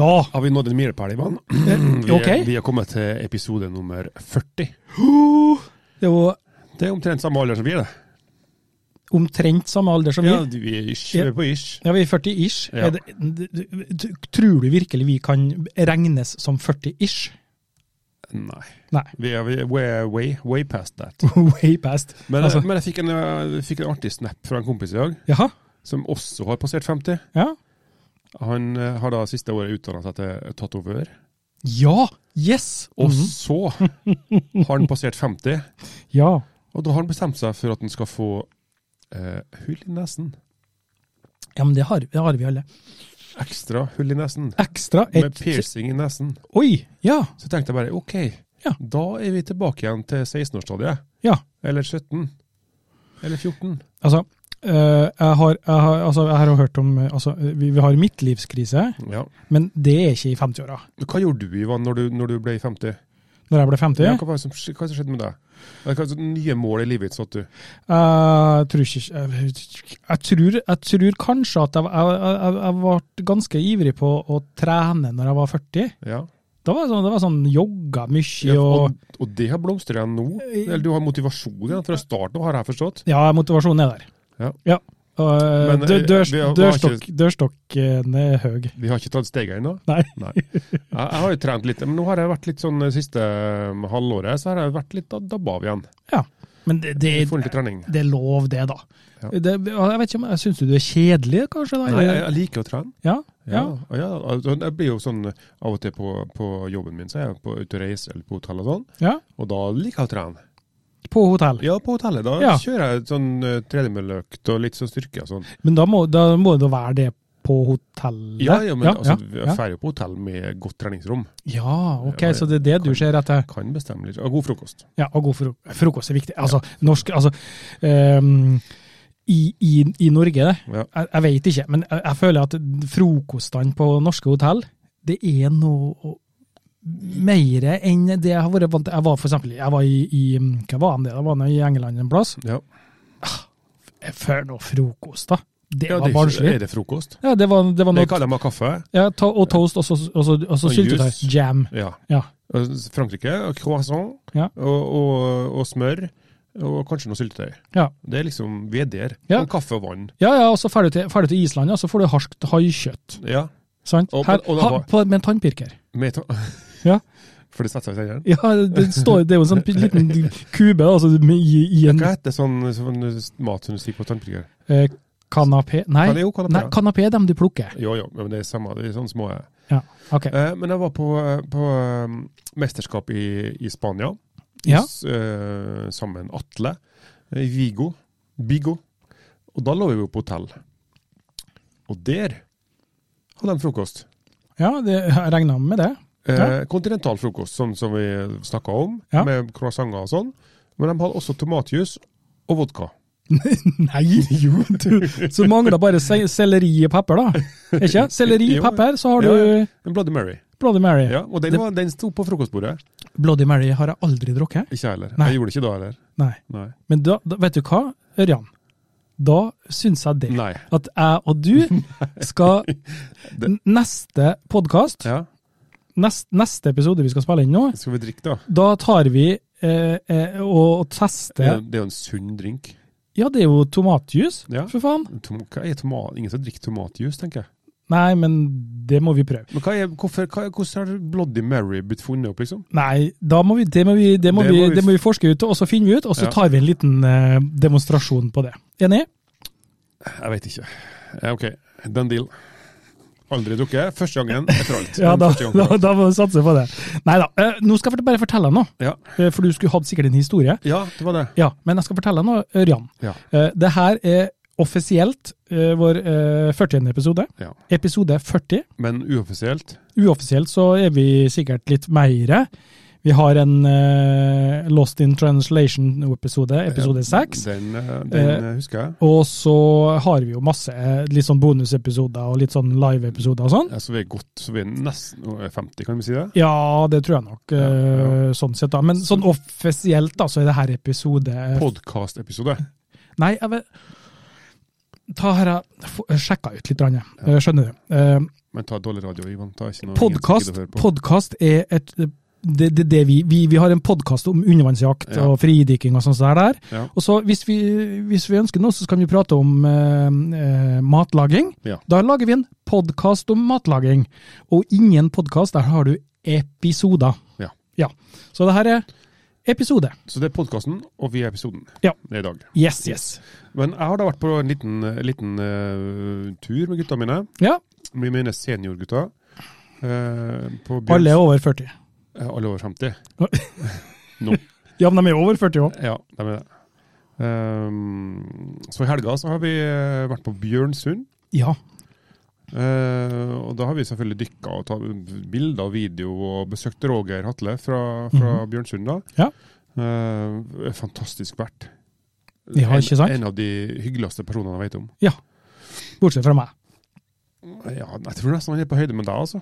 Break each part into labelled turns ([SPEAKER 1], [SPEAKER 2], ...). [SPEAKER 1] Da
[SPEAKER 2] har vi nådd en milepæl, Ivan. Vi,
[SPEAKER 1] Ok.
[SPEAKER 2] vi er kommet til episode nummer 40.
[SPEAKER 1] Det er jo
[SPEAKER 2] Det er omtrent samme alder som vi er, det.
[SPEAKER 1] omtrent samme alder som
[SPEAKER 2] Ja,
[SPEAKER 1] vi.
[SPEAKER 2] vi er ish. Vi er på ish.
[SPEAKER 1] Ja, vi er 40-ish.
[SPEAKER 2] Ja.
[SPEAKER 1] Er det- d- d- t- Tror du virkelig vi kan regnes som 40-ish?
[SPEAKER 2] Nei.
[SPEAKER 1] Nei.
[SPEAKER 2] Vi er, vi er way, way, way past that.
[SPEAKER 1] Way past.
[SPEAKER 2] Men,
[SPEAKER 1] Altså,
[SPEAKER 2] men jeg fikk en, eh, fikk en artig snap fra en kompis i dag,
[SPEAKER 1] jaha?
[SPEAKER 2] som også har passert 50.
[SPEAKER 1] Ja.
[SPEAKER 2] Han eh, har da siste året utdanna seg til tatovør.
[SPEAKER 1] Ja! Yes!
[SPEAKER 2] Og
[SPEAKER 1] Mhm.
[SPEAKER 2] så har han passert 50,
[SPEAKER 1] Ja.
[SPEAKER 2] og da har han bestemt seg for at han skal få eh, hull i nesen.
[SPEAKER 1] ja, men det har, det har vi alle.
[SPEAKER 2] Ekstra hull i nesen.
[SPEAKER 1] Ekstra
[SPEAKER 2] Med
[SPEAKER 1] et
[SPEAKER 2] piercing i nesen.
[SPEAKER 1] Oi! Ja.
[SPEAKER 2] Så tenkte jeg bare ok,
[SPEAKER 1] Ja.
[SPEAKER 2] da er vi tilbake igjen til 16-årsstadiet.
[SPEAKER 1] ja.
[SPEAKER 2] Eller 17. Eller 14.
[SPEAKER 1] Altså, øh, jeg, har, jeg, har, altså jeg har jo hørt om øh, altså, øh, vi, vi har midtlivskrise,
[SPEAKER 2] Ja.
[SPEAKER 1] men det er ikke i 50-åra.
[SPEAKER 2] Hva gjorde du, Ivan, når du, når du ble 50?
[SPEAKER 1] Når jeg ble 50?
[SPEAKER 2] Ja, hva, var det som, sk- hva som skjedde med deg? Hva er det nye mål i livet ditt? satt du?
[SPEAKER 1] Jeg tror ikke Jeg, jeg, tror, jeg tror kanskje at jeg, jeg, jeg, jeg ble ganske ivrig på å trene når jeg var 40.
[SPEAKER 2] Ja.
[SPEAKER 1] Da var det sånn, det var sånn jogga
[SPEAKER 2] Ja,
[SPEAKER 1] mye og
[SPEAKER 2] og, og det har blomstret igjen nå? Eller du har motivasjon igjen fra starten av, har jeg forstått?
[SPEAKER 1] Ja, motivasjonen er der.
[SPEAKER 2] Ja.
[SPEAKER 1] og,
[SPEAKER 2] Men,
[SPEAKER 1] dø,
[SPEAKER 2] eh,
[SPEAKER 1] dørs,
[SPEAKER 2] vi har- vi har ikke-
[SPEAKER 1] dørstokk, dørstokken er høy.
[SPEAKER 2] Vi har ikke tatt steget ennå.
[SPEAKER 1] Nei.
[SPEAKER 2] Nei. Jeg, jeg har jo trent litt, men nå har jeg vært litt sånn eh, siste eh, halvåret, så har jeg vært litt da- dabba av igjen.
[SPEAKER 1] Ja. Men det, det,
[SPEAKER 2] I forhold til trening.
[SPEAKER 1] det er lov, det, da.
[SPEAKER 2] Ja.
[SPEAKER 1] Det, jeg vet ikke om, Syns du du er kjedelig, kanskje? da?
[SPEAKER 2] Nei, jeg, jeg liker å trene.
[SPEAKER 1] ja? Ja.
[SPEAKER 2] Ja, og ja, altså, jeg blir jo sånn eh, av og til på, på jobben min, så er jeg på, ute og reiser eller på hotell og sånn,
[SPEAKER 1] ja?
[SPEAKER 2] og da liker jeg å trene.
[SPEAKER 1] På hotell.
[SPEAKER 2] Ja, på hotellet. Da
[SPEAKER 1] Ja.
[SPEAKER 2] kjører jeg sånn eh, tredemølleøkt og litt sånn styrke og sånn.
[SPEAKER 1] Men da må, da må det være det på hotellet?
[SPEAKER 2] Ja, ja, men altså,
[SPEAKER 1] ja,
[SPEAKER 2] jeg drar jo på hotell med godt treningsrom.
[SPEAKER 1] Ja, ok,
[SPEAKER 2] Ja,
[SPEAKER 1] så det er det du
[SPEAKER 2] kan-
[SPEAKER 1] ser etter.
[SPEAKER 2] Kan bestemme litt. Og god frokost.
[SPEAKER 1] Ja, og god fro frokost er viktig. Altså, norsk Altså, ehm, i, i, i Norge, det.
[SPEAKER 2] Ja.
[SPEAKER 1] Jeg, jeg vet ikke, men jeg, jeg føler at frokostene på norske hotell, det er noe mer enn det jeg har vært vant til. Jeg var for eksempel jeg var i, i Hva var det? Jeg var nå i England en plass.
[SPEAKER 2] Ja.
[SPEAKER 1] Før noe frokost, da. Det
[SPEAKER 2] Ja, det
[SPEAKER 1] var
[SPEAKER 2] er, ikke-
[SPEAKER 1] barnslig.
[SPEAKER 2] er det frokost?
[SPEAKER 1] Ja, det var, det var
[SPEAKER 2] Det
[SPEAKER 1] noe
[SPEAKER 2] kaller jeg meg kaffe.
[SPEAKER 1] ja, to Og toast, og så- og så og så
[SPEAKER 2] Og
[SPEAKER 1] syltetøy.
[SPEAKER 2] juice.
[SPEAKER 1] Jam.
[SPEAKER 2] Ja.
[SPEAKER 1] Ja.
[SPEAKER 2] Og Frankrike, og croissant
[SPEAKER 1] Ja.
[SPEAKER 2] og, og, og smør, og kanskje noe syltetøy.
[SPEAKER 1] ja.
[SPEAKER 2] Det er liksom, vi er der.
[SPEAKER 1] Ja.
[SPEAKER 2] Og kaffe og vann.
[SPEAKER 1] Ja, ja, og så ferdig til, ferdig til Island, ja, så får du harskt haikjøtt.
[SPEAKER 2] Ja.
[SPEAKER 1] Sant?
[SPEAKER 2] Og-
[SPEAKER 1] Her,
[SPEAKER 2] og det
[SPEAKER 1] ha,
[SPEAKER 2] var-
[SPEAKER 1] på, med en tannpirker.
[SPEAKER 2] Med ta
[SPEAKER 1] Ja.
[SPEAKER 2] For det setter seg i kjelleren.
[SPEAKER 1] Ja, det, står, det er jo en sånn pi- liten kube da, altså, med, i, i en
[SPEAKER 2] Hva heter sånn, sånn mat som du sier på tannpirker?
[SPEAKER 1] eh, kanapé Nei,
[SPEAKER 2] Ja, det er jo kanapé,
[SPEAKER 1] nei,
[SPEAKER 2] ja.
[SPEAKER 1] kanapé er dem du plukker.
[SPEAKER 2] Jo, jo, men det er samme. Det er sånn små. eh.
[SPEAKER 1] Ja, ok.
[SPEAKER 2] Eh, men jeg var på, på eh, mesterskap i, i Spania. I
[SPEAKER 1] Ja.
[SPEAKER 2] s- eh, sammen med Atle. eh, I Vigo. Bigo. Og da lå vi jo på hotell. Og der hadde de frokost.
[SPEAKER 1] ja det, jeg regna med det.
[SPEAKER 2] Eh,
[SPEAKER 1] Ja.
[SPEAKER 2] kontinental frokost, sånn som vi snakka om,
[SPEAKER 1] Ja.
[SPEAKER 2] med croissanter og sånn. Men de hadde også tomatjuice og vodka.
[SPEAKER 1] Nei, jo, du, så mangler bare se, selleri og pepper, da. Ikke? Selleri,
[SPEAKER 2] Jo.
[SPEAKER 1] pepper, så har
[SPEAKER 2] Ja,
[SPEAKER 1] du
[SPEAKER 2] En Bloody Mary.
[SPEAKER 1] Bloody Mary.
[SPEAKER 2] Ja, og den,
[SPEAKER 1] Det-
[SPEAKER 2] var, den sto på frokostbordet.
[SPEAKER 1] Bloody Mary har jeg aldri drukket.
[SPEAKER 2] Ikke jeg heller.
[SPEAKER 1] Nei.
[SPEAKER 2] Jeg gjorde det ikke da heller.
[SPEAKER 1] Nei.
[SPEAKER 2] Nei.
[SPEAKER 1] Men da, da vet du hva, Ørjan? Da syns jeg det.
[SPEAKER 2] Nei.
[SPEAKER 1] at jeg og du skal
[SPEAKER 2] Det-
[SPEAKER 1] n- Neste podkast,
[SPEAKER 2] Ja.
[SPEAKER 1] nest, neste episode vi skal spille inn nå,
[SPEAKER 2] Skal vi drikke, da?
[SPEAKER 1] da tar vi eh, eh, og, og
[SPEAKER 2] Det er,
[SPEAKER 1] tester
[SPEAKER 2] det er jo en sunn drink.
[SPEAKER 1] Ja, det er jo tomatjuice,
[SPEAKER 2] Ja.
[SPEAKER 1] for faen.
[SPEAKER 2] Tom, hva er toma, ingen som drikker tomatjuice, tenker jeg.
[SPEAKER 1] Nei, men det må vi prøve.
[SPEAKER 2] Men hva er, hvorfor, hva, hvordan har Bloody Mary blitt funnet opp, liksom?
[SPEAKER 1] Nei, da må vi, det, må vi, det, må
[SPEAKER 2] Det
[SPEAKER 1] vi,
[SPEAKER 2] må vi-
[SPEAKER 1] det må vi forske ut, og så finner vi ut, og så
[SPEAKER 2] Ja.
[SPEAKER 1] tar vi en liten eh, demonstrasjon på det. Enig?
[SPEAKER 2] Jeg vet ikke. Ja, ok, den deal. Aldri drukket. Første gangen etter alt.
[SPEAKER 1] Ja, da,
[SPEAKER 2] Første gangen
[SPEAKER 1] da,
[SPEAKER 2] etter alt.
[SPEAKER 1] da må vi satse på det. Nei da, eh, nå skal jeg bare fortelle deg noe,
[SPEAKER 2] Ja.
[SPEAKER 1] eh, for du skulle hatt sikkert en historie.
[SPEAKER 2] ja, det var det.
[SPEAKER 1] Ja, men jeg skal fortelle deg noe, Ørjan.
[SPEAKER 2] Ja.
[SPEAKER 1] Eh, Det her er offisielt eh, vår eh, 40. episode.
[SPEAKER 2] ja.
[SPEAKER 1] Episode 40.
[SPEAKER 2] Men uoffisielt
[SPEAKER 1] Uoffisielt så er vi sikkert litt meire. Vi har en eh, Lost in Translation-episode, episode seks.
[SPEAKER 2] eh, Den, eh, den
[SPEAKER 1] Eh,
[SPEAKER 2] eh, husker jeg.
[SPEAKER 1] Og så har vi jo masse eh, litt sånn bonusepisoder og litt sånn live-episoder og sånn.
[SPEAKER 2] Ja, så vi er godt, så vi er nesten over 50, kan vi si det?
[SPEAKER 1] Ja, det tror jeg nok,
[SPEAKER 2] Ja,
[SPEAKER 1] eh, sånn sett da. Men sånn offisielt da, så er det her episode eh,
[SPEAKER 2] Podcast-episode.
[SPEAKER 1] Nei, jeg vet Ta her, jeg få- sjekka ut litt, grann, jeg. Eh, skjønner du. Eh,
[SPEAKER 2] Men ta dårlig radio, Ivan. Ta ikke noe
[SPEAKER 1] Podkast
[SPEAKER 2] ingen som gidder å høre på.
[SPEAKER 1] podkast er et det, det, det vi, vi, vi har en podkast om undervannsjakt
[SPEAKER 2] Ja.
[SPEAKER 1] og fridykking og sånt der. der.
[SPEAKER 2] Ja.
[SPEAKER 1] Og så hvis vi, hvis vi ønsker noe, så kan vi prate om eh, eh, matlaging.
[SPEAKER 2] Ja.
[SPEAKER 1] Da lager vi en podkast om matlaging. Og ingen podkast, der har du episoder.
[SPEAKER 2] Ja.
[SPEAKER 1] Så det her er episode.
[SPEAKER 2] Så det er podkasten, og vi er episoden.
[SPEAKER 1] Ja.
[SPEAKER 2] Det er i dag.
[SPEAKER 1] Yes, yes.
[SPEAKER 2] Men jeg har da vært på en liten, liten eh, tur med gutta mine.
[SPEAKER 1] Ja,
[SPEAKER 2] Vi mener seniorgutta. eh, på Bjørns-
[SPEAKER 1] alle er over 40.
[SPEAKER 2] Eh, alle over 50.
[SPEAKER 1] Ja, men de er over 40 òg.
[SPEAKER 2] Ja, det er det. Ehm, så i helga så har vi eh, vært på Bjørnsund.
[SPEAKER 1] Ja.
[SPEAKER 2] Eh, og da har vi selvfølgelig dykka og tatt bilder og video og besøkt Roger Hatle fra, fra Bjørnsund. da.
[SPEAKER 1] Mhm. Ja.
[SPEAKER 2] Eh, fantastisk vert.
[SPEAKER 1] Ja, ikke sant?
[SPEAKER 2] En, en av de hyggeligste personene jeg vet om.
[SPEAKER 1] Bortsett fra meg.
[SPEAKER 2] Ja, jeg tror nesten han er på høyde med deg, altså.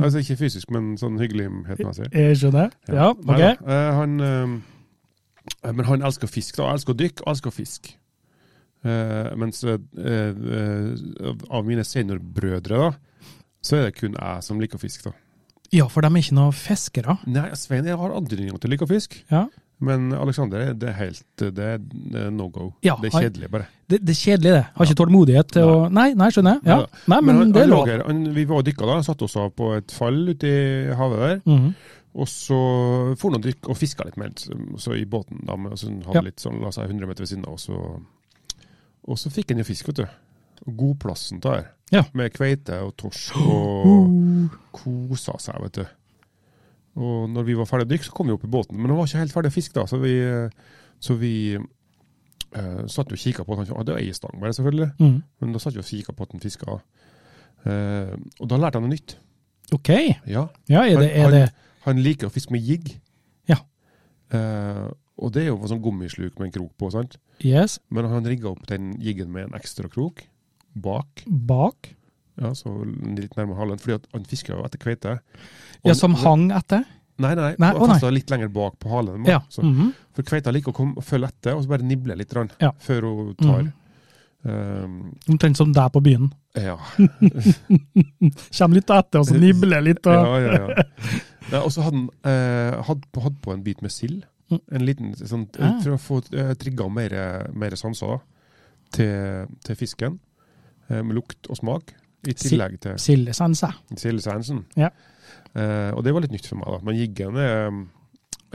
[SPEAKER 2] altså ikke fysisk, men sånn hyggelighetsmessig.
[SPEAKER 1] Jeg skjønner. Ja,
[SPEAKER 2] Nei
[SPEAKER 1] ok.
[SPEAKER 2] da. Eh, han, eh, men han elsker fisk, da. Elsker å dykke og elsker fisk. Eh, mens eh, eh, av mine seniorbrødre, da, så er det kun jeg som liker fisk, da.
[SPEAKER 1] Ja, for de er ikke noen fiskere.
[SPEAKER 2] Nei, Svein jeg har antydninger til å like fisk,
[SPEAKER 1] Ja.
[SPEAKER 2] men Aleksander, det er helt Det er det er no go.
[SPEAKER 1] Ja,
[SPEAKER 2] det er
[SPEAKER 1] han-
[SPEAKER 2] kjedelig, bare.
[SPEAKER 1] Det, det er kjedelig, det. Har ikke tålmodighet til å Nei, nei, skjønner jeg.
[SPEAKER 2] Neida.
[SPEAKER 1] Ja. Nei, men,
[SPEAKER 2] han,
[SPEAKER 1] det er
[SPEAKER 2] han
[SPEAKER 1] lov.
[SPEAKER 2] Roger, han, vi var og dykka da, satte oss av på et fall ute i havet der.
[SPEAKER 1] Mhm.
[SPEAKER 2] Og så for han å dykke og fiska litt mer så i båten. da, med- så han hadde
[SPEAKER 1] Ja.
[SPEAKER 2] litt sånn, La seg 100 meter ved siden av, og så, og så fikk han jo fisk, vet du. Og Godplassen der.
[SPEAKER 1] Ja. Uh.
[SPEAKER 2] Med kveite og torsk, og kosa seg, vet du. Og når vi var ferdig å dykke, så kom vi opp i båten. Men han var ikke helt ferdig å fiske da, så vi, så vi eh, satt jo og kikka på at han ikke hadde ei stang, bare, selvfølgelig.
[SPEAKER 1] Mhm.
[SPEAKER 2] Men da satt vi og kikka på at han fiska. Eh, og da lærte han noe nytt.
[SPEAKER 1] Ok.
[SPEAKER 2] Ja.
[SPEAKER 1] Ja, er det, er
[SPEAKER 2] han,
[SPEAKER 1] det
[SPEAKER 2] han, han liker å fiske med jigg.
[SPEAKER 1] Ja.
[SPEAKER 2] Eh, og det er jo sånn gummisluk med en krok på, sant.
[SPEAKER 1] Yes.
[SPEAKER 2] Men han rigga opp den jiggen med en ekstra krok bak,
[SPEAKER 1] Bak.
[SPEAKER 2] ja, så litt nærmere halen. Fordi at han fisker jo etter kveite. Og
[SPEAKER 1] Ja, som hang etter.
[SPEAKER 2] Nei, nei,
[SPEAKER 1] Nei, å,
[SPEAKER 2] han
[SPEAKER 1] nei.
[SPEAKER 2] festa litt lenger bak på halen.
[SPEAKER 1] Ja.
[SPEAKER 2] Så,
[SPEAKER 1] mhm.
[SPEAKER 2] For kveita liker å komme, følge etter, og så bare nible litt grann,
[SPEAKER 1] Ja. Mm.
[SPEAKER 2] før hun tar.
[SPEAKER 1] Mhm. Omtrent som deg på byen.
[SPEAKER 2] Eh, ja.
[SPEAKER 1] Kjem litt etter og så nibler litt. Og...
[SPEAKER 2] Ja, ja, ja. Nei, Og så hadde han eh, hatt på, hadde på en bit med sild.
[SPEAKER 1] Mm.
[SPEAKER 2] En liten sånn
[SPEAKER 1] Ah.
[SPEAKER 2] For å få eh, trigga mer, mer sanser da, til, til fisken. Eh, med lukt og smak. I
[SPEAKER 1] Sild.
[SPEAKER 2] tillegg til
[SPEAKER 1] Sildesense.
[SPEAKER 2] sildesansen.
[SPEAKER 1] Ja.
[SPEAKER 2] Eh, og det var litt nytt for meg, da. Men jiggen er eh,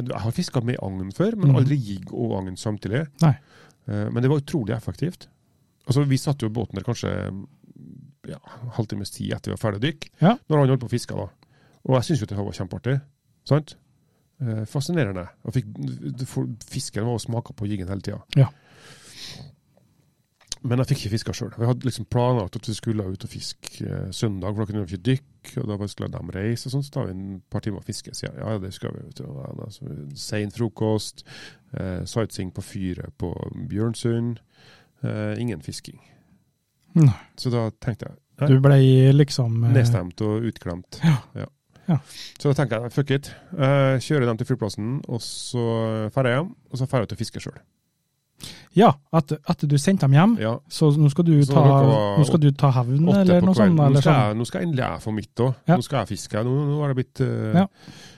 [SPEAKER 2] Jeg har fiska med agn før, men
[SPEAKER 1] Mhm.
[SPEAKER 2] aldri jigg og agn samtidig.
[SPEAKER 1] Nei.
[SPEAKER 2] Eh, men det var utrolig effektivt. Altså, vi satt jo i båten der kanskje ja, halvtimes tid etter vi var ferdig å dykke,
[SPEAKER 1] Ja.
[SPEAKER 2] når han holdt på å fiske. da. Og jeg syns jo det var kjempeartig. Sant? Eh, fascinerende. Og fikk, for, fisken var og smaka på jiggen hele tida.
[SPEAKER 1] Ja.
[SPEAKER 2] Men jeg fikk ikke fiska sjøl. Vi hadde liksom planlagt at vi skulle ut og fiske eh, søndag, for da kunne vi ikke dykke. Og da bare skulle de reise, og sånn, så tar vi en par timer og fisker. Så jeg, ja, ja, det skal vi. vet du. Og da- da- så Sein frokost, eh, sightseeing på fyret på Bjørnsund. Eh, ingen fisking.
[SPEAKER 1] Nei.
[SPEAKER 2] Så da tenkte jeg
[SPEAKER 1] Du ble liksom eh,
[SPEAKER 2] Nedstemt og utglemt.
[SPEAKER 1] Ja. Ja.
[SPEAKER 2] Så da tenker jeg fuck it. Eh, kjører dem til flyplassen, og så drar jeg hjem. Og så drar jeg ut og fisker sjøl.
[SPEAKER 1] Ja, etter, etter du sendte dem hjem.
[SPEAKER 2] Ja,
[SPEAKER 1] Så nå skal du
[SPEAKER 2] Så
[SPEAKER 1] ta,
[SPEAKER 2] dere var
[SPEAKER 1] nå skal du ta hevn,
[SPEAKER 2] åtte
[SPEAKER 1] eller
[SPEAKER 2] på kvelden.
[SPEAKER 1] noe sånt?
[SPEAKER 2] Nå
[SPEAKER 1] Eller
[SPEAKER 2] skal,
[SPEAKER 1] sånn.
[SPEAKER 2] jeg, nå skal jeg endelig jeg få mitt òg.
[SPEAKER 1] Ja.
[SPEAKER 2] Nå skal jeg fiske. Nå, nå har det blitt eh,
[SPEAKER 1] Ja.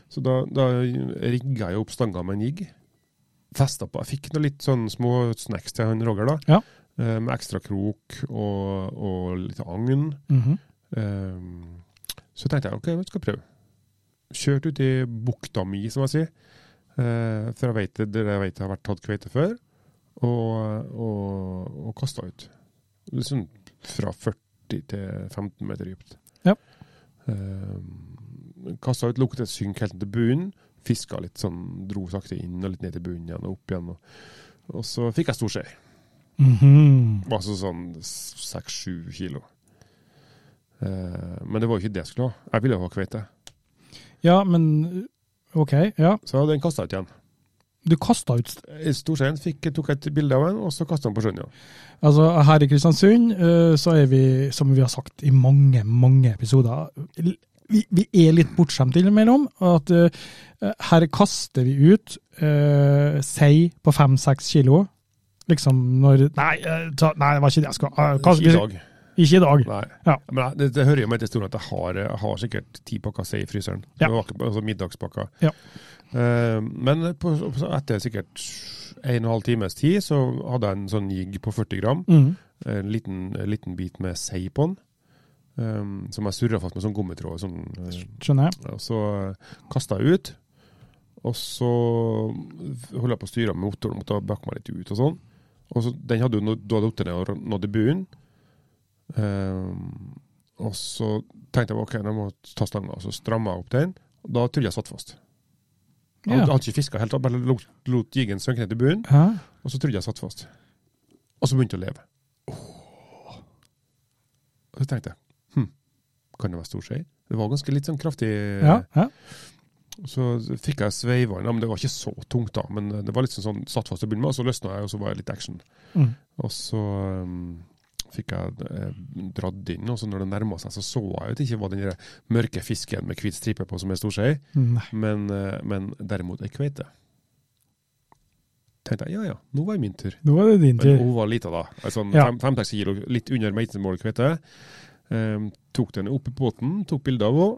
[SPEAKER 2] Så da, da rigga jeg opp stanga med en jigg. Festa på. Jeg fikk noe litt sånn små snacks til han Roger, da.
[SPEAKER 1] Ja.
[SPEAKER 2] Eh, med ekstra krok og, og litt agn.
[SPEAKER 1] Mhm.
[SPEAKER 2] Ehm, så tenkte jeg ok, jeg skal prøve. Kjørt ut i bukta mi, som jeg sier. Eh, for jeg vet det, det jeg vet jeg har vært tatt kveite før. Og, og, og kasta ut. Liksom fra 40 til 15 meter dypt.
[SPEAKER 1] Ja.
[SPEAKER 2] Eh, kasta ut, lukket et synk helt til bunnen. Fiska litt sånn, dro sakte inn og litt ned til bunnen igjen og opp igjen. Og, og så fikk jeg stor skje.
[SPEAKER 1] Mhm.
[SPEAKER 2] Altså sånn seks-sju kilo. Eh, men det var jo ikke det jeg skulle ha. Jeg ville jo ha kveite.
[SPEAKER 1] Ja, men Ok, ja.
[SPEAKER 2] Så den kasta jeg ut igjen.
[SPEAKER 1] Du kasta ut
[SPEAKER 2] I Storstein fikk, tok jeg et bilde av den, og så kasta den på sjøen. Ja.
[SPEAKER 1] Altså, her i Kristiansund eh, så er vi, som vi har sagt i mange, mange episoder, vi, vi er litt bortskjemt innimellom. At eh, her kaster vi ut eh, sei på fem-seks kilo. Liksom når Nei, eh, ta, nei, det var ikke det jeg skulle eh, kast-
[SPEAKER 2] Ikke i dag.
[SPEAKER 1] Ikke i dag.
[SPEAKER 2] Nei.
[SPEAKER 1] Ja.
[SPEAKER 2] Men nei, det, det hører jo med til historien at jeg har, jeg har sikkert ti pakker sei i fryseren.
[SPEAKER 1] Ja.
[SPEAKER 2] Det var ikke- Altså middagspakker.
[SPEAKER 1] Ja.
[SPEAKER 2] Eh, men på, så etter sikkert en og en halv times tid så hadde jeg en sånn jigg på 40 gram.
[SPEAKER 1] Mm.
[SPEAKER 2] En liten, en liten bit med sei på den. eh, som jeg surra fast med sånn gummitråd. Sånn, eh,
[SPEAKER 1] Skjønner jeg.
[SPEAKER 2] og så kasta jeg ut. Og så holdt jeg på å styre med motoren, måtte bakke meg litt ut og sånn. Og så, den hadde jo nå- da hadde jeg ned og nådd i bunnen. Ehm, og så tenkte jeg ok, nå må jeg ta stanga, og så stramma jeg opp den. Og da trodde jeg satt fast. Jeg
[SPEAKER 1] Ja.
[SPEAKER 2] hadde, hadde ikke fiska helt, jeg bare lot, lot jiggen synke ned til bunnen,
[SPEAKER 1] Hæ?
[SPEAKER 2] og så trodde jeg satt fast. Og så begynte jeg å leve. Og så tenkte jeg hm, kan det være stor skje? Det var ganske litt sånn kraftig
[SPEAKER 1] Ja, ja.
[SPEAKER 2] så fikk jeg sveivann, ja, men det var ikke så tungt da, men det var liksom sånn satt fast til å begynne med, og så løsna jeg, og så var det litt action.
[SPEAKER 1] Mm.
[SPEAKER 2] Og så um, fikk jeg eh, dratt inn, og så når det nærma seg, så så jeg jo at det ikke var den der mørke fisken med hvit stripe på som er storskei,
[SPEAKER 1] Nei.
[SPEAKER 2] men, eh, men derimot ei kveite. Tenkte jeg, ja ja, nå var det min tur.
[SPEAKER 1] Nå er det din
[SPEAKER 2] Men
[SPEAKER 1] tur.
[SPEAKER 2] hun var lita da. Altså,
[SPEAKER 1] Ja.
[SPEAKER 2] fem- Fem-seks kilo, litt under meitemålet kveite. Um, tok den opp i båten, tok bilder av henne,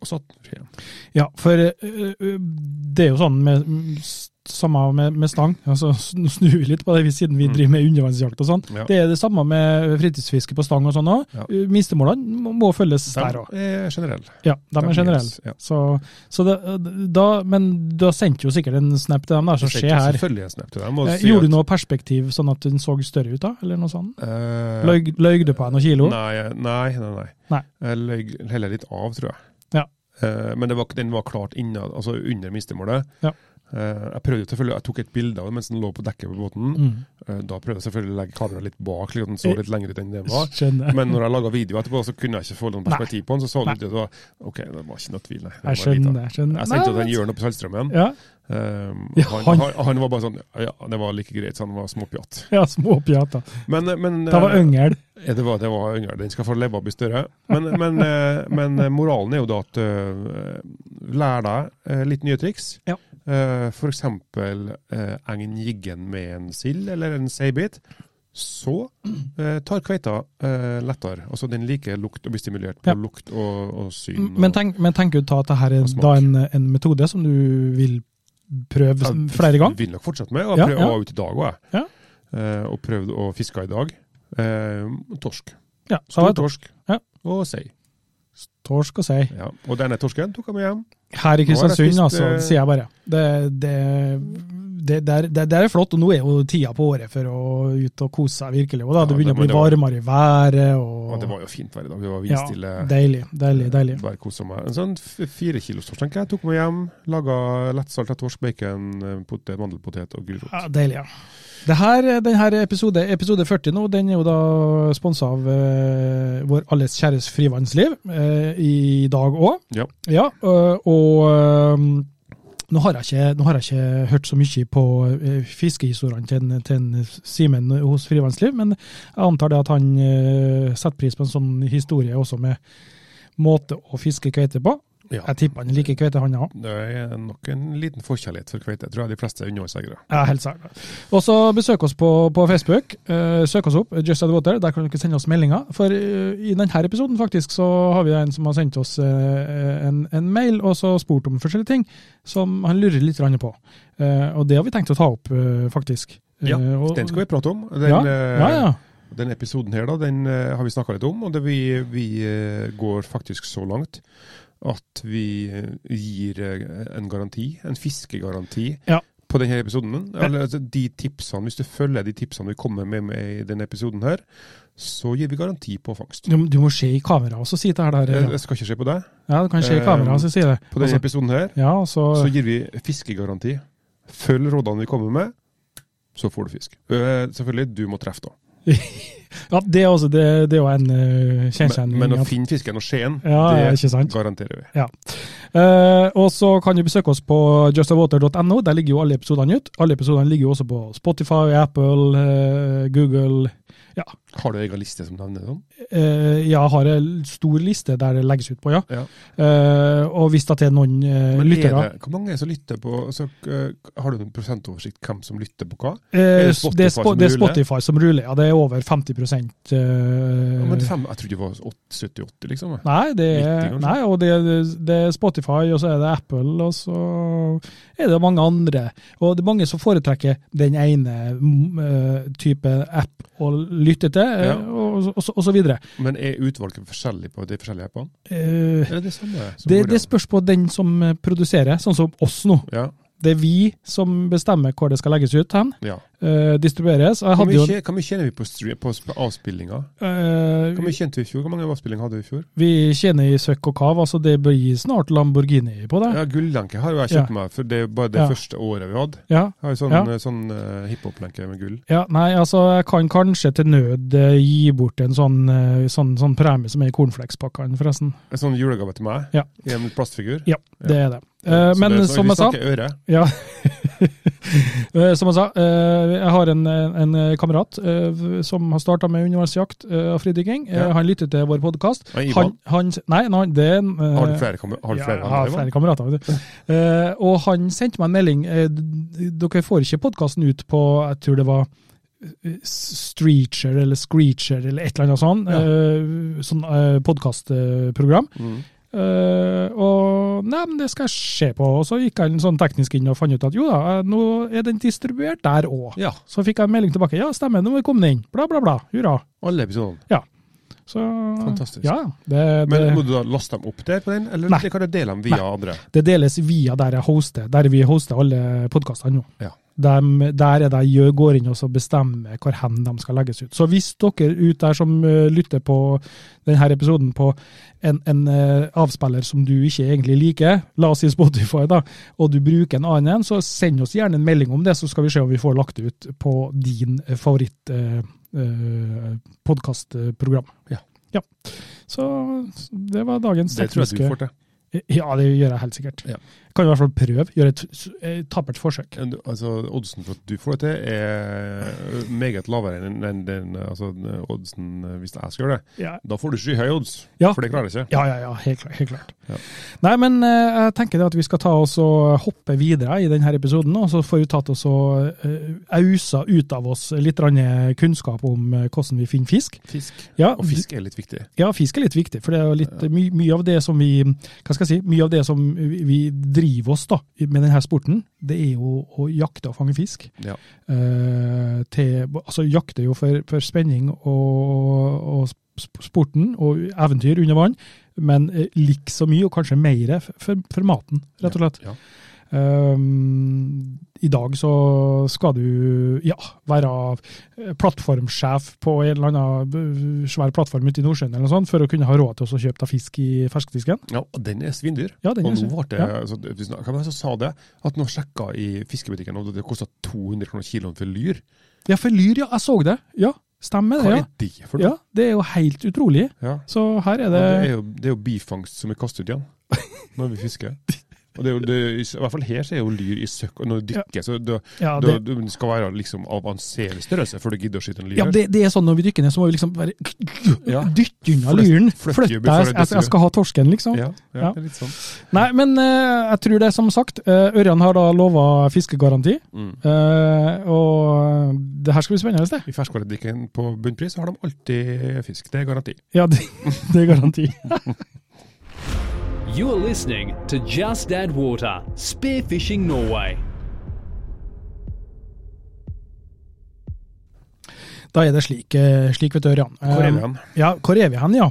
[SPEAKER 2] og satt den fri igjen.
[SPEAKER 1] Ja, for eh, eh, det er jo sånn med mm, s- samme med, med stang, altså sn- snur vi litt på det siden vi
[SPEAKER 2] Mm.
[SPEAKER 1] driver med undervannsjakt og sånn.
[SPEAKER 2] Ja.
[SPEAKER 1] Det er det samme med fritidsfiske på stang og sånn òg.
[SPEAKER 2] Ja.
[SPEAKER 1] Minstemålene må- må følges der òg.
[SPEAKER 2] De er Eh, generell.
[SPEAKER 1] Ja, de er generelle.
[SPEAKER 2] Ja.
[SPEAKER 1] Så, så det, eh, da, men du har sendt jo sikkert en snap til dem der, så
[SPEAKER 2] Jeg
[SPEAKER 1] se
[SPEAKER 2] sendte
[SPEAKER 1] her.
[SPEAKER 2] Selvfølgelig en snap til dem. og
[SPEAKER 1] Eh,
[SPEAKER 2] si
[SPEAKER 1] Gjorde
[SPEAKER 2] at,
[SPEAKER 1] du noe perspektiv sånn at den så større ut da, eller noe sånt?
[SPEAKER 2] eh,
[SPEAKER 1] Løy løy du på henne noen kilo?
[SPEAKER 2] Nei, nei, nei. nei.
[SPEAKER 1] Nei.
[SPEAKER 2] Jeg løy heller litt av, tror jeg.
[SPEAKER 1] Ja.
[SPEAKER 2] Eh, men det var, den var klart inna, altså under minstemålet.
[SPEAKER 1] Ja.
[SPEAKER 2] Eh, jeg prøvde selvfølgelig, jeg tok et bilde av det mens den lå på dekket på båten.
[SPEAKER 1] Mm. Eh.
[SPEAKER 2] Eh, da prøvde jeg selvfølgelig å legge kameraet litt bak, slik at den så litt lengre ut enn det var.
[SPEAKER 1] Skjønner.
[SPEAKER 2] Men når jeg laga video etterpå, så kunne jeg ikke få noen
[SPEAKER 1] Nei.
[SPEAKER 2] perspektiv på den. Så så
[SPEAKER 1] Nei.
[SPEAKER 2] det ut til å OK, det var ikke noe tvil, nei. Det
[SPEAKER 1] Jeg
[SPEAKER 2] var lite.
[SPEAKER 1] skjønner. Jeg skjønner.
[SPEAKER 2] Jeg sendte jo
[SPEAKER 1] Nei,
[SPEAKER 2] den Jørn oppe i Saltstraumen.
[SPEAKER 1] Ja,
[SPEAKER 2] Um,
[SPEAKER 1] Ja,
[SPEAKER 2] han,
[SPEAKER 1] han-
[SPEAKER 2] han, han var bare sånn Ja, det var like greit, så han var småpjatt.
[SPEAKER 1] ja småpjater.
[SPEAKER 2] Men, men
[SPEAKER 1] Det var
[SPEAKER 2] eh,
[SPEAKER 1] yngel.
[SPEAKER 2] ja, det var, det var yngre. Den skal få leve og bli større. Men, men, eh, men moralen er jo da at eh, lær deg eh, litt nye triks.
[SPEAKER 1] Ja.
[SPEAKER 2] Eh, For eksempel eh, engen jiggen med en sild eller en seibit. Så eh, tar kveita eh, lettere. Altså den liker lukt og blir stimulert på
[SPEAKER 1] Ja.
[SPEAKER 2] lukt og, og syn.
[SPEAKER 1] Men
[SPEAKER 2] og-
[SPEAKER 1] tenk, men tenker du da at dette er
[SPEAKER 2] Og smak.
[SPEAKER 1] da en, en metode som du vil prøve
[SPEAKER 2] Ja,
[SPEAKER 1] som- flere ganger?
[SPEAKER 2] Vil nok fortsette med. Og
[SPEAKER 1] Ja,
[SPEAKER 2] prøv,
[SPEAKER 1] ja.
[SPEAKER 2] Jeg var ute i dag òg, jeg.
[SPEAKER 1] Ja.
[SPEAKER 2] Eh, og prøvde å fiske i dag. Eh, torsk.
[SPEAKER 1] Ja, så
[SPEAKER 2] Stor
[SPEAKER 1] var det
[SPEAKER 2] torsk.
[SPEAKER 1] Ja.
[SPEAKER 2] Og sei.
[SPEAKER 1] torsk å si.
[SPEAKER 2] Ja. Og denne torsken tok jeg med hjem.
[SPEAKER 1] Her
[SPEAKER 2] Nå har
[SPEAKER 1] i
[SPEAKER 2] jeg
[SPEAKER 1] Kristiansund,
[SPEAKER 2] spist,
[SPEAKER 1] altså,
[SPEAKER 2] eh,
[SPEAKER 1] sier jeg bare. Det, det, det, der, det der er flott, og nå er jo tida på året for å ut og kose seg virkelig. Og da,
[SPEAKER 2] Ja,
[SPEAKER 1] det begynner
[SPEAKER 2] det-
[SPEAKER 1] å bli
[SPEAKER 2] men det
[SPEAKER 1] varmere i været. Og,
[SPEAKER 2] Og det var jo fint vær i dag. Det var eh,
[SPEAKER 1] ja,
[SPEAKER 2] vindstille.
[SPEAKER 1] deilig, deilig, deilig.
[SPEAKER 2] Bare kosa meg. En sånn f- fire kilos torsk tenker jeg tok med hjem. Laga lettsalta torsk, bacon, eh, potet, mandelpotet og gulrot.
[SPEAKER 1] Ja, deilig, ja. Det her, den her episode, episode 40 nå, den er jo da sponsa av eh, vår alles kjæres Frivannsliv eh, i dag òg.
[SPEAKER 2] Ja.
[SPEAKER 1] Ja, øh, og øhm, nå har, jeg ikke, nå har jeg ikke hørt så mye på øh, fiskehistoriene til, en- til en Simen hos Frivannsliv, men jeg antar det at han øh, setter pris på en sånn historie også med måte å fiske kveite på.
[SPEAKER 2] Ja.
[SPEAKER 1] Jeg tipper han liker kveite, han òg.
[SPEAKER 2] Det er nok en liten forkjærlighet for kveite, tror jeg de fleste underholdseiere.
[SPEAKER 1] Ja, helt sikkert. Og så besøk oss på, på Facebook. Eh, søk oss opp, Just Add Water. Der kan dere sende oss meldinger. For eh, i denne episoden faktisk så har vi en som har sendt oss eh, en, en mail og så spurt om forskjellige ting som han lurer litt grann på. Eh, og det har vi tenkt å ta opp, eh, faktisk.
[SPEAKER 2] Ja,
[SPEAKER 1] Eh, og,
[SPEAKER 2] Den skal vi prate om. Den,
[SPEAKER 1] ja,
[SPEAKER 2] eh,
[SPEAKER 1] ja, ja.
[SPEAKER 2] Den episoden her da, den eh, har vi snakka litt om, og det vi, vi eh, går faktisk så langt at vi eh, gir eh, en garanti, en fiskegaranti,
[SPEAKER 1] Ja.
[SPEAKER 2] på denne episoden. Eller altså, de tipsene, Hvis du følger de tipsene vi kommer med, med i denne episoden her, så gir vi garanti på fangst.
[SPEAKER 1] Du, du må se i kamera og så si det her.
[SPEAKER 2] Eh,
[SPEAKER 1] Der,
[SPEAKER 2] Det skal ikke skje på deg.
[SPEAKER 1] ja, du kan se i kamera og så si det.
[SPEAKER 2] På denne
[SPEAKER 1] Altså,
[SPEAKER 2] episoden her
[SPEAKER 1] ja, og så,
[SPEAKER 2] så gir vi fiskegaranti. Følg rådene vi kommer med, så får du fisk. Eh, Selvfølgelig, du må treffe da.
[SPEAKER 1] Ja, det er, også, det, det er jo en uh,
[SPEAKER 2] Men, men å
[SPEAKER 1] kjensgjerning. at-
[SPEAKER 2] finne fisken og skjeen,
[SPEAKER 1] Ja, ja, ikke
[SPEAKER 2] det
[SPEAKER 1] sant?
[SPEAKER 2] garanterer vi.
[SPEAKER 1] Eh, og så kan du besøke oss på justawater.no. Der ligger jo alle episodene ut. Alle episodene ligger jo også på Spotify, Apple, eh, Google.
[SPEAKER 2] Har du egen liste som navner sånn?
[SPEAKER 1] Eh, jeg har en stor liste der det legges ut på, ja.
[SPEAKER 2] Ja.
[SPEAKER 1] Eh, og hvis det er noen eh,
[SPEAKER 2] Men er
[SPEAKER 1] lyttere
[SPEAKER 2] det- Hvor mange er det som lytter på altså, eh, Har du en prosentoversikt hvem som lytter på hva?
[SPEAKER 1] Eh,
[SPEAKER 2] det
[SPEAKER 1] s- det,
[SPEAKER 2] Spotify
[SPEAKER 1] er Spo-
[SPEAKER 2] som
[SPEAKER 1] det er
[SPEAKER 2] ruller?
[SPEAKER 1] Spotify som ruller, ja. Det er over 50 eh,
[SPEAKER 2] Ja, men fem, jeg trodde det var åt- 70-80, liksom. jeg.
[SPEAKER 1] Nei, det er,
[SPEAKER 2] 90 kanskje?
[SPEAKER 1] nei og det, det er Spotify, og så er det Apple, og så er det mange andre. Og det er mange som foretrekker den ene mm, eh, type app å lytte til, eh,
[SPEAKER 2] Ja.
[SPEAKER 1] og, og, så- og så videre.
[SPEAKER 2] Men er utvalget forskjellig på de forskjellige appene?
[SPEAKER 1] Eh,
[SPEAKER 2] Er det det samme? som
[SPEAKER 1] det,
[SPEAKER 2] går
[SPEAKER 1] det
[SPEAKER 2] igjen?
[SPEAKER 1] spørs på den som eh, produserer, sånn som oss nå.
[SPEAKER 2] ja,
[SPEAKER 1] Det er vi som bestemmer hvor det skal legges ut hen,
[SPEAKER 2] ja.
[SPEAKER 1] eh, distribueres.
[SPEAKER 2] Hvor
[SPEAKER 1] Jeg hadde jo,
[SPEAKER 2] mye tje- hvor mye tjener vi på, stre- på sp- avspillinga?
[SPEAKER 1] eh,
[SPEAKER 2] Hvor mye tjente vi i fjor? Hvor mange avspillinger hadde vi i fjor?
[SPEAKER 1] vi tjener i søkk og kav, altså det blir snart Lamborghini på det.
[SPEAKER 2] Ja, Gullenke har jo jeg
[SPEAKER 1] Ja.
[SPEAKER 2] kjøpt meg, for det er bare det
[SPEAKER 1] Ja.
[SPEAKER 2] første året vi hadde.
[SPEAKER 1] Ja,
[SPEAKER 2] Jeg har jo sånn,
[SPEAKER 1] Ja.
[SPEAKER 2] eh, sånn eh, hiphop-lenke med gull.
[SPEAKER 1] Ja, nei, altså jeg kan kanskje til nød eh, gi bort en sånn, eh, sånn, sånn premie som er i cornflakespakkene, forresten.
[SPEAKER 2] En sånn julegave til meg,
[SPEAKER 1] Ja.
[SPEAKER 2] i en plastfigur.
[SPEAKER 1] Ja, det er det. Eh,
[SPEAKER 2] Så
[SPEAKER 1] men
[SPEAKER 2] det er sånn-
[SPEAKER 1] som jeg sa,
[SPEAKER 2] Vi snakker øre.
[SPEAKER 1] ja. Eh, som jeg sa, eh, jeg har en, en kamerat eh, som har starta med undervannsjakt eh, og fridykking. Eh,
[SPEAKER 2] Ja.
[SPEAKER 1] Han lytter til vår podkast.
[SPEAKER 2] Nei, Ivan,
[SPEAKER 1] Han, han, nei, nei, det er en eh,
[SPEAKER 2] har du flere, kam- har du flere
[SPEAKER 1] ja, jeg
[SPEAKER 2] venner,
[SPEAKER 1] har
[SPEAKER 2] Ivan?
[SPEAKER 1] flere kamerater. Vet du. Eh, og han sendte meg en melding. eh, d- dere får ikke podkasten ut på jeg tror det var eh, Streacher eller Screecher eller et eller annet sånt.
[SPEAKER 2] Ja.
[SPEAKER 1] eh, sånn eh, podkastprogram.
[SPEAKER 2] Mm.
[SPEAKER 1] Eh, og nei, men det skal jeg se på. Og så gikk han sånn teknisk inn og fant ut at jo da, eh, nå er den distribuert der òg.
[SPEAKER 2] Ja,
[SPEAKER 1] Så fikk jeg en melding tilbake. Ja, stemmer, nå er vi kommet inn. Bla, bla, bla. Hurra.
[SPEAKER 2] alle episodene.
[SPEAKER 1] Så,
[SPEAKER 2] Fantastisk.
[SPEAKER 1] Ja, det, det,
[SPEAKER 2] Men må du da laste dem opp der på den, eller
[SPEAKER 1] Nei.
[SPEAKER 2] det kan du dele dem via andre?
[SPEAKER 1] Det deles via der jeg hoster, der vi hoster alle podkastene nå.
[SPEAKER 2] Ja.
[SPEAKER 1] Dem- der er det jeg går inn og så bestemmer hvor hen de skal legges ut. Så hvis dere ut der som eh, lytter på denne episoden på en, en eh, avspiller som du ikke egentlig liker, la oss si Spotify, da, og du bruker en annen en, så send oss gjerne en melding om det, så skal vi se om vi får lagt det ut på din eh, favoritt eh, eh, podkastprogram.
[SPEAKER 2] Ja.
[SPEAKER 1] ja. Så så det var dagens
[SPEAKER 2] Det tror jeg du
[SPEAKER 1] tekniske-
[SPEAKER 2] får til.
[SPEAKER 1] ja, det gjør jeg helt sikkert.
[SPEAKER 2] Ja.
[SPEAKER 1] Kan i hvert fall prøve. Gjøre et s- eh, tapert forsøk.
[SPEAKER 2] Men du- Altså, oddsen for at du får det til, er eh, meget lavere enn enn den altså, den oddsen eh, hvis jeg skal gjøre det.
[SPEAKER 1] Ja,
[SPEAKER 2] Da får du skyhøye odds,
[SPEAKER 1] Ja.
[SPEAKER 2] for det klarer jeg ikke.
[SPEAKER 1] ja, ja. ja helt klart. Helt klart.
[SPEAKER 2] Ja.
[SPEAKER 1] Nei, men eh, jeg tenker det at vi skal ta oss og hoppe videre i denne episoden, og så får vi tatt oss og eh, ausa ut av oss litt grann kunnskap om eh, hvordan vi finner fisk.
[SPEAKER 2] Fisk.
[SPEAKER 1] Ja,
[SPEAKER 2] Og fisk er litt viktig.
[SPEAKER 1] Ja, fisk er litt viktig, for det er jo litt, my, mye av det som vi hva skal jeg si, mye av det som vi, vi driver oss da, med denne sporten, det er jo å jakte og fange fisk.
[SPEAKER 2] Ja.
[SPEAKER 1] Eh, til, altså jakte jo for, for spenning og, og sp- sporten og eventyr under vann, men eh, like så mye, og kanskje mer, f- for, for maten, rett og slett.
[SPEAKER 2] Ja.
[SPEAKER 1] Ehm, I dag så skal du ja, være eh, plattformsjef på en eller annen eh, svær plattform ute i Nordsjøen eller noe sånt, for å kunne ha råd til å kjøpe deg fisk i ferskfisken.
[SPEAKER 2] Ja, og den er svindyr.
[SPEAKER 1] Ja, den
[SPEAKER 2] og
[SPEAKER 1] er
[SPEAKER 2] nå
[SPEAKER 1] så-
[SPEAKER 2] ble det,
[SPEAKER 1] ja.
[SPEAKER 2] altså, vi snak- hvem var det som sa det? At nå sjekka i fiskebutikken og det kosta 200 kroner kiloen for lyr.
[SPEAKER 1] Ja, for lyr, ja. Jeg så det. Ja, stemmer
[SPEAKER 2] Hva
[SPEAKER 1] det.
[SPEAKER 2] er det for
[SPEAKER 1] Ja. ja,
[SPEAKER 2] noe?
[SPEAKER 1] det er jo helt utrolig.
[SPEAKER 2] Ja.
[SPEAKER 1] Så her er
[SPEAKER 2] Og
[SPEAKER 1] det
[SPEAKER 2] Det, er jo, det er jo bifangst som vi kaster ut igjen når vi fisker. Og det er jo, det, I hvert fall her så er jo lyr i søkk. Og når du dykker, så da-
[SPEAKER 1] Ja,
[SPEAKER 2] da-
[SPEAKER 1] det,
[SPEAKER 2] du skal være liksom av anselig størrelse før du gidder å skyte en lyr.
[SPEAKER 1] ja det, det er sånn når vi dykker ned, så må vi liksom bare
[SPEAKER 2] Ja.
[SPEAKER 1] dytte unna
[SPEAKER 2] Flytt-
[SPEAKER 1] lyren.
[SPEAKER 2] flytt
[SPEAKER 1] Flytte
[SPEAKER 2] jubel
[SPEAKER 1] deg,
[SPEAKER 2] for det
[SPEAKER 1] jeg, jeg skal ha torsken, liksom.
[SPEAKER 2] ja, ja,
[SPEAKER 1] Ja.
[SPEAKER 2] det er litt sånn.
[SPEAKER 1] Nei, men eh, jeg tror det, er som sagt. eh, Ørjan har da lova fiskegaranti.
[SPEAKER 2] Mm.
[SPEAKER 1] eh, og det her skal bli spennende, det.
[SPEAKER 2] I ferskvaredrikken på bunnpris så har de alltid fisk. Det er garanti.
[SPEAKER 1] Ja, det, det er garanti.
[SPEAKER 3] You're listening to Just Add Water Spearfishing Norway.
[SPEAKER 1] Da er det slik, eh, slik vet du, Ørjan.
[SPEAKER 2] Hvor er
[SPEAKER 1] Eh,
[SPEAKER 2] vi hen?
[SPEAKER 1] Ja, hvor er vi hen, ja.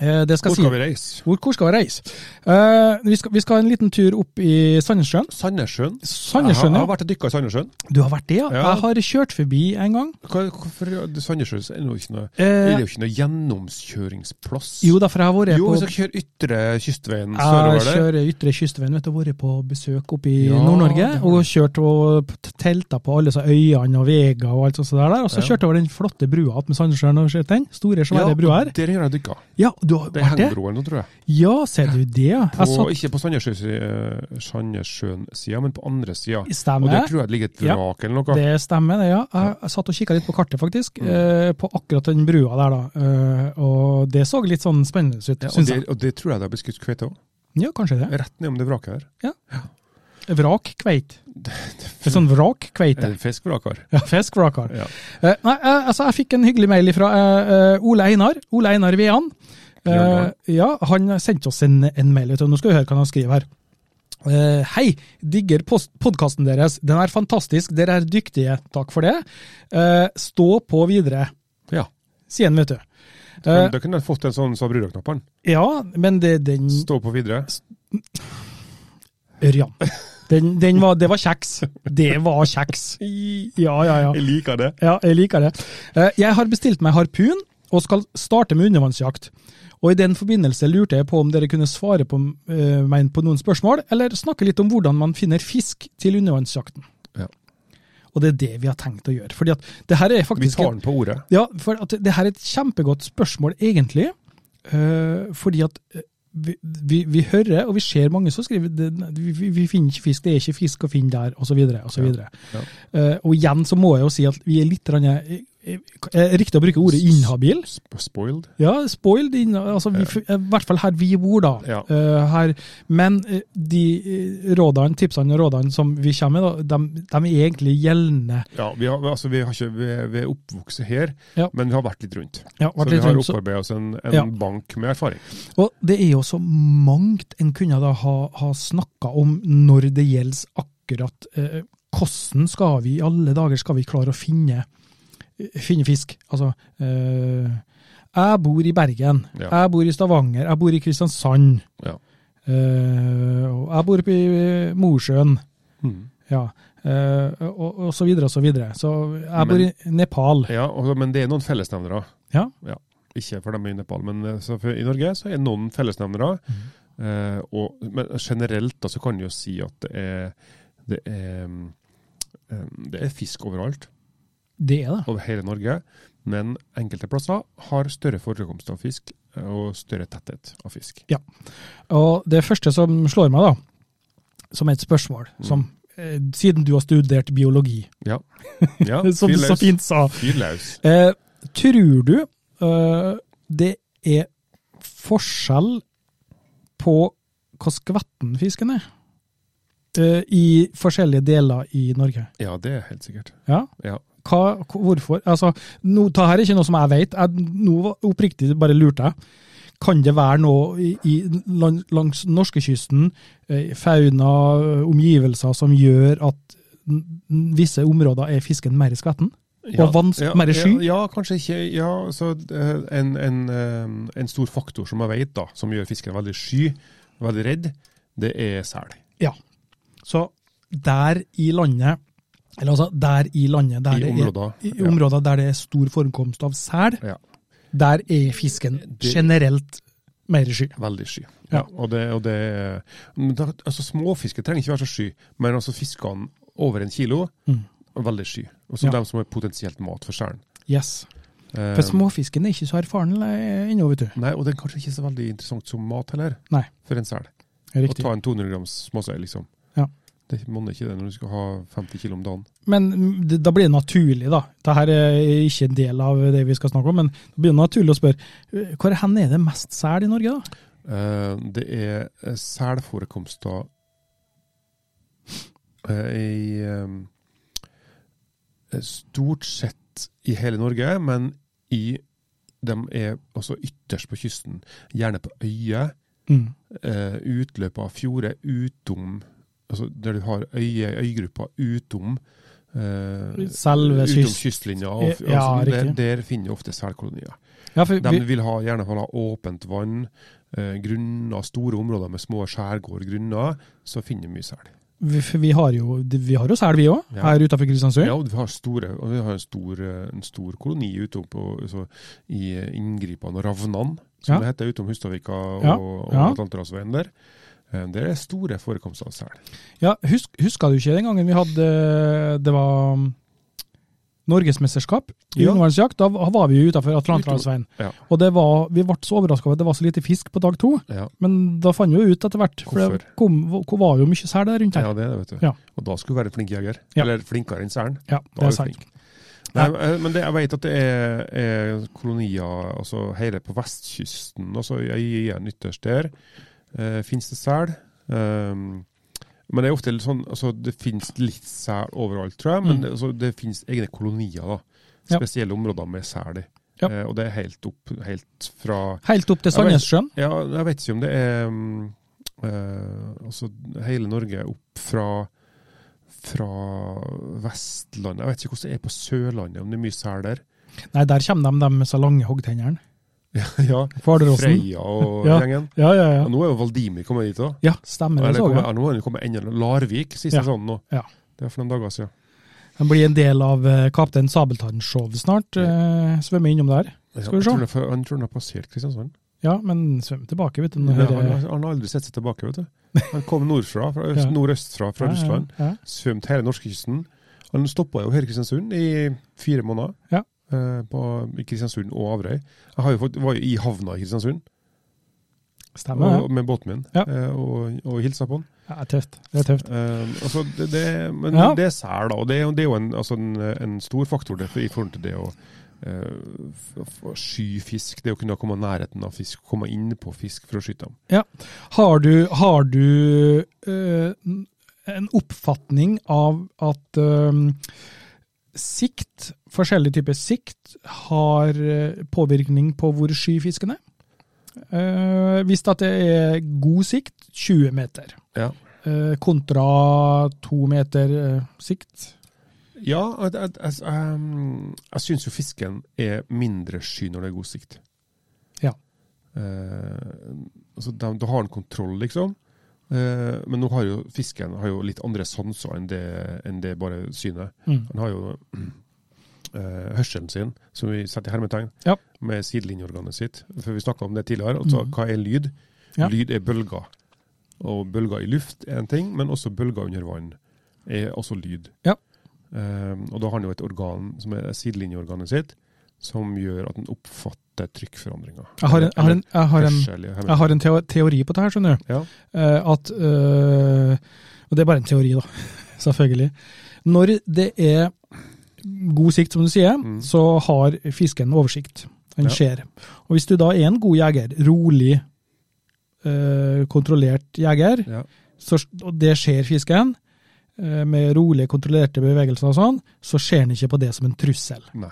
[SPEAKER 1] Eh, det skal
[SPEAKER 2] Hvor
[SPEAKER 1] si.
[SPEAKER 2] skal vi reise?
[SPEAKER 1] Hvor, hvor skal vi reise? Eh, vi, skal, vi skal en liten tur opp i Sandnessjøen.
[SPEAKER 2] Sandnessjøen. Jeg har,
[SPEAKER 1] Sandnessjøen,
[SPEAKER 2] jeg
[SPEAKER 1] ja.
[SPEAKER 2] har vært og dykka i Sandnessjøen.
[SPEAKER 1] Du har vært det, ja?
[SPEAKER 2] Ja.
[SPEAKER 1] Jeg har kjørt forbi en gang.
[SPEAKER 2] Hva- Hvorfor Sandnessjøen er det jo ikke noe Det er
[SPEAKER 1] Eh,
[SPEAKER 2] jo ikke noe gjennomkjøringsplass.
[SPEAKER 1] jo, derfor har jeg vært
[SPEAKER 2] Jo,
[SPEAKER 1] på
[SPEAKER 2] hvis dere kjører ytre kystveien
[SPEAKER 1] Jeg
[SPEAKER 2] sørover der.
[SPEAKER 1] kjører ytre kystveien, vet du, vært på besøk oppe i
[SPEAKER 2] Ja,
[SPEAKER 1] Nord-Norge.
[SPEAKER 2] det har
[SPEAKER 1] Og
[SPEAKER 2] du.
[SPEAKER 1] kjørt og p- telta på alle disse øyene og vega og alt sånt der. der, Og
[SPEAKER 2] Ja.
[SPEAKER 1] så kjørte jeg over den flotte brua att med Sandnessjøen og sett den. Store, svære brua her.
[SPEAKER 2] der har jeg dykka.
[SPEAKER 1] Ja, du har
[SPEAKER 2] Det er
[SPEAKER 1] vært det?
[SPEAKER 2] hengebroen nå, tror jeg.
[SPEAKER 1] Ja, ser du det? ja.
[SPEAKER 2] På,
[SPEAKER 1] Jeg
[SPEAKER 2] Ikke
[SPEAKER 1] satt
[SPEAKER 2] på Sandnessjøen-sida, men på andre sida. Og der
[SPEAKER 1] Stemmer.
[SPEAKER 2] tror jeg Mm. det ligger et
[SPEAKER 1] Ja.
[SPEAKER 2] vrak eller noe.
[SPEAKER 1] Det stemmer, det, ja. Jeg, jeg satt og kikka litt på kartet, faktisk. Eh, på akkurat den brua der, da. Eh, og det så litt sånn spennende ut,
[SPEAKER 2] Ja, og,
[SPEAKER 1] syns
[SPEAKER 2] det,
[SPEAKER 1] jeg.
[SPEAKER 2] og det tror jeg det har blitt skutt kveite òg.
[SPEAKER 1] Ja, kanskje det.
[SPEAKER 2] Rett ned om det vraket her.
[SPEAKER 1] Vrak kveit. En sånn vrak kveite.
[SPEAKER 2] Er det fiskevrak her?
[SPEAKER 1] Ja, fisk vrakar.
[SPEAKER 2] Eh, Ja.
[SPEAKER 1] Eh, nei, eh, altså, jeg fikk en hyggelig mail fra eh, eh, Ole Einar. Ole Einar Vean. Eh,
[SPEAKER 2] Bjørndalen.
[SPEAKER 1] ja, han sendte oss en, en mail. vet du. Nå skal vi høre hva han skriver her. Eh, hei, digger podkasten deres. Den er fantastisk, dere er dyktige. Takk for det. Eh, stå på videre,
[SPEAKER 2] ja.
[SPEAKER 1] sier han, vet du. Eh,
[SPEAKER 2] Men Da kunne jeg fått en sånn som Brura-knapperen.
[SPEAKER 1] ja, men det, den
[SPEAKER 2] Stå på videre.
[SPEAKER 1] Ørjan. Den, den var, det var kjeks. Det var kjeks. Ja, ja, ja.
[SPEAKER 2] Jeg liker det.
[SPEAKER 1] Ja, jeg liker det. Eh, Jeg har bestilt meg harpun og skal starte med undervannsjakt. Og I den forbindelse lurte jeg på om dere kunne svare på eh, meg på noen spørsmål, eller snakke litt om hvordan man finner fisk til undervannsjakten.
[SPEAKER 2] Ja.
[SPEAKER 1] Og det er det vi har tenkt å gjøre. Fordi at det her er
[SPEAKER 2] Vi
[SPEAKER 1] faktisk
[SPEAKER 2] tar den på ordet.
[SPEAKER 1] ja, for at det her er et kjempegodt spørsmål, egentlig. eh, fordi at eh, vi, vi, vi hører og vi ser mange som skriver det, vi, vi- vi finner ikke fisk, det er ikke fisk å finne der, osv. Og, så videre.
[SPEAKER 2] Ja,
[SPEAKER 1] Eh, og igjen så må jeg jo si at vi er litt grann, eh, eh, eh, Riktig å bruke ordet inhabil.
[SPEAKER 2] Sp- Spoiled.
[SPEAKER 1] Ja, spoiled. In, altså, vi, f- eh, I hvert fall her vi bor, da.
[SPEAKER 2] Ja.
[SPEAKER 1] Eh, her. Men eh, de eh, rådene, tipsene og rådene som vi kommer med, da, de, de er egentlig gjeldende.
[SPEAKER 2] Ja, vi, har, altså, vi, har ikke, vi, er- vi er oppvokst her,
[SPEAKER 1] Ja.
[SPEAKER 2] men vi har vært litt rundt.
[SPEAKER 1] Ja,
[SPEAKER 2] Så
[SPEAKER 1] vært
[SPEAKER 2] vi
[SPEAKER 1] litt
[SPEAKER 2] har
[SPEAKER 1] rundt, så-
[SPEAKER 2] opparbeidet oss en, en
[SPEAKER 1] Ja.
[SPEAKER 2] bank med erfaring.
[SPEAKER 1] Og det er jo så mangt en kunne da ha, ha snakka om når det gjelder akkurat eh, hvordan skal vi i alle dager skal vi klare å finne, finne fisk. Altså eh, Jeg bor i Bergen,
[SPEAKER 2] Ja.
[SPEAKER 1] jeg bor i Stavanger, jeg bor i Kristiansand.
[SPEAKER 2] Ja.
[SPEAKER 1] Eh, og jeg bor oppe i eh, Mosjøen.
[SPEAKER 2] Mm.
[SPEAKER 1] Ja. eh, og, og så videre og så videre. Så jeg bor
[SPEAKER 2] Men-
[SPEAKER 1] i Nepal.
[SPEAKER 2] Ja, og, men det er noen fellesnevnere.
[SPEAKER 1] Ja.
[SPEAKER 2] Ikke for dem i Nepal, men eh, så for, i Norge så er det noen fellesnevnere. Eh, og, men generelt da, så kan du jo si at det er, det er, mm, eh, det er fisk overalt,
[SPEAKER 1] Det er det.
[SPEAKER 2] over hele Norge. Men enkelte plasser har større forekomst av fisk eh, og større tetthet av fisk.
[SPEAKER 1] Og det første som slår meg, da, som er et spørsmål som eh, Siden du har studert biologi,
[SPEAKER 2] Ja, ja
[SPEAKER 1] som du Sånn, så
[SPEAKER 2] fyrløs.
[SPEAKER 1] fint sa.
[SPEAKER 2] Fyrløs.
[SPEAKER 1] Eh, tror du eh, det er forskjell på hvor skvetten fisken er? Eh, I forskjellige deler i Norge?
[SPEAKER 2] Ja, det er helt sikkert.
[SPEAKER 1] Ja?
[SPEAKER 2] Ja.
[SPEAKER 1] Hva, k- hvorfor? Altså, no, det her er ikke noe som jeg vet. Jeg, nå var- oppriktig bare lurte jeg. Kan det være noe i, i, lan- langs norskekysten, eh, fauna, eh, omgivelser, som gjør at n- n- visse områder er fisken mer i skvetten? Og vans- mer sky?
[SPEAKER 2] Ja, ja, kanskje ikke. Ja, så eh, en, en, eh, en stor faktor som jeg vet da, som gjør fisken veldig sky, veldig redd, det er sel.
[SPEAKER 1] Ja. Så der i landet, eller altså der i landet der
[SPEAKER 2] I
[SPEAKER 1] det
[SPEAKER 2] områder.
[SPEAKER 1] Er, I
[SPEAKER 2] Ja.
[SPEAKER 1] områder der det er stor forekomst av sel,
[SPEAKER 2] Ja.
[SPEAKER 1] der er fisken
[SPEAKER 2] Det-
[SPEAKER 1] generelt mer sky.
[SPEAKER 2] Veldig sky.
[SPEAKER 1] Ja.
[SPEAKER 2] Ja. Og det, og det, men da, altså Småfiske trenger ikke være så sky, men altså fiskene over en kilo
[SPEAKER 1] Mm.
[SPEAKER 2] er veldig sky. Og så
[SPEAKER 1] Ja.
[SPEAKER 2] dem som er potensielt mat for selen.
[SPEAKER 1] Yes.
[SPEAKER 2] Eh,
[SPEAKER 1] For småfisken er ikke så erfaren eh, ennå, vet du.
[SPEAKER 2] Nei, og det er kanskje ikke så veldig interessant som mat heller,
[SPEAKER 1] Nei.
[SPEAKER 2] for en sel. Å
[SPEAKER 1] Riktig.
[SPEAKER 2] ta en 200 grams småsei, liksom.
[SPEAKER 1] Ja.
[SPEAKER 2] Det monner ikke det når du skal ha 50 kilo om dagen.
[SPEAKER 1] Men mm, det, da blir det naturlig, da. Dette er ikke en del av det vi skal snakke om, men det blir naturlig å spørre eh, hvor hen er det mest sel i Norge, da?
[SPEAKER 2] Eh, det er eh, selforekomster eh, i eh, Stort sett i hele Norge, men i de er også ytterst på kysten. Gjerne på øyer,
[SPEAKER 1] Mm.
[SPEAKER 2] eh, utløpet av fjorder, utom Altså der du har øye, øygrupper utom eh, utom
[SPEAKER 1] Selve kyst-
[SPEAKER 2] kystlinja. Og, og
[SPEAKER 1] Ja,
[SPEAKER 2] sånn. der,
[SPEAKER 1] riktig.
[SPEAKER 2] der finner du ofte selkolonier.
[SPEAKER 1] Ja, for
[SPEAKER 2] De
[SPEAKER 1] vi,
[SPEAKER 2] vil ha, gjerne ha åpent vann, eh, grunner, store områder med små skjærgårdgrunner. Så finner du mye sel.
[SPEAKER 1] vi, for vi har jo vi har jo sel, vi òg,
[SPEAKER 2] Ja.
[SPEAKER 1] her utafor Kristiansund.
[SPEAKER 2] Ja, og vi har, store, og vi har en, stor, eh, en stor koloni ute opp på, så, i eh, inngripene og Ravnan, som
[SPEAKER 1] Ja.
[SPEAKER 2] det heter, utom Hustadvika og,
[SPEAKER 1] Ja,
[SPEAKER 2] og
[SPEAKER 1] ja.
[SPEAKER 2] Atlanterhavsveien der. Eh, Der er store forekomster av sel.
[SPEAKER 1] Ja, husk, Huska du ikke den gangen vi hadde Det var mm, Norgesmesterskap i
[SPEAKER 2] Ja.
[SPEAKER 1] undervannsjakt? Da var vi jo utafor Atlanterhavsveien.
[SPEAKER 2] Ja.
[SPEAKER 1] Og det var, vi ble så overraska over at det var så lite fisk på dag to.
[SPEAKER 2] Ja,
[SPEAKER 1] Men da fant vi jo ut etter hvert, for det
[SPEAKER 2] Hvorfor?
[SPEAKER 1] kom, hvor- var jo mye sel der rundt her.
[SPEAKER 2] ja det er det, vet du.
[SPEAKER 1] Ja.
[SPEAKER 2] Og da skulle du være en flink jeger.
[SPEAKER 1] Ja.
[SPEAKER 2] Eller flinkere enn selen.
[SPEAKER 1] Ja,
[SPEAKER 2] Da
[SPEAKER 1] det
[SPEAKER 2] er
[SPEAKER 1] er
[SPEAKER 2] du
[SPEAKER 1] sant.
[SPEAKER 2] flink. Nei, eh, men det, jeg vet at det er, er kolonier altså hele på vestkysten, altså i øyene ytterst der, eh, finnes det sel. Um, men det er ofte litt sånn, altså det finnes litt sel overalt, tror jeg, men
[SPEAKER 1] Mm.
[SPEAKER 2] det, altså, det finnes egne kolonier da.
[SPEAKER 1] Ja.
[SPEAKER 2] Spesielle områder med sel i.
[SPEAKER 1] Ja.
[SPEAKER 2] Eh, og det er helt opp, helt fra,
[SPEAKER 1] Helt opp til
[SPEAKER 2] Jeg vet-
[SPEAKER 1] Sandnessjøen.
[SPEAKER 2] ja, jeg vet ikke om det er um, eh, altså hele Norge opp fra fra Vestlandet. Jeg vet ikke hvordan det er på Sørlandet, om det er mye sel der.
[SPEAKER 1] Nei, der kommer de, de med så lange hoggtennene.
[SPEAKER 2] ja,
[SPEAKER 1] Fardalåsen.
[SPEAKER 2] Freia og
[SPEAKER 1] Ja.
[SPEAKER 2] gjengen.
[SPEAKER 1] Ja, ja,
[SPEAKER 2] Ja,
[SPEAKER 1] ja.
[SPEAKER 2] nå er jo Valdimi kommet dit òg.
[SPEAKER 1] Ja, stemmer det,
[SPEAKER 2] Eller
[SPEAKER 1] så
[SPEAKER 2] kommer,
[SPEAKER 1] jeg.
[SPEAKER 2] ja, nå har han kommet enda Larvik, siste
[SPEAKER 1] Ja.
[SPEAKER 2] sånn nå.
[SPEAKER 1] Ja.
[SPEAKER 2] Det er for noen dager siden.
[SPEAKER 1] Den blir en del av eh, Kaptein Sabeltann-showet snart. eh, Svømme innom der.
[SPEAKER 2] Ja,
[SPEAKER 1] Skal vi
[SPEAKER 2] jeg
[SPEAKER 1] se.
[SPEAKER 2] tror det er for- Han tror han har passert Kristiansand.
[SPEAKER 1] Ja, men svøm tilbake, vet du.
[SPEAKER 2] Ja,
[SPEAKER 1] Når
[SPEAKER 2] han,
[SPEAKER 1] det-
[SPEAKER 2] har- han har aldri sett seg tilbake, vet du. Han kom nordfra, fra øst,
[SPEAKER 1] Ja.
[SPEAKER 2] nordøstfra, fra
[SPEAKER 1] Ja, ja,
[SPEAKER 2] Russland.
[SPEAKER 1] Ja.
[SPEAKER 2] Svømt hele norskekysten. Han stoppa jo her i Kristiansund i fire måneder.
[SPEAKER 1] Ja.
[SPEAKER 2] eh, På i Kristiansund og Averøy. Jeg har jo fått, var jo i havna i Kristiansund
[SPEAKER 1] Stemmer det.
[SPEAKER 2] og, med båten min,
[SPEAKER 1] Ja.
[SPEAKER 2] eh, og, og hilsa på han.
[SPEAKER 1] Ja, det er tøft. Det er tøft.
[SPEAKER 2] Eh, altså det, det, men
[SPEAKER 1] Ja.
[SPEAKER 2] det er sel, da. Og det, er jo- det er jo en, altså en, en stor faktor det, for, i forhold til det å eh, f- f- sky fisk. Det å kunne komme i nærheten av fisk, komme inn på fisk for å skyte dem.
[SPEAKER 1] Har du, har du eh, en oppfatning av at eh, sikt, forskjellige typer sikt, har eh, påvirkning på hvor sky fisken er? Eh, hvis at det er god sikt, 20 meter,
[SPEAKER 2] Ja.
[SPEAKER 1] eh, kontra to meter eh, sikt.
[SPEAKER 2] Ja, jeg, jeg, jeg, ehm, jeg syns jo fisken er mindre sky når det er god sikt.
[SPEAKER 1] Ja.
[SPEAKER 2] Eh, altså, da- da har han kontroll, liksom. Eh, men nå har jo fisken har jo litt andre sanser enn det, enn det bare synet.
[SPEAKER 1] Mm.
[SPEAKER 2] Han har jo eh, hørselen sin, som vi setter i hermetegn,
[SPEAKER 1] Ja.
[SPEAKER 2] med sidelinjeorganet sitt. For vi snakka om det tidligere. Altså,
[SPEAKER 1] Mhm.
[SPEAKER 2] Hva er lyd?
[SPEAKER 1] Ja.
[SPEAKER 2] Lyd er bølger. Og bølger i luft er en ting, men også bølger under vann er også lyd.
[SPEAKER 1] Ja.
[SPEAKER 2] Eh, og da har han jo et organ som er sidelinjeorganet sitt, som gjør at han oppfatter trykkforandringer.
[SPEAKER 1] Jeg har en, jeg har en, jeg har en,
[SPEAKER 2] Hørsel i hermetegn.
[SPEAKER 1] jeg har en teo- teori på det her, skjønner du.
[SPEAKER 2] Ja.
[SPEAKER 1] Eh, at eh, Og det er bare en teori, da. Selvfølgelig. Når det er god sikt, som du sier,
[SPEAKER 2] Mm.
[SPEAKER 1] så har fisken oversikt. Den
[SPEAKER 2] Ja.
[SPEAKER 1] ser. Og hvis du da er en god jeger, rolig, eh, kontrollert jeger,
[SPEAKER 2] Ja.
[SPEAKER 1] så, og det ser fisken, eh, med rolige, kontrollerte bevegelser og sånn, så ser den ikke på det som en trussel.
[SPEAKER 2] Nei.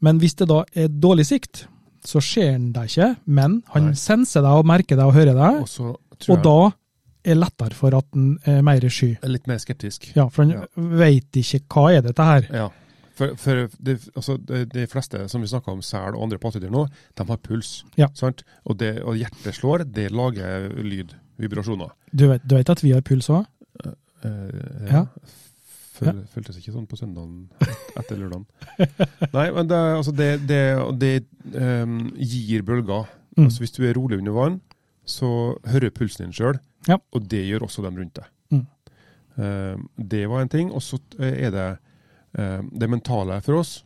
[SPEAKER 1] Men hvis det da er dårlig sikt, så ser han deg ikke, men han
[SPEAKER 2] Nei.
[SPEAKER 1] senser deg og merker deg og hører deg.
[SPEAKER 2] Og så tror
[SPEAKER 1] Og
[SPEAKER 2] jeg
[SPEAKER 1] da er lettere for at den er mer sky.
[SPEAKER 2] jeg er litt mer skeptisk.
[SPEAKER 1] Ja, for han
[SPEAKER 2] Ja.
[SPEAKER 1] veit ikke hva er dette her.
[SPEAKER 2] Ja. For, for det, altså, de, de fleste som vi snakker om sel og andre pattedyr nå, de har puls.
[SPEAKER 1] Ja.
[SPEAKER 2] Sant? Og, det, og hjertet slår, det lager lyd, vibrasjoner.
[SPEAKER 1] Du vet, du vet at vi har puls òg?
[SPEAKER 2] Eh,
[SPEAKER 1] Ja.
[SPEAKER 2] Føl, Føltes ikke sånn på søndagen et- etter lørdagen. Nei, men det, altså det, det, og det em, gir bølger.
[SPEAKER 1] Mm.
[SPEAKER 2] Altså hvis du er rolig under vann, så hører pulsen din sjøl,
[SPEAKER 1] Ja.
[SPEAKER 2] og det gjør også dem rundt deg.
[SPEAKER 1] Mm.
[SPEAKER 2] Em, det var en ting. Og så eh, er det em, det mentale for oss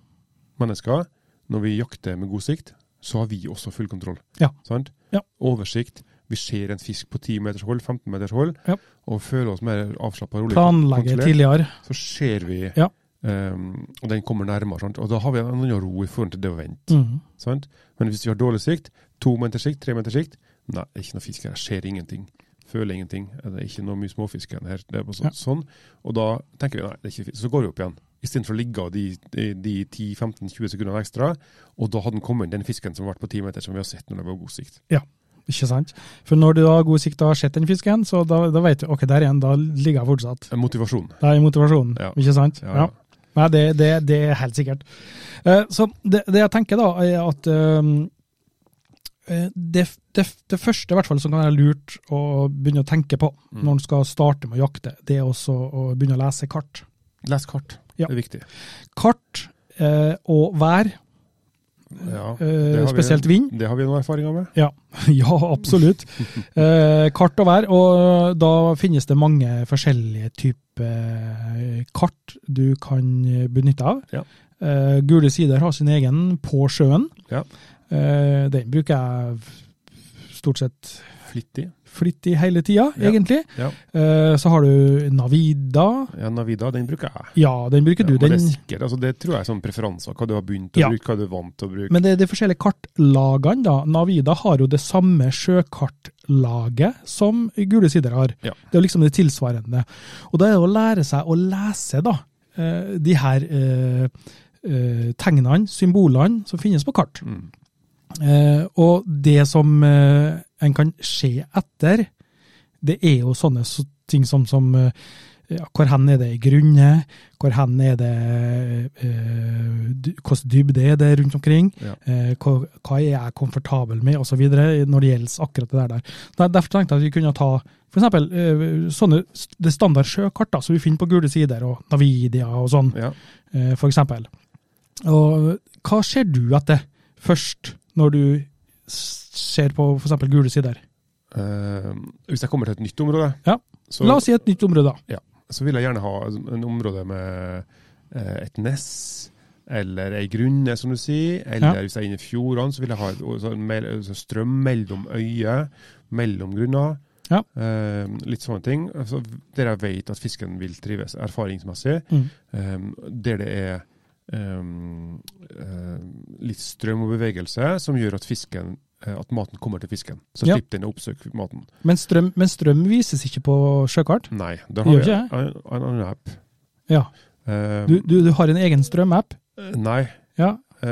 [SPEAKER 2] mennesker. Når vi jakter med god sikt, så har vi også full kontroll.
[SPEAKER 1] Ja.
[SPEAKER 2] Sant?
[SPEAKER 1] Ja.
[SPEAKER 2] Oversikt. Vi ser en fisk på 10 meters hold, 15 meters hold,
[SPEAKER 1] Ja.
[SPEAKER 2] og føler oss mer avslappa og rolig.
[SPEAKER 1] Planlegge
[SPEAKER 2] kontrollert
[SPEAKER 1] tidligere.
[SPEAKER 2] så ser vi
[SPEAKER 1] Ja.
[SPEAKER 2] ehm, og den kommer nærmere. Sant? Og da har vi en annen ro i forhold til det å vente.
[SPEAKER 1] Mhm.
[SPEAKER 2] Sant? Men hvis vi har dårlig sikt, to meter sikt, tre meter sikt, nei, det er ikke noe fisk her, jeg ser ingenting. Føler ingenting. Det er ikke noe mye småfisk igjen her. Det er bare så,
[SPEAKER 1] Ja.
[SPEAKER 2] sånn. Og da tenker vi nei, det er ikke fisk. Så går vi opp igjen. Istedenfor å ligge av de, de, de 10-15-20 sekundene ekstra. Og da hadde den kommet inn, den fisken som ble på 10 meter, som vi har sett når det var god sikt.
[SPEAKER 1] Ikke sant? For når du da har god sikt og har sett den fisken, så da, da vet du ok, der er den, da ligger jeg fortsatt.
[SPEAKER 2] Motivasjon.
[SPEAKER 1] Det er motivasjonen,
[SPEAKER 2] Ja.
[SPEAKER 1] ikke sant?
[SPEAKER 2] Ja, ja.
[SPEAKER 1] Nei, det, det, det er helt sikkert. Eh, Så det, det jeg tenker da, er at eh, eh, det, det, det første i hvert fall som kan være lurt å begynne å tenke på
[SPEAKER 2] Mm.
[SPEAKER 1] når en skal starte med å jakte, det er også å begynne å lese kart.
[SPEAKER 2] Les kart.
[SPEAKER 1] Ja.
[SPEAKER 2] Det er viktig.
[SPEAKER 1] Kart eh, og vær,
[SPEAKER 2] Ja, det
[SPEAKER 1] eh,
[SPEAKER 2] har vi-
[SPEAKER 1] spesielt vind.
[SPEAKER 2] Det har vi noen erfaringer med.
[SPEAKER 1] Ja, ja absolutt. Eh, kart og vær, og da finnes det mange forskjellige typer eh, kart du kan benytte av.
[SPEAKER 2] Ja.
[SPEAKER 1] Eh, Gule sider har sin egen på sjøen.
[SPEAKER 2] Ja.
[SPEAKER 1] Eh, den bruker jeg stort sett
[SPEAKER 2] Flittig.
[SPEAKER 1] flittig hele tida,
[SPEAKER 2] Ja.
[SPEAKER 1] egentlig.
[SPEAKER 2] Ja.
[SPEAKER 1] Eh, så har du Navida.
[SPEAKER 2] ja, Navida, den bruker jeg.
[SPEAKER 1] Ja, den bruker
[SPEAKER 2] Ja,
[SPEAKER 1] du.
[SPEAKER 2] men det,
[SPEAKER 1] Den,
[SPEAKER 2] er sikkert, altså, det tror jeg er sånn preferanser. Hva du har begynt å
[SPEAKER 1] Ja.
[SPEAKER 2] bruke, hva du er vant til å bruke.
[SPEAKER 1] Men det er de forskjellige kartlagene, da. Navida har jo det samme sjøkartlaget som Gule sider har.
[SPEAKER 2] Ja.
[SPEAKER 1] Det er jo liksom det tilsvarende. Og da er det å lære seg å lese, da, eh, de her eh, eh, tegnene, symbolene, som finnes på kart.
[SPEAKER 2] Mm.
[SPEAKER 1] Eh, og det som eh, en kan se etter, det er jo sånne så- ting som, som eh, ja, Hvor hen er det grunne? Hvor hen er det eh, dy- Hvordan dybde er det rundt omkring?
[SPEAKER 2] Ja.
[SPEAKER 1] Eh, hva, hva er jeg komfortabel med, osv. når det gjelder akkurat det der. der. Der- Derfor tenkte jeg at vi kunne ta for eksempel, eh, sånne, det standard sjøkart da, som vi finner på gule sider, og Navidia og sånn
[SPEAKER 2] Ja.
[SPEAKER 1] eh, for eksempel. Og hva ser du etter først, når du s- ser på for eksempel gule sider?
[SPEAKER 2] Eh, hvis jeg kommer til et nytt område,
[SPEAKER 1] Ja.
[SPEAKER 2] så,
[SPEAKER 1] La oss si et nytt område, da.
[SPEAKER 2] så vil jeg gjerne ha en område med eh, et ness, eller ei grunne, som du sier. Eller hvis jeg er inne i fjordene, så vil jeg ha et, også en mel- altså strøm mellom øyer, mellom grunner.
[SPEAKER 1] Ja.
[SPEAKER 2] Eh, litt sånne ting. Altså, der jeg vet at fisken vil trives erfaringsmessig.
[SPEAKER 1] Mm.
[SPEAKER 2] Um, der det er um, um, litt strøm og bevegelse som gjør at fisken eh, at maten kommer til fisken. Så
[SPEAKER 1] Ja.
[SPEAKER 2] slipper den å oppsøke maten.
[SPEAKER 1] Men, strøm, men strøm vises ikke på sjøkart.
[SPEAKER 2] Nei, da
[SPEAKER 1] Gjør
[SPEAKER 2] har vi
[SPEAKER 1] ikke
[SPEAKER 2] en, en annen app.
[SPEAKER 1] Ja.
[SPEAKER 2] Um,
[SPEAKER 1] Du, du, du har en egen strømapp.
[SPEAKER 2] Nei.
[SPEAKER 1] Ja.
[SPEAKER 2] eh,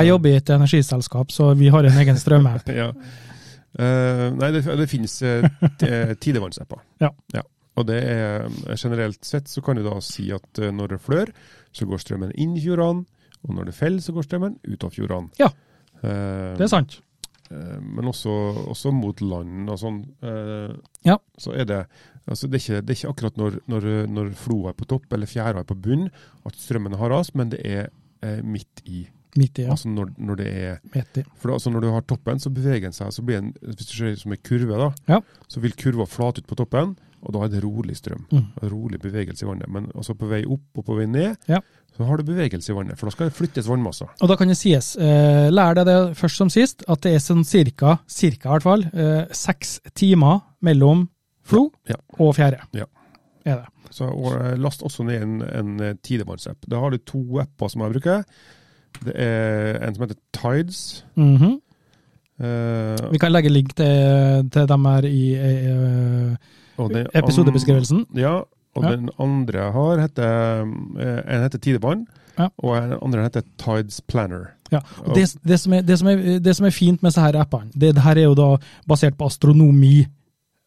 [SPEAKER 1] Jeg jobber i et energiselskap, så vi har en egen strømapp.
[SPEAKER 2] ja. Eh, nei, det, det finnes eh, t- eh, tidevannsapper.
[SPEAKER 1] Ja.
[SPEAKER 2] Og det er eh, generelt sett så kan du da si at eh, når det flør, så går strømmen inn i fjordene, og når det faller, så går strømmen ut av fjordene.
[SPEAKER 1] Ja.
[SPEAKER 2] Eh,
[SPEAKER 1] Det er sant.
[SPEAKER 2] Eh, men også, også mot land og sånn. eh,
[SPEAKER 1] Ja.
[SPEAKER 2] Så er det altså det, er ikke, det er ikke akkurat når, når, når floa er på topp eller fjæra er på bunn at strømmen har ras, men det er eh, midt i.
[SPEAKER 1] Midt i, ja.
[SPEAKER 2] Altså når, når det er
[SPEAKER 1] Midt i.
[SPEAKER 2] For da, altså når du har toppen, så beveger den seg. så blir den, Hvis du ser det som en kurve, da,
[SPEAKER 1] Ja.
[SPEAKER 2] så vil kurva flate ut på toppen, og da er det rolig strøm.
[SPEAKER 1] Mm.
[SPEAKER 2] Rolig bevegelse i vannet. Men også på vei opp og på vei ned,
[SPEAKER 1] Ja.
[SPEAKER 2] så har du bevegelse i vannet. For da skal det flyttes vannmasser.
[SPEAKER 1] Og da kan det sies, eh, lær deg det først som sist, at det er sånn cirka, cirka i hvert fall, eh, seks timer mellom flo
[SPEAKER 2] Ja.
[SPEAKER 1] og fjære.
[SPEAKER 2] Ja.
[SPEAKER 1] Er det.
[SPEAKER 2] Så og, eh, last også ned en, en eh, tidevannsapp. Da har du to apper som jeg bruker. Det er en som heter Tides.
[SPEAKER 1] Mhm.
[SPEAKER 2] eh,
[SPEAKER 1] Vi kan legge link til, til dem her i eh,
[SPEAKER 2] og den an-
[SPEAKER 1] episodebeskrivelsen.
[SPEAKER 2] Ja, og
[SPEAKER 1] Ja.
[SPEAKER 2] den andre jeg har, heter, eh, en heter Tidevann,
[SPEAKER 1] Ja.
[SPEAKER 2] og den andre heter Tides Planner.
[SPEAKER 1] Ja. Og det, det, som er, det, som er, det som er fint med disse her appene, det, det her er jo da basert på astronomi,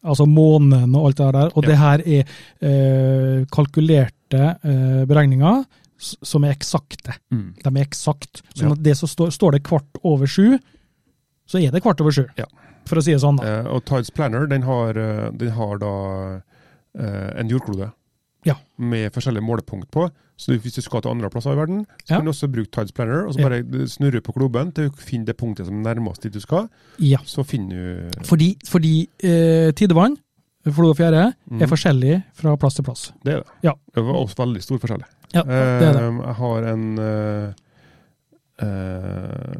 [SPEAKER 1] altså månen og alt det der, og
[SPEAKER 2] Ja.
[SPEAKER 1] det her er eh, kalkulerte eh, beregninger s- som er eksakte.
[SPEAKER 2] Mm.
[SPEAKER 1] De er eksakt.
[SPEAKER 2] Ja.
[SPEAKER 1] Sånn at det som står, står det kvart over sju, så er det kvart over sju.
[SPEAKER 2] Ja.
[SPEAKER 1] For å si det sånn, da.
[SPEAKER 2] Eh, og Tides Planner den har, eh, den har da eh, en jordklode
[SPEAKER 1] Ja.
[SPEAKER 2] med forskjellige målepunkt på. Så du- hvis du skal til andre plasser i verden, så
[SPEAKER 1] Ja.
[SPEAKER 2] kan du også bruke Tides Planner. Og så
[SPEAKER 1] Ja.
[SPEAKER 2] bare eh, snurre på kloben til du finner det punktet som er nærmest dit du skal.
[SPEAKER 1] Ja.
[SPEAKER 2] Så finner du
[SPEAKER 1] Fordi, fordi eh, tidevann, flod og fjære, er forskjellig fra plass til plass.
[SPEAKER 2] mm, Det er det.
[SPEAKER 1] Ja.
[SPEAKER 2] Det var også veldig stor forskjell.
[SPEAKER 1] Ja, det er det.
[SPEAKER 2] Eh, jeg har en eh, eh,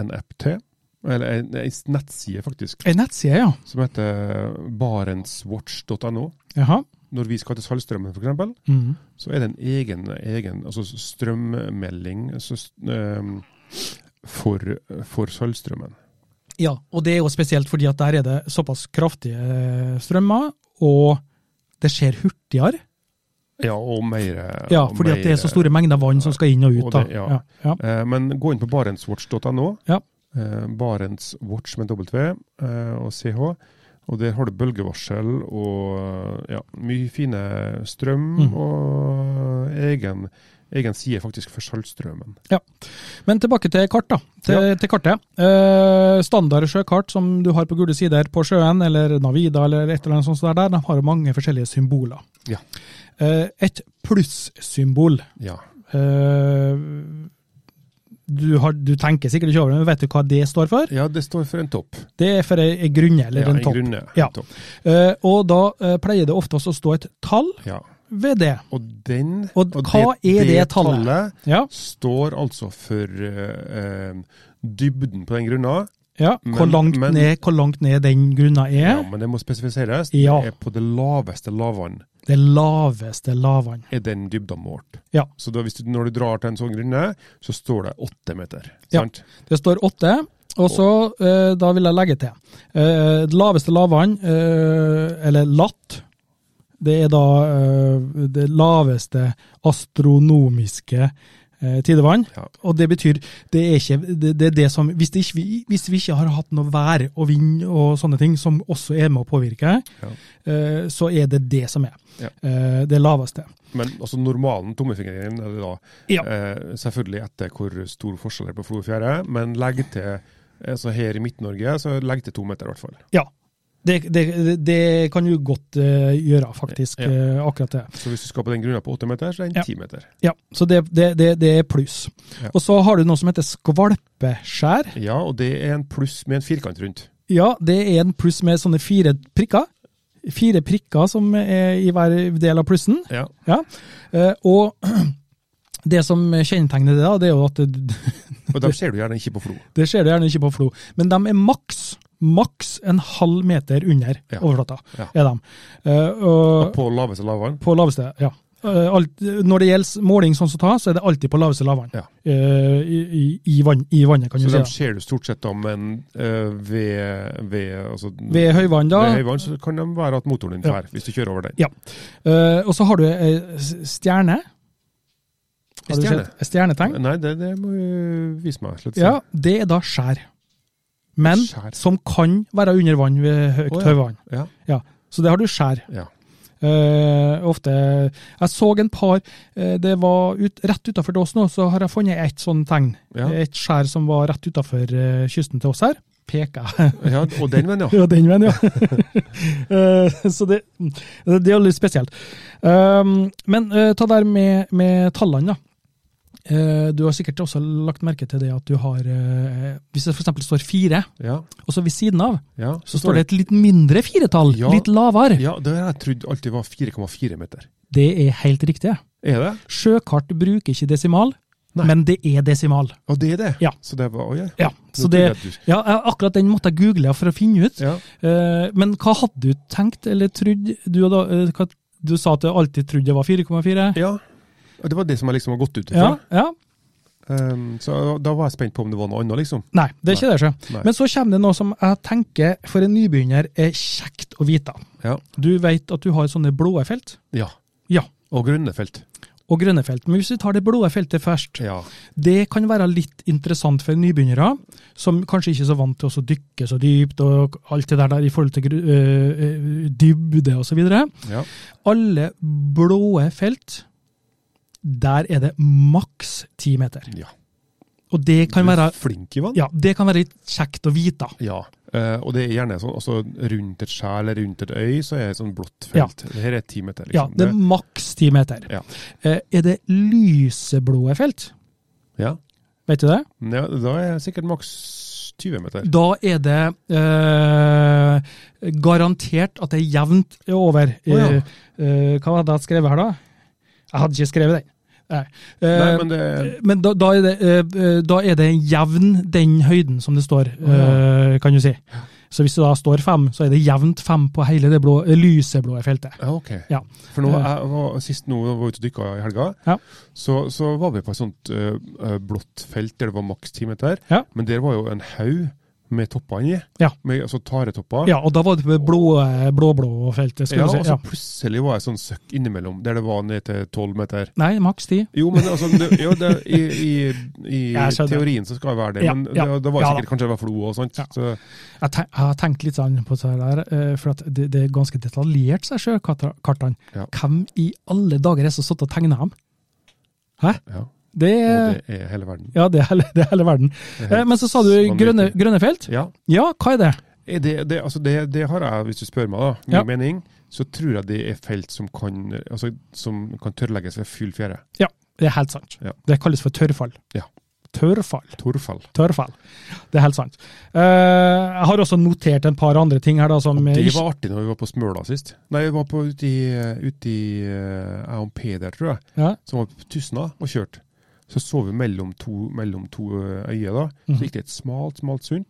[SPEAKER 2] en app til. Eller en, en nettside, faktisk,
[SPEAKER 1] Ei nettside, ja.
[SPEAKER 2] som heter barentswatch.no.
[SPEAKER 1] Jaha.
[SPEAKER 2] Når vi skal til Saltstraumen, f.eks.
[SPEAKER 1] Mm.
[SPEAKER 2] så er det en egen, egen altså strømmelding altså, st- ehm, for, for Sølvstrømmen.
[SPEAKER 1] Ja, og det er jo spesielt fordi at der er det såpass kraftige eh, strømmer, og det skjer hurtigere.
[SPEAKER 2] Ja, og mer.
[SPEAKER 1] Ja,
[SPEAKER 2] og
[SPEAKER 1] fordi at det er
[SPEAKER 2] mer-
[SPEAKER 1] så store mengder vann som skal inn og ut.
[SPEAKER 2] Og
[SPEAKER 1] da.
[SPEAKER 2] det- ja.
[SPEAKER 1] Ja, ja.
[SPEAKER 2] Eh, Men gå inn på barentswatch.no.
[SPEAKER 1] Ja.
[SPEAKER 2] eh, Barentswatch med W eh, og CH. Og der har du bølgevarsel og ja, mye fine strøm
[SPEAKER 1] Mm.
[SPEAKER 2] og egen egen side faktisk for Saltstraumen.
[SPEAKER 1] Men tilbake til kart, da. Til, til kartet. Eh, standard sjøkart som du har på gule sider på sjøen, eller Navida eller et eller annet sånt der, de har mange forskjellige symboler.
[SPEAKER 2] Ja.
[SPEAKER 1] Eh, et plussymbol.
[SPEAKER 2] Ja.
[SPEAKER 1] Eh, du, har, du tenker sikkert ikke over det, men vet du hva det står for?
[SPEAKER 2] ja, det står for en topp.
[SPEAKER 1] Det er for ei ei grunne eller
[SPEAKER 2] ja,
[SPEAKER 1] en topp.
[SPEAKER 2] grunne
[SPEAKER 1] Ja.
[SPEAKER 2] topp.
[SPEAKER 1] Eh, og da eh, pleier det oftest å stå et tall
[SPEAKER 2] Ja.
[SPEAKER 1] ved det.
[SPEAKER 2] Og den
[SPEAKER 1] Og hva er det tallet? Ja,
[SPEAKER 2] står altså for eh, eh, dybden på den grunna.
[SPEAKER 1] ja. Hvor,
[SPEAKER 2] Men-
[SPEAKER 1] langt
[SPEAKER 2] men-
[SPEAKER 1] ned, hvor langt ned den grunna er.
[SPEAKER 2] Ja, men det må spesifiseres.
[SPEAKER 1] Ja.
[SPEAKER 2] Det er på det laveste lavvann
[SPEAKER 1] Det laveste lavvann.
[SPEAKER 2] er den dybden målt.
[SPEAKER 1] Ja.
[SPEAKER 2] Så da, hvis du, når du drar til en sånn grunne, så står det åtte meter.
[SPEAKER 1] Ja.
[SPEAKER 2] Sant?
[SPEAKER 1] Det står åtte. Og så, eh, da vil jeg legge til, eh, det laveste lavvann, eh, eller latt, det er da eh, det laveste astronomiske eh, tidevann.
[SPEAKER 2] Ja.
[SPEAKER 1] Og det betyr, det er ikke, det, det er det som, hvis, det ikke, vi- hvis vi ikke har hatt noe vær og vind og sånne ting, som også er med å påvirke,
[SPEAKER 2] Ja.
[SPEAKER 1] eh, så er det det som er.
[SPEAKER 2] Ja.
[SPEAKER 1] Eh, det laveste.
[SPEAKER 2] Men altså normalen, tommefingeren, er det da
[SPEAKER 1] Ja.
[SPEAKER 2] eh, selvfølgelig etter hvor stor forskjell det er på Flo og Fjære, men legg til altså her i Midt-Norge, så legg til to meter i hvert fall.
[SPEAKER 1] Ja. Det, det, det kan du godt eh, gjøre, faktisk,
[SPEAKER 2] Ja.
[SPEAKER 1] eh, akkurat det.
[SPEAKER 2] Så hvis du skal på den grunna på åtte meter, så er
[SPEAKER 1] Ja.
[SPEAKER 2] den ti meter.
[SPEAKER 1] Ja, så det, det, det, det er pluss.
[SPEAKER 2] Ja.
[SPEAKER 1] Og så har du noe som heter skvalpeskjær.
[SPEAKER 2] Ja, og det er en pluss med en firkant rundt.
[SPEAKER 1] Ja, det er en pluss med sånne fire prikker. Fire prikker som er i hver del av plussen.
[SPEAKER 2] Ja.
[SPEAKER 1] Ja. Eh, og det som kjennetegner det, da, det er jo at det,
[SPEAKER 2] Og dem ser du gjerne ikke på Flo.
[SPEAKER 1] det ser du gjerne ikke på Flo, men de er maks, maks en halv meter under
[SPEAKER 2] Ja.
[SPEAKER 1] overflata.
[SPEAKER 2] Ja.
[SPEAKER 1] er de. Eh, og,
[SPEAKER 2] På laveste lavvann.
[SPEAKER 1] På laveste, ja. Eh, Alt, når det gjelder måling sånn som tas, så er det alltid på laveste lavvann.
[SPEAKER 2] Ja.
[SPEAKER 1] Eh, i, i, i, vann, I vannet, kan
[SPEAKER 2] Så
[SPEAKER 1] du
[SPEAKER 2] dem
[SPEAKER 1] si.
[SPEAKER 2] ser du stort sett da, men eh, ved, ved, altså,
[SPEAKER 1] da. Ved høyvann, da.
[SPEAKER 2] ved høyvann så kan de være at motoren din
[SPEAKER 1] Ja.
[SPEAKER 2] drar, hvis du kjører over den.
[SPEAKER 1] Eh, og så har du ei stjerne. Har du
[SPEAKER 2] Stjerne?
[SPEAKER 1] sett? Et stjernetegn.
[SPEAKER 2] Nei, det, det må du vise meg. Slett.
[SPEAKER 1] Ja, det er da skjær. Men
[SPEAKER 2] Skjær.
[SPEAKER 1] som kan være under vann ved høyt
[SPEAKER 2] Å, ja.
[SPEAKER 1] høyvann.
[SPEAKER 2] Ja.
[SPEAKER 1] Så det har du skjær.
[SPEAKER 2] Ja.
[SPEAKER 1] Eh, ofte Jeg så en par eh, Det var ut, rett utafor oss nå, så har jeg funnet et sånt tegn.
[SPEAKER 2] Ja.
[SPEAKER 1] Eh, Et skjær som var rett utafor eh, kysten til oss her. Peker jeg.
[SPEAKER 2] ja, og den vennen, ja.
[SPEAKER 1] Ja, den veien, ja. Eh, så det, det er jo litt spesielt. Um, men eh, ta der med, med tallene, da. Eh, du har sikkert også lagt merke til det at du har eh, Hvis det f.eks. står fire,
[SPEAKER 2] ja.
[SPEAKER 1] og så ved siden av,
[SPEAKER 2] ja.
[SPEAKER 1] så står det et litt mindre firetall.
[SPEAKER 2] Ja.
[SPEAKER 1] Litt lavere.
[SPEAKER 2] Ja, det har jeg trodd alltid var 4,4 meter.
[SPEAKER 1] Det er helt riktig.
[SPEAKER 2] Er det?
[SPEAKER 1] Sjøkart bruker ikke desimal,
[SPEAKER 2] Nei.
[SPEAKER 1] men det er desimal.
[SPEAKER 2] Og det er det?
[SPEAKER 1] Ja.
[SPEAKER 2] Så det var, å ja.
[SPEAKER 1] Ja, så
[SPEAKER 2] Nå
[SPEAKER 1] det,
[SPEAKER 2] trodde jeg at
[SPEAKER 1] ja, jeg- akkurat den måtte jeg google for å finne ut.
[SPEAKER 2] du- ja.
[SPEAKER 1] Eh, Men hva hadde du tenkt, eller trodd du, hadde, eh, hva, du sa at du alltid trodde det var 4,4?
[SPEAKER 2] ja. Og det var det som jeg liksom har gått ut ifra.
[SPEAKER 1] Ja, ja.
[SPEAKER 2] Um, så da var jeg spent på om det var noe annet, liksom.
[SPEAKER 1] Nei, det er ikke
[SPEAKER 2] Nei.
[SPEAKER 1] det. Sjø. Men så kommer det noe som jeg tenker for en nybegynner er kjekt å vite.
[SPEAKER 2] Ja.
[SPEAKER 1] Du vet at du har sånne blå felt
[SPEAKER 2] ja.
[SPEAKER 1] Ja.
[SPEAKER 2] Og grønne felt.
[SPEAKER 1] og grønne felt. Men hvis vi tar det blå feltet først,
[SPEAKER 2] Ja.
[SPEAKER 1] det kan være litt interessant for nybegynnere, som kanskje ikke er så vant til å så dykke så dypt og alt det der, der i forhold til gru- øh, øh, dybde osv.
[SPEAKER 2] ja.
[SPEAKER 1] Alle blå felt, der er det maks ti meter.
[SPEAKER 2] ja.
[SPEAKER 1] Og det kan
[SPEAKER 2] Du er
[SPEAKER 1] være,
[SPEAKER 2] Flink, Ivan.
[SPEAKER 1] ja, det kan være litt kjekt å vite.
[SPEAKER 2] Ja, eh, og det er gjerne sånn, altså rundt et skjær eller rundt et øy, så er det sånn blått felt. Her er ti meter,
[SPEAKER 1] Ja,
[SPEAKER 2] liksom.
[SPEAKER 1] det er maks ti meter.
[SPEAKER 2] Ja.
[SPEAKER 1] Eh, Er det lyseblå felt?
[SPEAKER 2] ja.
[SPEAKER 1] Vet du det?
[SPEAKER 2] ja, da er det sikkert maks 20 meter.
[SPEAKER 1] Da er det eh, garantert at det er jevnt over.
[SPEAKER 2] ja.
[SPEAKER 1] Eh, eh, hva hadde jeg skrevet her, da? Jeg hadde ikke skrevet den. Nei. Eh,
[SPEAKER 2] Nei,
[SPEAKER 1] men
[SPEAKER 2] men det
[SPEAKER 1] da, da, er det, eh, eh, da er det jevn den høyden som det står, eh, kan du si. Så hvis det da står fem, så er det jevnt fem på hele det blå, lyseblå feltet.
[SPEAKER 2] Ja, ok.
[SPEAKER 1] Ja. Eh.
[SPEAKER 2] For nå, jeg var, sist nå var jeg ute og dykka i helga,
[SPEAKER 1] Ja.
[SPEAKER 2] så, så var vi på et sånt eh, eh, blått felt der det var maks ti meter.
[SPEAKER 1] Ja.
[SPEAKER 2] Men der var jo en haug med toppene i,
[SPEAKER 1] Ja.
[SPEAKER 2] med, altså taretopper.
[SPEAKER 1] Ja, og da var det på blå, blå-blå feltet, skal
[SPEAKER 2] Ja, altså-
[SPEAKER 1] du
[SPEAKER 2] og
[SPEAKER 1] si.
[SPEAKER 2] så
[SPEAKER 1] Ja.
[SPEAKER 2] plutselig var jeg sånn søkk innimellom, der det var ned til tolv meter.
[SPEAKER 1] Nei, maks ti.
[SPEAKER 2] Jo, men altså, det, jo, det, i, i, i
[SPEAKER 1] Jeg skjønner.
[SPEAKER 2] teorien så skal det være det,
[SPEAKER 1] Ja,
[SPEAKER 2] men
[SPEAKER 1] ja.
[SPEAKER 2] det, det var
[SPEAKER 1] Ja da.
[SPEAKER 2] sikkert kanskje det var flo og sånt.
[SPEAKER 1] Ja.
[SPEAKER 2] Så,
[SPEAKER 1] Jeg, tenk, jeg har tenkt litt sånn på det der, eh, for at det, det er ganske detaljert, seg sjøkartene.
[SPEAKER 2] Ja.
[SPEAKER 1] Hvem i alle dager er det som satt og tegna dem? Hæ?
[SPEAKER 2] Ja,
[SPEAKER 1] Det er,
[SPEAKER 2] og det er hele verden.
[SPEAKER 1] ja, det er, hele, det er hele verden.
[SPEAKER 2] Det er
[SPEAKER 1] Eh,
[SPEAKER 2] helt
[SPEAKER 1] men så sa du grønne,
[SPEAKER 2] vanvittig.
[SPEAKER 1] grønne felt.
[SPEAKER 2] Ja,
[SPEAKER 1] Ja, hva er det?
[SPEAKER 2] Eh, Det, det, altså det, det har jeg, hvis du spør meg, da, min
[SPEAKER 1] Ja.
[SPEAKER 2] mening, så tror jeg det er felt som kan, altså, som kan tørrlegges ved full fjære.
[SPEAKER 1] Det er helt sant.
[SPEAKER 2] Ja.
[SPEAKER 1] Det kalles for tørrfall.
[SPEAKER 2] Ja.
[SPEAKER 1] Tørrfall.
[SPEAKER 2] Torfall.
[SPEAKER 1] Tørrfall. Det er helt sant. Eh, jeg har også notert en par andre ting her da, som
[SPEAKER 2] Og det
[SPEAKER 1] ikke-
[SPEAKER 2] var artig når vi var på Smøla sist. Nei, vi var på ute i, ute i eh, jeg og Peder, tror jeg,
[SPEAKER 1] ja.
[SPEAKER 2] som var på Tysna og kjørte. Så så vi mellom to, mellom to eh, øyer, da.
[SPEAKER 1] Mhm.
[SPEAKER 2] Så gikk det et smalt, smalt sund,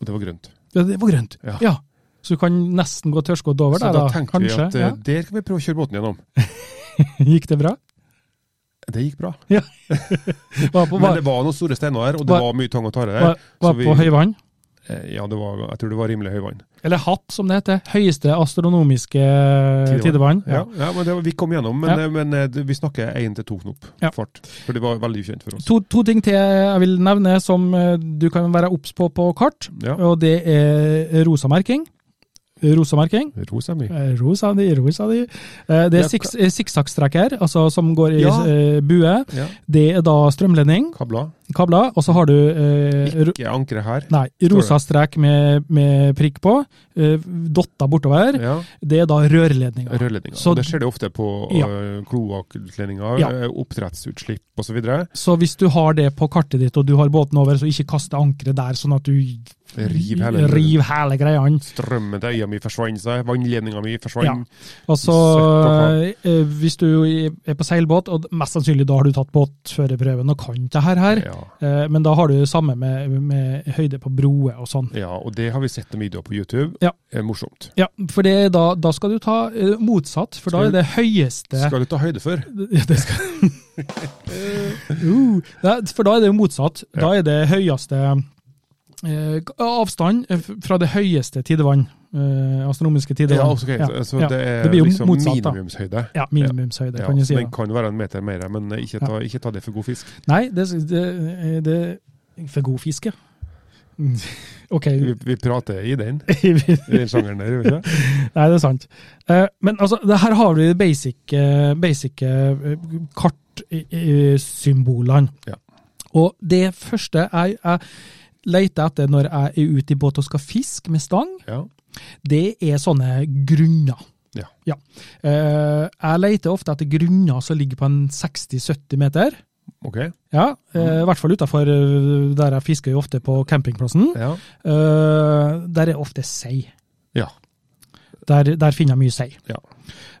[SPEAKER 2] og det var grønt.
[SPEAKER 1] ja, det var grønt. Ja.
[SPEAKER 2] Ja.
[SPEAKER 1] Så du kan nesten gå tørrskodd over
[SPEAKER 2] så
[SPEAKER 1] der,
[SPEAKER 2] da
[SPEAKER 1] da,
[SPEAKER 2] tenkte
[SPEAKER 1] kanskje?
[SPEAKER 2] vi at eh, der kan vi prøve å kjøre båten gjennom.
[SPEAKER 1] ja. Gikk det bra?
[SPEAKER 2] Det gikk bra.
[SPEAKER 1] Var på,
[SPEAKER 2] Men
[SPEAKER 1] var,
[SPEAKER 2] det var noen store steiner her, og det
[SPEAKER 1] Var-
[SPEAKER 2] var mye tang og tare der.
[SPEAKER 1] var, var
[SPEAKER 2] så vi-
[SPEAKER 1] på høyvann?
[SPEAKER 2] Eh, Ja, det var, jeg tror det var rimelig høyvann.
[SPEAKER 1] Eller hatt, som det heter. Høyeste astronomiske eh, tidevann.
[SPEAKER 2] Ja. ja, men det var, Vi kom gjennom, men,
[SPEAKER 1] Ja.
[SPEAKER 2] eh, men eh, det- vi snakker én til to knop
[SPEAKER 1] Ja.
[SPEAKER 2] fart. For det var veldig ukjent for oss.
[SPEAKER 1] To, to ting til jeg vil nevne som eh, du kan være obs på på kart,
[SPEAKER 2] Ja.
[SPEAKER 1] og det er rosamerking. Rosamerking.
[SPEAKER 2] Ros er mye.
[SPEAKER 1] Eh, Rosa di, rosa di. Eh, Det
[SPEAKER 2] Ja,
[SPEAKER 1] er siks- eh, sikksakkstrekk her, altså som går i
[SPEAKER 2] Ja.
[SPEAKER 1] eh, bue.
[SPEAKER 2] Ja.
[SPEAKER 1] Det er da strømledning,
[SPEAKER 2] Kabler.
[SPEAKER 1] kabler, og så har du eh, ro-
[SPEAKER 2] Ikke ankre her.
[SPEAKER 1] Nei, rosa strek med, med prikk på, eh, dotter bortover.
[SPEAKER 2] Ja,
[SPEAKER 1] Det er da rørledninga.
[SPEAKER 2] Rørledninger.
[SPEAKER 1] Så-
[SPEAKER 2] Og det skjer det ofte på
[SPEAKER 1] Ja.
[SPEAKER 2] ja. kloakkledninger,
[SPEAKER 1] Ja.
[SPEAKER 2] eh, oppdrettsutslipp osv.
[SPEAKER 1] Så hvis du har det på kartet ditt, og du har båten over, så ikke kaste ankeret der, sånn at du
[SPEAKER 2] Riv hele
[SPEAKER 1] riv hele greia.
[SPEAKER 2] Strømmen til øya mi forsvant seg, vannledninga mi forsvant.
[SPEAKER 1] Og
[SPEAKER 2] Søtt
[SPEAKER 1] så, eh, hvis du er på seilbåt, og mest sannsynlig da har du tatt båtførerprøven og kan det her, her
[SPEAKER 2] Ja.
[SPEAKER 1] eh, men da har du det samme med, med høyde på broer og sånn.
[SPEAKER 2] ja, og det har vi sett noen videoer på YouTube.
[SPEAKER 1] Ja.
[SPEAKER 2] Eh, Morsomt.
[SPEAKER 1] Ja, for det, er da, da skal du ta eh, motsatt, for da er det høyeste
[SPEAKER 2] Skal du ta høyde for?
[SPEAKER 1] Ja, det skal uh, nei, For da er det jo motsatt. Da er det høyeste eh, avstand fra det høyeste tidevann. Eh, astronomiske tidevann.
[SPEAKER 2] Ja, ok. Så
[SPEAKER 1] ja.
[SPEAKER 2] det er
[SPEAKER 1] Det blir jo
[SPEAKER 2] liksom
[SPEAKER 1] motsatt, da.
[SPEAKER 2] minimumshøyde.
[SPEAKER 1] Ja, minimumshøyde,
[SPEAKER 2] Ja,
[SPEAKER 1] kan du
[SPEAKER 2] så
[SPEAKER 1] si.
[SPEAKER 2] Den
[SPEAKER 1] da.
[SPEAKER 2] kan være en meter mer, men eh, ikke ta, ikke ta det for god fisk.
[SPEAKER 1] Nei, det, det, eh, det er for god fiske. OK.
[SPEAKER 2] Vi, vi prater i den,
[SPEAKER 1] Nei,
[SPEAKER 2] i den sjangeren der. gjør vi ikke?
[SPEAKER 1] det er sant. Eh, men altså, det her har vi de basic, eh, basic eh, kartsymbolene.
[SPEAKER 2] Ja.
[SPEAKER 1] Og det første jeg, jeg leter etter når jeg er ute i båt og skal fiske med stang,
[SPEAKER 2] Ja.
[SPEAKER 1] det er sånne grunner.
[SPEAKER 2] Ja.
[SPEAKER 1] Eh, jeg leter ofte etter grunner som ligger på en 60-70 meter.
[SPEAKER 2] Ok.
[SPEAKER 1] Ja,
[SPEAKER 2] Mm.
[SPEAKER 1] eh, I hvert fall utafor der jeg fisker jo ofte på campingplassen.
[SPEAKER 2] Ja.
[SPEAKER 1] Eh, der er ofte sei.
[SPEAKER 2] Ja.
[SPEAKER 1] Der, der finner jeg mye sei.
[SPEAKER 2] Ja.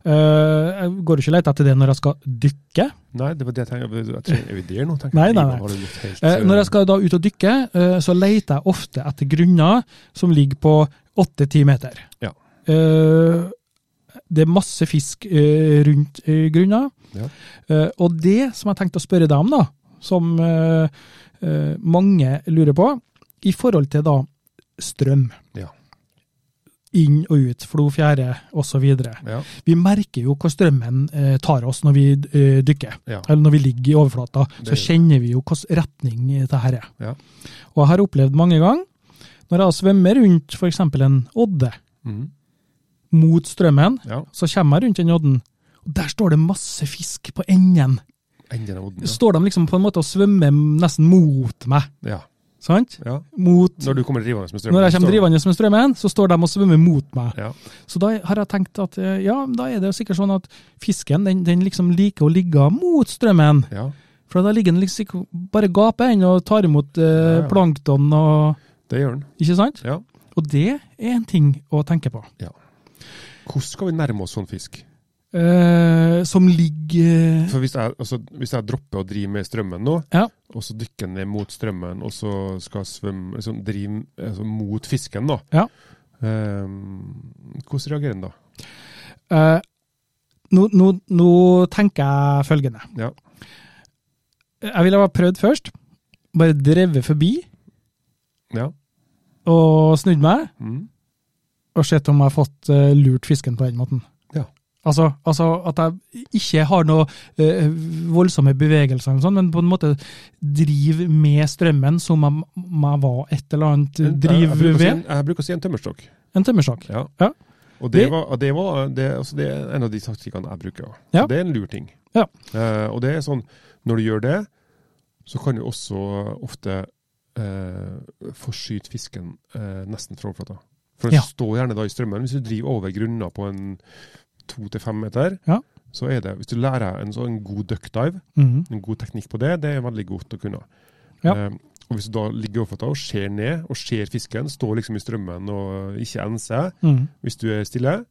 [SPEAKER 1] Eh, jeg går jo ikke og leter etter det når jeg skal dykke.
[SPEAKER 2] Nei, det var det jeg tenkte. Jeg trenger, er vi der nå? tenker
[SPEAKER 1] Nei,
[SPEAKER 2] jeg.
[SPEAKER 1] nei, nei.
[SPEAKER 2] Har det gått helt,
[SPEAKER 1] Eh, når jeg skal da ut og dykke, eh, så leter jeg ofte etter grunner som ligger på 8-10 meter.
[SPEAKER 2] Ja.
[SPEAKER 1] Eh, det er masse fisk eh, rundt eh, grunner.
[SPEAKER 2] Ja.
[SPEAKER 1] Eh, og det som jeg tenkte å spørre deg om, da, som eh, eh, mange lurer på, i forhold til da strøm.
[SPEAKER 2] Ja.
[SPEAKER 1] Inn og ut, flo, fjære osv.
[SPEAKER 2] eh, Ja.
[SPEAKER 1] Vi merker jo hvor strømmen eh, tar oss når vi eh, dykker
[SPEAKER 2] Ja.
[SPEAKER 1] eller når vi ligger i overflata, så
[SPEAKER 2] Det-
[SPEAKER 1] kjenner vi jo hvilken retning eh, det her er.
[SPEAKER 2] Ja.
[SPEAKER 1] Og jeg har opplevd mange ganger, når jeg svømmer rundt f.eks. en odde
[SPEAKER 2] Mhm.
[SPEAKER 1] mot strømmen,
[SPEAKER 2] ja.
[SPEAKER 1] så kommer jeg rundt den odden, og der står det masse fisk på enden.
[SPEAKER 2] Enden av odden.
[SPEAKER 1] Står de liksom på en måte og svømmer nesten mot meg,
[SPEAKER 2] Ja. ja.
[SPEAKER 1] sant?
[SPEAKER 2] ja.
[SPEAKER 1] Mot
[SPEAKER 2] Når du kommer drivende med strømmen.
[SPEAKER 1] når jeg
[SPEAKER 2] så-
[SPEAKER 1] kommer drivende med strømmen, så står de og svømmer mot meg.
[SPEAKER 2] Ja.
[SPEAKER 1] Så da har jeg tenkt at eh, ja, da er det jo sikkert sånn at fisken den, den liksom liker å ligge mot strømmen.
[SPEAKER 2] ja.
[SPEAKER 1] For da ligger den liksom ikke- bare gaper ennå og tar imot eh,
[SPEAKER 2] Ja, ja.
[SPEAKER 1] plankton og
[SPEAKER 2] Det gjør den.
[SPEAKER 1] Ikke sant?
[SPEAKER 2] Ja.
[SPEAKER 1] Og det er en ting å tenke på.
[SPEAKER 2] Hvordan skal vi nærme oss sånn fisk?
[SPEAKER 1] Eh, som ligger
[SPEAKER 2] For hvis jeg, altså, hvis jeg dropper å drive med strømmen nå,
[SPEAKER 1] Ja.
[SPEAKER 2] og så dykker ned mot strømmen, og så skal svømme liksom, drive altså, mot fisken, da.
[SPEAKER 1] Ja.
[SPEAKER 2] Ehm, hvordan reagerer den da?
[SPEAKER 1] eh, nå, nå, nå tenker jeg følgende.
[SPEAKER 2] Ja.
[SPEAKER 1] Jeg ville ha prøvd først. Bare drevet forbi
[SPEAKER 2] Ja.
[SPEAKER 1] og snudd meg.
[SPEAKER 2] Mm.
[SPEAKER 1] og sett om jeg har fått eh, lurt fisken på den måten.
[SPEAKER 2] Ja.
[SPEAKER 1] Altså, altså at jeg ikke har noe eh, voldsomme bevegelser, eller sånn, men på en måte driver med strømmen som om om jeg var et eller annet
[SPEAKER 2] jeg, bruker å si
[SPEAKER 1] drivved.
[SPEAKER 2] en, jeg bruker å si en tømmerstokk.
[SPEAKER 1] En tømmersak.
[SPEAKER 2] Ja.
[SPEAKER 1] Ja.
[SPEAKER 2] Og det,
[SPEAKER 1] Det-
[SPEAKER 2] var, det, var, det, altså det er en av de taktikkene jeg bruker.
[SPEAKER 1] Ja.
[SPEAKER 2] Det er en lur ting.
[SPEAKER 1] Ja.
[SPEAKER 2] Eh, og det er sånn, Når du gjør det, så kan du også ofte eh, forskyte fisken eh, nesten fra overflata. For den
[SPEAKER 1] Ja.
[SPEAKER 2] står gjerne da i strømmen. Hvis du driver over grunna på en to til fem meter,
[SPEAKER 1] Ja.
[SPEAKER 2] så er det Hvis du lærer en sånn god duckdive,
[SPEAKER 1] Mhm.
[SPEAKER 2] en god teknikk på det, det er veldig godt å kunne.
[SPEAKER 1] Ja.
[SPEAKER 2] Eh, og Hvis du da ligger i overflata og ser ned, og ser fisken, står liksom i strømmen og ikke enser,
[SPEAKER 1] Mhm.
[SPEAKER 2] hvis du er stille,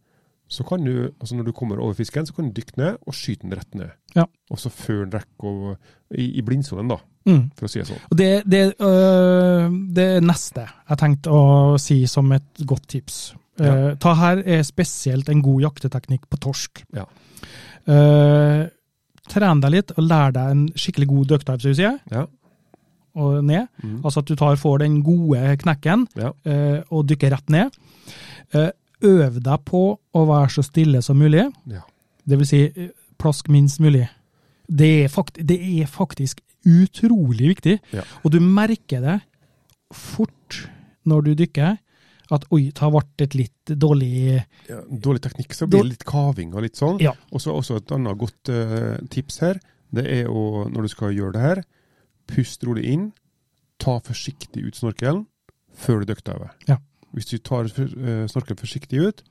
[SPEAKER 2] så kan du, altså når du kommer over fisken, så kan du dykke ned og skyte den rett ned.
[SPEAKER 1] Ja.
[SPEAKER 2] Og så før den rekker å- i, i blindsonen, da,
[SPEAKER 1] Mhm.
[SPEAKER 2] for å si det sånn.
[SPEAKER 1] Og det, det, øh, det neste jeg tenkte å si som et godt tips
[SPEAKER 2] Ja.
[SPEAKER 1] Eh, Ta her er spesielt en god jakteteknikk på torsk.
[SPEAKER 2] Ja.
[SPEAKER 1] Eh, tren deg litt og lær deg en skikkelig god duckdive, som du sier,
[SPEAKER 2] Ja.
[SPEAKER 1] og ned.
[SPEAKER 2] Mm.
[SPEAKER 1] Altså at du tar, får den gode knekken
[SPEAKER 2] Ja.
[SPEAKER 1] eh, og dykker rett ned. Eh, øv deg på å være så stille som mulig.
[SPEAKER 2] Ja.
[SPEAKER 1] Det vil si, eh, plask minst mulig. Det er, fakt det er faktisk utrolig viktig.
[SPEAKER 2] Ja.
[SPEAKER 1] Og du merker det fort når du dykker, at oi, det har vært et litt dårlig
[SPEAKER 2] Ja, dårlig teknikk, så blir det litt kaving og litt sånn.
[SPEAKER 1] Ja.
[SPEAKER 2] Og så også et annet godt eh, tips her, det er å, når du skal gjøre det her, pust rolig inn, ta forsiktig ut snorkelen før du dykkdiver.
[SPEAKER 1] Ja.
[SPEAKER 2] Hvis du tar for, eh, snorkelen forsiktig ut,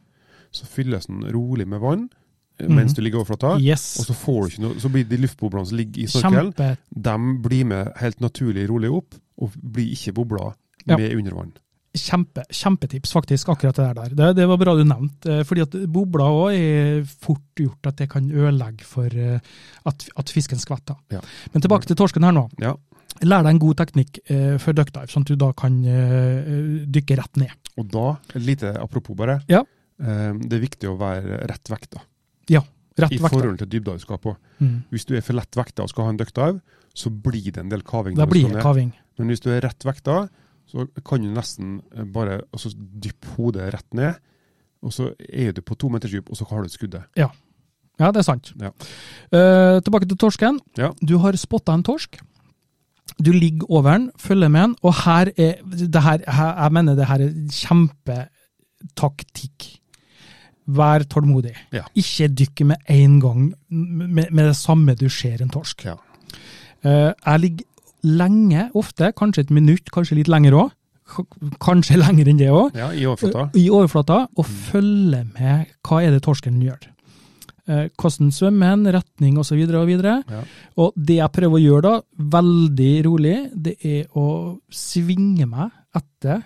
[SPEAKER 2] så fylles den rolig med vann eh,
[SPEAKER 1] Mhm.
[SPEAKER 2] mens du ligger i overflata, og
[SPEAKER 1] Yes.
[SPEAKER 2] så, får du ikke noe, så blir de luftboblene som ligger i snorkelen,
[SPEAKER 1] Kjempe.
[SPEAKER 2] de blir med helt naturlig rolig opp, og blir ikke bobla
[SPEAKER 1] Ja.
[SPEAKER 2] med under vann.
[SPEAKER 1] Kjempe, kjempetips, faktisk, akkurat det der. Det, det var bra du nevnte. eh, Fordi at bobler òg er fort gjort at det kan ødelegge for eh, at, at fisken skvetter.
[SPEAKER 2] Ja.
[SPEAKER 1] Men tilbake til torsken her nå.
[SPEAKER 2] Ja.
[SPEAKER 1] Lær deg en god teknikk eh, for duckdive, sånn at du da kan eh, dykke rett ned.
[SPEAKER 2] Og da, et lite apropos bare,
[SPEAKER 1] Ja.
[SPEAKER 2] eh, det er viktig å være rett vekta.
[SPEAKER 1] Rett
[SPEAKER 2] I
[SPEAKER 1] vekta.
[SPEAKER 2] forhold til dybda du skal på.
[SPEAKER 1] Mm.
[SPEAKER 2] Hvis du er for lett vekta og skal ha en duckdive, så blir det en del kaving.
[SPEAKER 1] Da
[SPEAKER 2] når du
[SPEAKER 1] blir
[SPEAKER 2] skal
[SPEAKER 1] det
[SPEAKER 2] ned.
[SPEAKER 1] kaving.
[SPEAKER 2] Men hvis du er rett vekta, så kan du nesten eh, bare altså, dyppe hodet rett ned, og så er du på to meters dyp, og så har du skuddet.
[SPEAKER 1] Ja, det er sant.
[SPEAKER 2] Ja.
[SPEAKER 1] Eh, tilbake til torsken.
[SPEAKER 2] Ja.
[SPEAKER 1] Du har spotta en torsk. Du ligger over den, følger med den, og her er det her, her, Jeg mener det her er kjempetaktikk. Vær tålmodig.
[SPEAKER 2] Ja.
[SPEAKER 1] Ikke dykk med en gang med, med det samme du ser en torsk.
[SPEAKER 2] Ja.
[SPEAKER 1] Eh, jeg ligger lenge, ofte, kanskje et minutt, kanskje litt lenger òg. Kanskje lenger enn det òg
[SPEAKER 2] Ja, i overflata. Mm.
[SPEAKER 1] i overflata, og følge med hva er det torsken gjør. Eh, Hvordan svømmer den, retning osv. Og, så videre.
[SPEAKER 2] Ja.
[SPEAKER 1] og det jeg prøver å gjøre da, veldig rolig, det er å svinge meg etter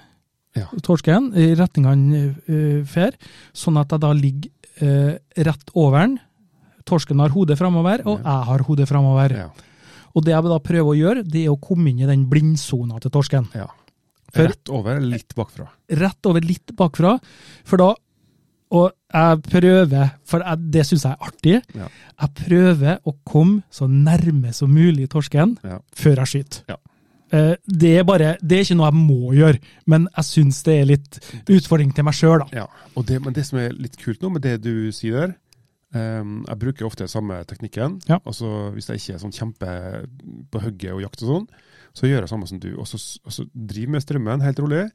[SPEAKER 2] Ja.
[SPEAKER 1] torsken, i retning han eh, fer, sånn at jeg da ligger eh, rett over den. Torsken har hodet framover, og jeg har hodet framover.
[SPEAKER 2] Ja,
[SPEAKER 1] Og det jeg da prøver å gjøre, det er å komme inn i den blindsona til torsken
[SPEAKER 2] ja.
[SPEAKER 1] For-
[SPEAKER 2] Rett over, litt bakfra.
[SPEAKER 1] rett over litt bakfra. For da Og jeg prøver, for jeg, det syns jeg er artig,
[SPEAKER 2] Ja.
[SPEAKER 1] jeg prøver å komme så nærme som mulig torsken
[SPEAKER 2] Ja.
[SPEAKER 1] før jeg skyter.
[SPEAKER 2] Ja.
[SPEAKER 1] Eh, Det er bare, det er ikke noe jeg må gjøre, men jeg syns det er litt utfordring til meg sjøl, da.
[SPEAKER 2] Ja, og det, men det som er litt kult nå med det du sier der, ehm, jeg bruker ofte samme teknikken,
[SPEAKER 1] Ja.
[SPEAKER 2] altså hvis jeg ikke er sånn kjempe på hugget og jakt og sånn, så gjør jeg samme som du, og så, og så driver med strømmen helt rolig,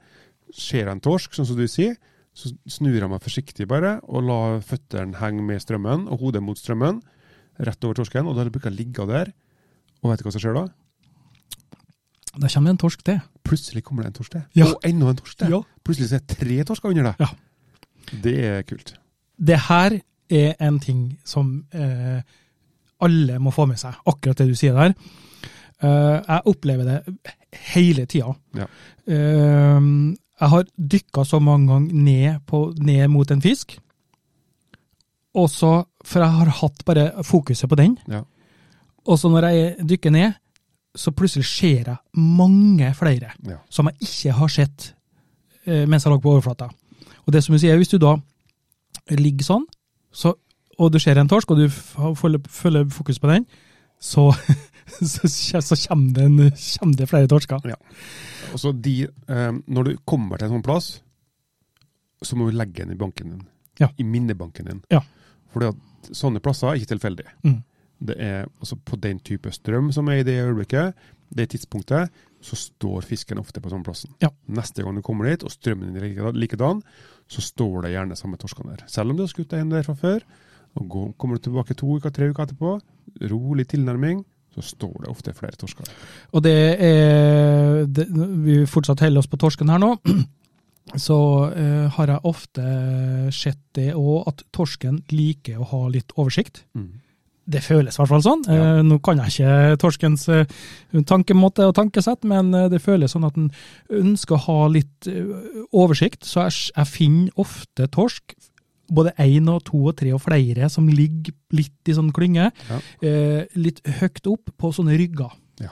[SPEAKER 2] ser jeg en torsk, sånn som du sier, så snur jeg meg forsiktig bare, og lar føtteren henge med strømmen, og hodet mot strømmen, rett over torsken, og da bruker jeg ligge der, og vet du hva som skjer da?
[SPEAKER 1] Da kommer det en torsk til.
[SPEAKER 2] Plutselig kommer det en torsk til,
[SPEAKER 1] Ja.
[SPEAKER 2] og enda en torsk til.
[SPEAKER 1] Ja.
[SPEAKER 2] Plutselig så er det tre torsker under deg.
[SPEAKER 1] Ja.
[SPEAKER 2] Det er kult.
[SPEAKER 1] Det her er en ting som eh, alle må få med seg, akkurat det du sier der. Eh, jeg opplever det hele tida.
[SPEAKER 2] Ja.
[SPEAKER 1] Eh, jeg har dykka så mange ganger ned, på, ned mot en fisk, og så, for jeg har hatt bare fokuset på den,
[SPEAKER 2] Ja.
[SPEAKER 1] og så når jeg dykker ned, så plutselig ser jeg mange flere
[SPEAKER 2] Ja.
[SPEAKER 1] som jeg ikke har sett eh, mens jeg lå på overflata. Og det som du sier, hvis du da ligger sånn, så, og du ser en torsk, og du f- følger, følger fokus på den, så, så, kje- så kommer, det en, kommer det flere torsker.
[SPEAKER 2] Og så de, eh, når du kommer til en sånn plass, så må du legge den i banken din.
[SPEAKER 1] Ja.
[SPEAKER 2] I minnebanken din.
[SPEAKER 1] Ja.
[SPEAKER 2] Fordi at sånne plasser er ikke tilfeldige.
[SPEAKER 1] Mm.
[SPEAKER 2] Det er altså på den type strøm som er i det øyeblikket, det tidspunktet, så står fisken ofte på sånne plassen.
[SPEAKER 1] Ja.
[SPEAKER 2] Neste gang du kommer dit, og strømmen din er like- likedan, så står det gjerne samme torskene der. Selv om du har skutt deg en der fra før, og går, kommer du tilbake to uker, tre uker etterpå, rolig tilnærming, så står det ofte flere torsker.
[SPEAKER 1] Og det er det, Vi fortsatt holder oss på torsken her nå. Så eh, har jeg ofte sett det òg, at torsken liker å ha litt oversikt.
[SPEAKER 2] Mm.
[SPEAKER 1] Det føles i hvert fall sånn. Eh, nå kan jeg ikke torskens eh, tankemåte og tankesett, men eh, det føles sånn at den ønsker å ha litt eh, oversikt. Så jeg, s- jeg finner ofte torsk, både én og to og tre og flere, som ligger litt i sånn klynge eh, litt høyt opp på sånne rygger.
[SPEAKER 2] Ja.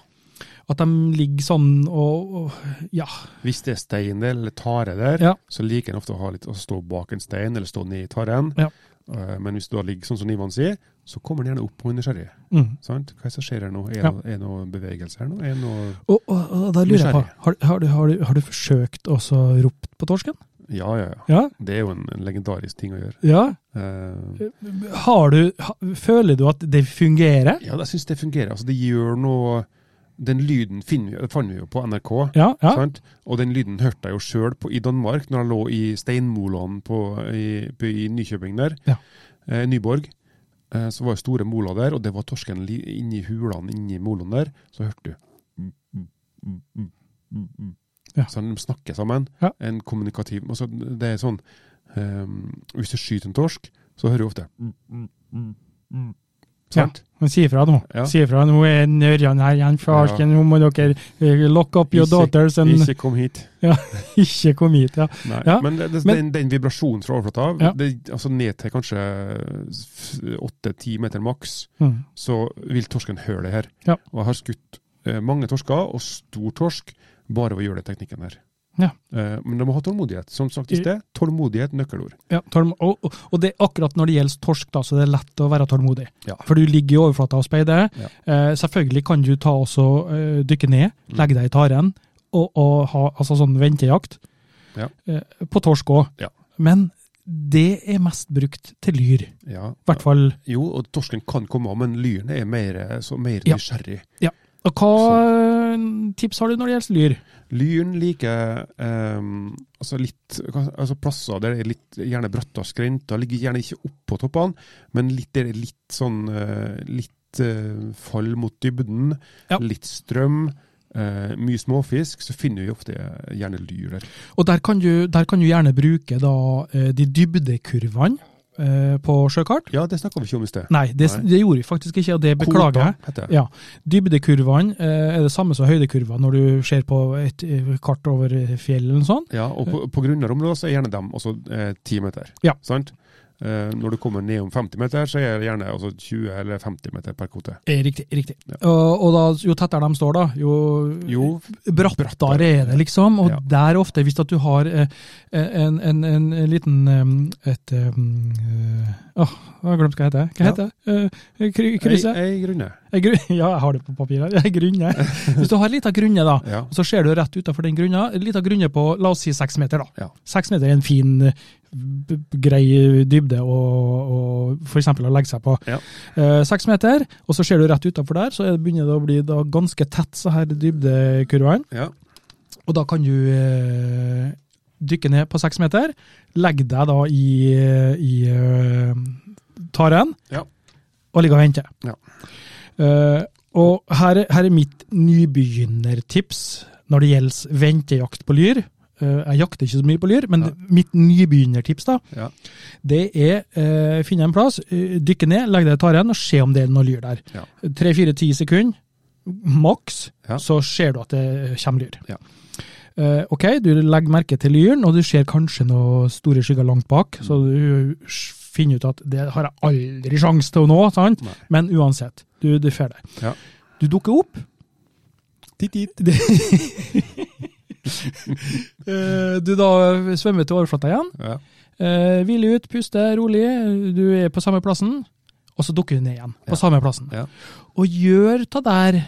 [SPEAKER 1] At de ligger sånn og, og ja.
[SPEAKER 2] Hvis det er stein eller tare der,
[SPEAKER 1] Ja.
[SPEAKER 2] så liker en ofte å ha litt, å stå bak en stein eller stå ned i taren.
[SPEAKER 1] Ja.
[SPEAKER 2] Eh, Men hvis du da ligger sånn som Ivan sier, så kommer den gjerne opp og er nysgjerrig.
[SPEAKER 1] Mm.
[SPEAKER 2] Sant? Hva er det som skjer her nå? Er
[SPEAKER 1] Ja.
[SPEAKER 2] det er det noe bevegelse her nå? Er det noe
[SPEAKER 1] Og, og, og da lurer jeg på,
[SPEAKER 2] Nysgjerrig.
[SPEAKER 1] har, har, du, har, du, har du forsøkt også å rope på torsken?
[SPEAKER 2] Ja, ja, ja.
[SPEAKER 1] Ja?
[SPEAKER 2] Det er jo en, en legendarisk ting å gjøre.
[SPEAKER 1] ja.
[SPEAKER 2] Eh,
[SPEAKER 1] Har du, ha, føler du at det fungerer?
[SPEAKER 2] ja, jeg syns det fungerer. Altså, det gjør noe Den lyden finner vi, fant vi jo på NRK.
[SPEAKER 1] Ja, ja.
[SPEAKER 2] Sant? Og den lyden hørte jeg jo sjøl i Danmark, når jeg lå i steinmolene på, i, på, i Nykjøbing der.
[SPEAKER 1] Ja.
[SPEAKER 2] Eh, Nyborg. Eh, så var det store moler der, og det var torsken li, inni hulene inni molene der. Så hørte du
[SPEAKER 1] Ja.
[SPEAKER 2] Så de snakker sammen.
[SPEAKER 1] Ja.
[SPEAKER 2] En kommunikativ altså, Det er sånn eh, Hvis du skyter en torsk, så hører du ofte Sant?
[SPEAKER 1] Men si ifra nå.
[SPEAKER 2] Ja.
[SPEAKER 1] Si ifra nå er Nørjan her igjen, farsken. Nå må dere eh, lock up your
[SPEAKER 2] Ikke-
[SPEAKER 1] daughters and
[SPEAKER 2] Ikke kom hit.
[SPEAKER 1] ikke komme hit. Ja.
[SPEAKER 2] Nei,
[SPEAKER 1] Ja,
[SPEAKER 2] men, det, det,
[SPEAKER 1] men-
[SPEAKER 2] den, den vibrasjonen fra overflata, av,
[SPEAKER 1] Ja.
[SPEAKER 2] det, altså ned til kanskje åtte-ti meter maks,
[SPEAKER 1] Mm.
[SPEAKER 2] så vil torsken høre det her.
[SPEAKER 1] Ja.
[SPEAKER 2] Og jeg har skutt eh, mange torsker, og stor torsk, bare ved å gjøre den teknikken her.
[SPEAKER 1] Ja.
[SPEAKER 2] Eh, men de må ha tålmodighet. Som sagt i sted, tålmodighet nøkkelord.
[SPEAKER 1] Ja, tålm- og, og- og det er akkurat når det gjelder torsk, da, så det er lett å være tålmodig.
[SPEAKER 2] Ja.
[SPEAKER 1] For du ligger i overflata og speider.
[SPEAKER 2] Ja.
[SPEAKER 1] Eh, selvfølgelig kan du ta også eh, dykke ned,
[SPEAKER 2] Mm.
[SPEAKER 1] legge deg i taren og, og ha altså sånn ventejakt.
[SPEAKER 2] Ja.
[SPEAKER 1] Eh, på torsk òg.
[SPEAKER 2] Ja.
[SPEAKER 1] Men det er mest brukt til lyr.
[SPEAKER 2] Ja.
[SPEAKER 1] I hvert fall.
[SPEAKER 2] Jo, og torsken kan komme av, men lyren er mer, så mer
[SPEAKER 1] Ja.
[SPEAKER 2] nysgjerrig.
[SPEAKER 1] Og hva eh, tips har du når det gjelder lyr?
[SPEAKER 2] Lyren liker eh, altså litt, altså plasser der det er litt gjerne brattere skrenter. Ligger gjerne ikke oppå toppene, men litt der det er litt sånn eh, litt eh, fall mot dybden.
[SPEAKER 1] Ja.
[SPEAKER 2] Litt strøm. eh, mye småfisk, så finner vi ofte gjerne lyr der.
[SPEAKER 1] Og der kan du, der kan du gjerne bruke da, eh, de dybdekurvene eh, på sjøkart.
[SPEAKER 2] Ja, det snakka vi ikke om i sted.
[SPEAKER 1] Nei, det,
[SPEAKER 2] Nei.
[SPEAKER 1] det gjorde vi faktisk ikke, og det beklager jeg.
[SPEAKER 2] Kota heter det.
[SPEAKER 1] Ja. Dybdekurvene eh, er det samme som høydekurvene når du ser på et eh, kart over eh, fjell eller noe sånt.
[SPEAKER 2] Ja, og på, på grunnere områder så er gjerne dem også eh, ti meter.
[SPEAKER 1] Ja.
[SPEAKER 2] Sant? Eh, når du kommer ned om 50 meter, så er det gjerne altså 20 eller 50 meter per kvote.
[SPEAKER 1] Eh, Riktig. riktig.
[SPEAKER 2] Ja.
[SPEAKER 1] Og, og da, jo tettere de står, da, jo,
[SPEAKER 2] Jo,
[SPEAKER 1] brattere er det, liksom. Og
[SPEAKER 2] Ja.
[SPEAKER 1] der ofte, hvis at du har eh, en, en, en liten eh, Et eh, Åh, jeg har glemt hva det heter. Hva
[SPEAKER 2] Ja.
[SPEAKER 1] heter det? Eh, kry- Krysse?
[SPEAKER 2] ei, ei grunne.
[SPEAKER 1] Eh, gru- Ja, jeg har det på papir her. Eh, Grunne. Hvis du har en liten grunne, da,
[SPEAKER 2] Ja.
[SPEAKER 1] så ser du rett utenfor den grunna. En liten grunne på, la oss si, seks meter, da.
[SPEAKER 2] Ja.
[SPEAKER 1] Seks meter er en fin, eh, b- b- grei dybde å, å for eksempel å legge seg på.
[SPEAKER 2] Ja.
[SPEAKER 1] Eh, Seks meter, og så ser du rett utenfor der, så er det- begynner det å bli da ganske tett så her dybdekurvene.
[SPEAKER 2] Ja.
[SPEAKER 1] Og da kan du eh, dykke ned på seks meter, legge deg da i, i eh, taren,
[SPEAKER 2] Ja.
[SPEAKER 1] og ligge og vente.
[SPEAKER 2] Ja.
[SPEAKER 1] Eh, og her, er- her er mitt nybegynnertips når det gjelder ventejakt på lyr. Eh, jeg jakter ikke så mye på lyr, men
[SPEAKER 2] Ja.
[SPEAKER 1] mitt nybegynnertips da,
[SPEAKER 2] Ja.
[SPEAKER 1] det er eh, finne en plass, eh, dykke ned, legge deg i taren og se om det er noe lyr der.
[SPEAKER 2] Ja.
[SPEAKER 1] Tre-fire-ti sekunder, maks,
[SPEAKER 2] Ja.
[SPEAKER 1] så ser du at det kommer lyr.
[SPEAKER 2] Ja.
[SPEAKER 1] Eh, ok, du legger merke til lyren, og du ser kanskje noen store skygger langt bak, så
[SPEAKER 2] Mm.
[SPEAKER 1] du s- finner ut at det har jeg aldri sjanse til å nå, sant?
[SPEAKER 2] Nei.
[SPEAKER 1] men uansett, du, du får det.
[SPEAKER 2] Ja.
[SPEAKER 1] Du dukker opp. Eh, du da svømmer til overflata igjen,
[SPEAKER 2] Ja.
[SPEAKER 1] eh, hviler ut, puster rolig, du er på samme plassen, og så dukker du ned igjen
[SPEAKER 2] Ja.
[SPEAKER 1] på samme plassen.
[SPEAKER 2] Ja.
[SPEAKER 1] Og gjør ta der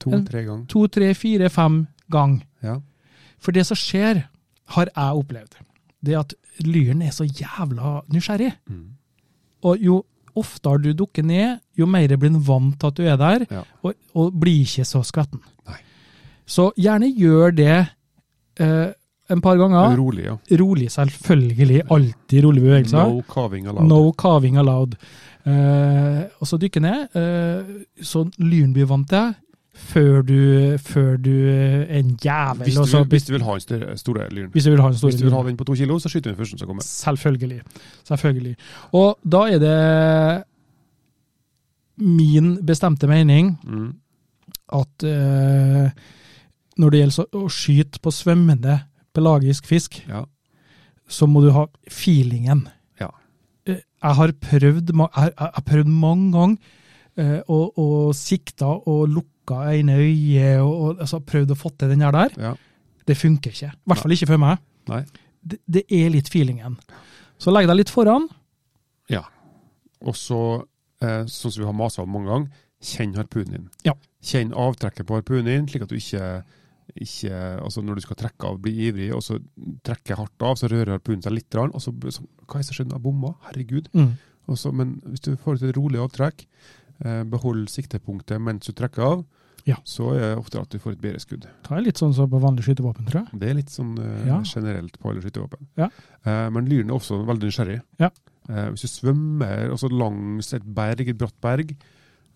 [SPEAKER 2] To-tre ganger.
[SPEAKER 1] to, tre, fire, fem gang.
[SPEAKER 2] Ja.
[SPEAKER 1] For det som skjer, har jeg opplevd, det er at lyren er så jævla nysgjerrig.
[SPEAKER 2] Mm.
[SPEAKER 1] Og jo oftere du dukker ned, jo mer blir den vant til at du er der,
[SPEAKER 2] Ja.
[SPEAKER 1] og, og blir ikke så skvetten.
[SPEAKER 2] Nei.
[SPEAKER 1] Så gjerne gjør det eh, en par ganger.
[SPEAKER 2] Rolig, ja.
[SPEAKER 1] Rolig, selvfølgelig. Alltid rolige bevegelser.
[SPEAKER 2] No caving allowed.
[SPEAKER 1] No carving allowed. Eh, og så dykker ned. Eh, så Lynby vant det. Før du, før du eh, En jævel.
[SPEAKER 2] Hvis
[SPEAKER 1] og
[SPEAKER 2] du,
[SPEAKER 1] så-
[SPEAKER 2] vil- hvis du vil ha en større, store lyren.
[SPEAKER 1] hvis du vil ha en stor
[SPEAKER 2] Hvis du vil ha den på to kilo, så skyter du den først som kommer.
[SPEAKER 1] Selvfølgelig. Selvfølgelig. Og da er det min bestemte mening
[SPEAKER 2] Mm.
[SPEAKER 1] at eh, når det gjelder så- å skyte på svømmende pelagisk fisk,
[SPEAKER 2] Ja.
[SPEAKER 1] så må du ha feelingen.
[SPEAKER 2] Ja.
[SPEAKER 1] Eh, Jeg har prøvd, ma- jeg jeg- jeg har prøvd mange ganger eh, og, og sikta og lukka ene øyet og, og altså, prøvd å få til den her der.
[SPEAKER 2] ja.
[SPEAKER 1] Det funker ikke. I hvert fall ikke for meg.
[SPEAKER 2] Nei.
[SPEAKER 1] Det, det er litt feelingen. Så legg deg litt foran.
[SPEAKER 2] Ja. Og så, eh, sånn som vi har masa om mange ganger, kjenn harpunen din.
[SPEAKER 1] Ja.
[SPEAKER 2] Kjenn avtrekket på harpunen din, slik at du ikke, ikke altså Når du skal trekke av, bli ivrig, og så trekker jeg hardt av, så rører harpunen seg litt, grann, og så, så Hva er det som skjedde? Jeg bomma? Herregud. Og så- men hvis du får til et rolig avtrekk, eh, behold siktepunktet mens du trekker av,
[SPEAKER 1] Ja.
[SPEAKER 2] så er det ofte at du får et bedre skudd.
[SPEAKER 1] Det er litt sånn som på vanlig skytevåpen, tror jeg.
[SPEAKER 2] Det er litt sånn eh,
[SPEAKER 1] Ja.
[SPEAKER 2] generelt på alle skytevåpen.
[SPEAKER 1] Ja.
[SPEAKER 2] Eh, men lyren er også veldig nysgjerrig.
[SPEAKER 1] Ja.
[SPEAKER 2] Eh, hvis du svømmer altså langs et berg, et bratt berg,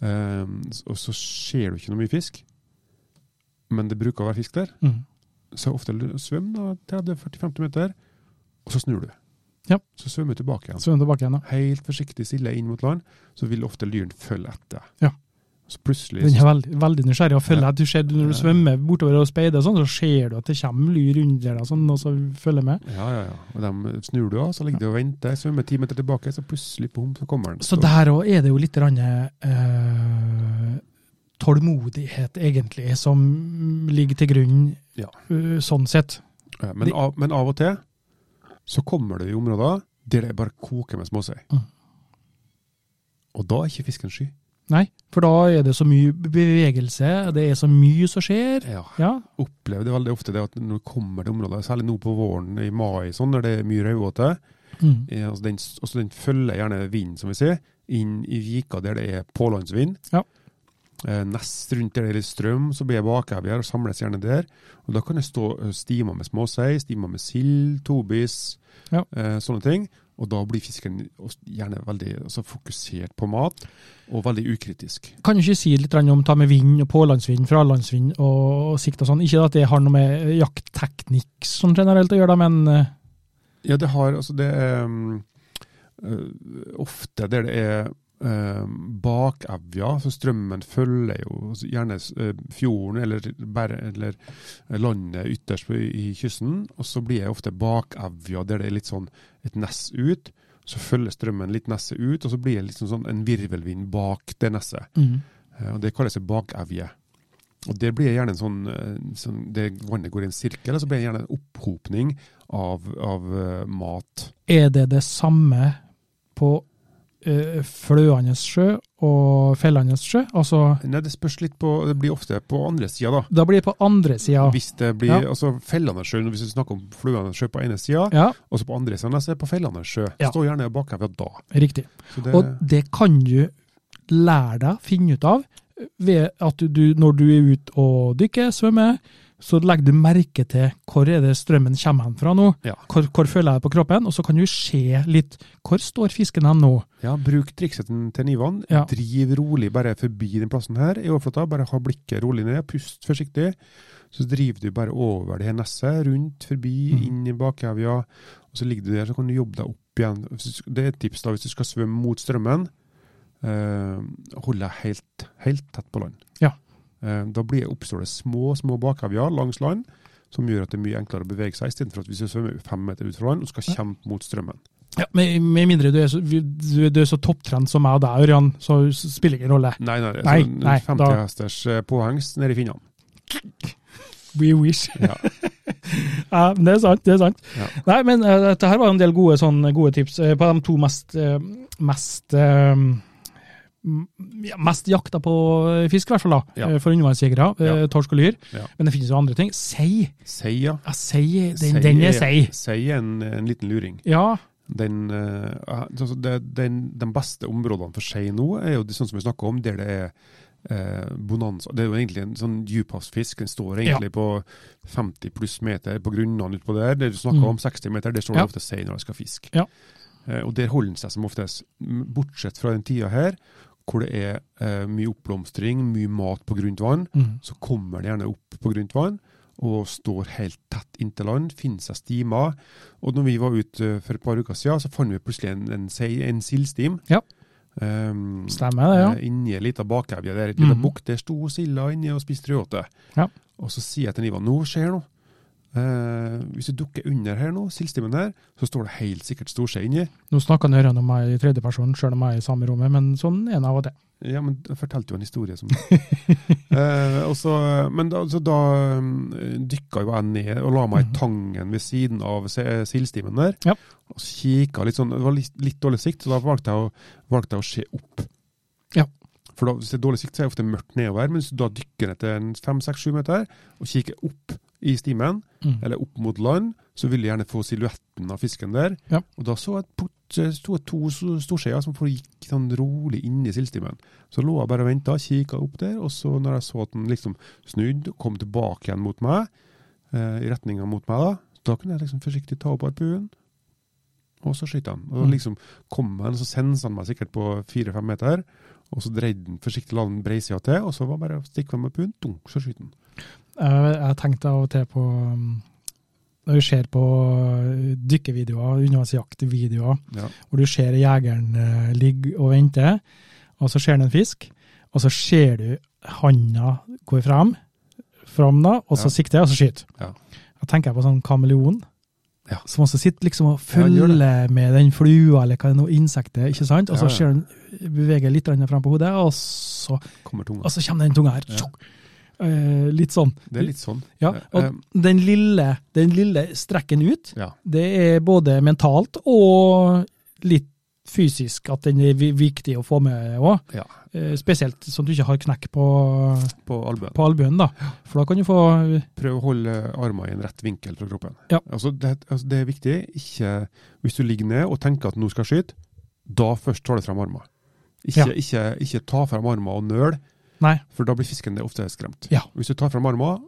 [SPEAKER 2] eh, s- og så ser du ikke noe mye fisk, men det bruker å være fisk der, så ofte l- svøm da 30-40-50 meter, og så snur du.
[SPEAKER 1] Ja.
[SPEAKER 2] Så svømmer du tilbake igjen.
[SPEAKER 1] Så er den tilbake igjen, da.
[SPEAKER 2] Helt forsiktig stille inn mot land, så vil ofte lyren følge etter.
[SPEAKER 1] Ja.
[SPEAKER 2] Så plutselig
[SPEAKER 1] Den
[SPEAKER 2] så
[SPEAKER 1] er veldig, veldig nysgjerrig å følge.
[SPEAKER 2] Ja.
[SPEAKER 1] at Du ser, når du
[SPEAKER 2] Ja.
[SPEAKER 1] svømmer bortover og speider, og sånn, så ser du at det kommer lyr under deg, og sånn, og så følger med.
[SPEAKER 2] Ja, ja, ja. Og de snur du av, så ligger de og venter, svømmer ti meter tilbake, så plutselig, bom, så kommer den.
[SPEAKER 1] Så der òg er det jo litt grann, eh, tålmodighet, egentlig, som ligger til grunn
[SPEAKER 2] Ja.
[SPEAKER 1] eh, sånn sett.
[SPEAKER 2] Ja, men,
[SPEAKER 1] Det-
[SPEAKER 2] av, men av og til så kommer du i områder der det bare koker med småsei.
[SPEAKER 1] Mm.
[SPEAKER 2] Og da er ikke fisken sky.
[SPEAKER 1] Nei, for da er det så mye bevegelse, det er så mye som skjer.
[SPEAKER 2] Ja.
[SPEAKER 1] Ja,
[SPEAKER 2] Opplever det veldig ofte det at når du kommer til områder, særlig nå på våren i mai, sånn, når det er mye rødåte,
[SPEAKER 1] mm.
[SPEAKER 2] eh, altså den, også den følger gjerne vinden, som vi sier, inn i vika der det er pålandsvind.
[SPEAKER 1] Ja.
[SPEAKER 2] Eh, Nest rundt der det er litt strøm, så blir det bakevjer og samles gjerne der. Og da kan det stå eh, stimer med småsei, stimer med sild, tobis,
[SPEAKER 1] Ja.
[SPEAKER 2] eh, sånne ting. Og da blir fisken også gjerne veldig altså, fokusert på mat, og veldig ukritisk.
[SPEAKER 1] Kan du ikke si litt grann om ta med vind og pålandsvind, fralandsvind og sikt og sånn? Ikke at det har noe med jaktteknikk sånn generelt å gjøre, da, men eh,
[SPEAKER 2] Ja, det har altså det er, mm, øh, Ofte der det er um, bakevja, så strømmen følger jo altså gjerne øh, fjorden eller, bare, eller landet ytterst på, i kysten, og så blir det ofte bakevja der det er litt sånn et ness ut. Så følger strømmen litt nesset ut, og så blir det liksom sånn en virvelvind bak det nesset. Eh, og Det kalles en bakevje. Og Det blir gjerne en sånn, eh, sånn det Vannet går i en sirkel, og så blir det gjerne en opphopning av, av eh, mat.
[SPEAKER 1] er det det samme på eh, fløende sjø og fellende sjø? Altså,
[SPEAKER 2] Nei, Det spørs litt på Det blir ofte på andre sida, da.
[SPEAKER 1] da blir det på andre sida.
[SPEAKER 2] Hvis det blir
[SPEAKER 1] Ja.
[SPEAKER 2] altså fellende sjø, hvis du snakker om fluende sjø på ene sida,
[SPEAKER 1] Ja,
[SPEAKER 2] og så på andre sida så er det på fellende sjø.
[SPEAKER 1] Ja.
[SPEAKER 2] Stå gjerne bakevja da.
[SPEAKER 1] riktig.
[SPEAKER 2] Så det,
[SPEAKER 1] Og det kan du lære deg, finne ut av, ved at du, når du er ute og dykker, svømmer, så legger du merke til hvor er det strømmen kommer hen fra nå.
[SPEAKER 2] Ja.
[SPEAKER 1] Hvor, hvor føler jeg det på kroppen? Og så kan du se litt hvor står fisken hen nå.
[SPEAKER 2] ja, bruk trikset til til Nivan.
[SPEAKER 1] Ja.
[SPEAKER 2] Driv rolig bare forbi den plassen her i overflata. Bare ha blikket rolig ned, pust forsiktig. Så driver du bare over det her nesset, rundt, forbi,
[SPEAKER 1] Mhm.
[SPEAKER 2] inn i bakevja. Og så ligger du der, så kan du jobbe deg opp igjen. Hvis du sk- Det er et tips da, hvis du skal svømme mot strømmen, eh, hold deg helt, helt tett på land.
[SPEAKER 1] Ja.
[SPEAKER 2] Eh, da blir, oppstår det små, små bakevja langs land, som gjør at det er mye enklere å bevege seg, istedenfor at hvis du svømmer fem meter ut fra land og skal
[SPEAKER 1] Ja.
[SPEAKER 2] kjempe mot strømmen.
[SPEAKER 1] Ja, med, med mindre du er så, du, du er så topptrent som meg og deg, Ørjan, så spiller det ingen rolle.
[SPEAKER 2] Nei, nei, det er
[SPEAKER 1] Nei,
[SPEAKER 2] sånn
[SPEAKER 1] nei,
[SPEAKER 2] 50
[SPEAKER 1] da-
[SPEAKER 2] hesters eh, påhengs nede i finnene.
[SPEAKER 1] We wish.
[SPEAKER 2] Ja.
[SPEAKER 1] Ja, men det er sant. det er sant.
[SPEAKER 2] Ja.
[SPEAKER 1] Nei, men eh, dette her var en del gode, sånn, gode tips eh, på de to mest, eh, mest eh, m- ja, Mest jakta på eh, fisk, i hvert fall, da,
[SPEAKER 2] Ja.
[SPEAKER 1] eh, for undervannsjegere. eh,
[SPEAKER 2] Ja.
[SPEAKER 1] Torsk og lyr.
[SPEAKER 2] Ja.
[SPEAKER 1] Men det finnes jo andre ting. Sei.
[SPEAKER 2] Sei, ja.
[SPEAKER 1] Ja, sei den,
[SPEAKER 2] Sei
[SPEAKER 1] den er sei.
[SPEAKER 2] Sei er en, en liten luring.
[SPEAKER 1] Ja,
[SPEAKER 2] Den, eh, altså det, den, de beste områdene for sei nå er jo de- sånn som vi snakker om, der det er eh, bonanza. Det er jo egentlig en sånn dyphavsfisk. Den står egentlig på 50 pluss meter på grunnene utpå der. Det du snakker
[SPEAKER 1] Mm.
[SPEAKER 2] om 60 meter, det står det
[SPEAKER 1] Ja.
[SPEAKER 2] ofte sei når de skal fiske.
[SPEAKER 1] Ja.
[SPEAKER 2] Eh, Og der holder den seg som oftest. M- Bortsett fra den tida her, hvor det er eh, mye oppblomstring, mye mat på grunt vann,
[SPEAKER 1] Mm.
[SPEAKER 2] så kommer den gjerne opp på grunt vann og står helt tett inntil land, finner seg stimer. Og når vi var ute eh, for et par uker siden, så fant vi plutselig en, en, sei- en sildstim.
[SPEAKER 1] Ja.
[SPEAKER 2] Um,
[SPEAKER 1] Stemmer det, ja.
[SPEAKER 2] eh, Inni ei lita bakevje der, et lite
[SPEAKER 1] Mhm.
[SPEAKER 2] bukk, der sto silda inni og spiste rødåte.
[SPEAKER 1] Ja.
[SPEAKER 2] Og så sier jeg til Ivan nå skjer noe. Eh, hvis du dukker under her nå, sildstimen her, så står det helt sikkert storskje inni.
[SPEAKER 1] Nå snakker Nøran om meg i tredjeperson, sjøl om jeg er i samme rommet, men sånn er det av og til.
[SPEAKER 2] Ja, men jeg fortalte jo en historie som eh, og så, Men da, så da eh, dykka jo jeg ned og la meg i
[SPEAKER 1] Mhm.
[SPEAKER 2] tangen ved siden av se- eh, sildstimen der.
[SPEAKER 1] Ja.
[SPEAKER 2] Og så kikka litt sånn, det var litt, litt dårlig sikt, så da valgte jeg å, valgte jeg å se opp.
[SPEAKER 1] Ja.
[SPEAKER 2] For da, hvis det er dårlig sikt, så er det ofte mørkt nedover, men hvis du da dykker ned til fem-seks-sju meter og kikker opp i stimen,
[SPEAKER 1] Mm.
[SPEAKER 2] eller opp mot land, så vil jeg gjerne få silhuetten av fisken der.
[SPEAKER 1] Ja.
[SPEAKER 2] Og da så jeg et port- eh, sto det to s- storskjeer som gikk sånn rolig inn i sildstimen. Så lå jeg bare og venta, kikka opp der, og så når jeg så at den liksom snudde og kom tilbake igjen mot meg, eh, i retninga mot meg, da, da kunne jeg liksom forsiktig ta opp arpuen. Og så skyter han. Og
[SPEAKER 1] Mm.
[SPEAKER 2] liksom kom han, så sensa han meg sikkert på fire-fem meter. Og så dreide han forsiktig la den breisida til, og så var det bare å stikke med arpuen, dunk, så skyter han.
[SPEAKER 1] Jeg, Eh, jeg tenkte av og til på um, Når du ser på uh, dykkevideoer, undervannsjaktvideoer,
[SPEAKER 2] Ja.
[SPEAKER 1] hvor du ser jegeren eh, ligge og vente, og så ser han en fisk, og så ser du handa går frem, frem da, og så
[SPEAKER 2] Ja.
[SPEAKER 1] sikter jeg, og så skyter.
[SPEAKER 2] Ja.
[SPEAKER 1] Da tenker jeg på sånn kameleon,
[SPEAKER 2] Ja.
[SPEAKER 1] som også sitter liksom og
[SPEAKER 2] Ja, han gjør
[SPEAKER 1] følger med den flua, eller hva det er noe insektet, ikke sant? Og
[SPEAKER 2] Ja,
[SPEAKER 1] så
[SPEAKER 2] ja.
[SPEAKER 1] ser han beveger litt grann frem på hodet, og så,
[SPEAKER 2] Kommer tunga.
[SPEAKER 1] og så kommer den tunga her.
[SPEAKER 2] Ja.
[SPEAKER 1] Tjokk! Eh, litt sånn.
[SPEAKER 2] Det er litt sånn.
[SPEAKER 1] Ja, og
[SPEAKER 2] Eh,
[SPEAKER 1] den lille, den lille strekken ut,
[SPEAKER 2] ja.
[SPEAKER 1] det er både mentalt og litt fysisk at den er vi- viktig å få med òg.
[SPEAKER 2] Ja.
[SPEAKER 1] Spesielt sånn at du ikke har knekk på,
[SPEAKER 2] På albuen.
[SPEAKER 1] på albuen, da. For da kan du få
[SPEAKER 2] Prøv å holde armene i en rett vinkel fra kroppen.
[SPEAKER 1] Ja.
[SPEAKER 2] Altså, det, altså, det er viktig. Ikke, hvis du ligger ned og tenker at nå skal jeg skyte, da først tar du frem armene. Ikke,
[SPEAKER 1] Ja.
[SPEAKER 2] ikke, ikke ta frem armene og nøl,
[SPEAKER 1] Nei.
[SPEAKER 2] for da blir fisken det ofte skremt.
[SPEAKER 1] Ja.
[SPEAKER 2] Hvis du tar frem armene,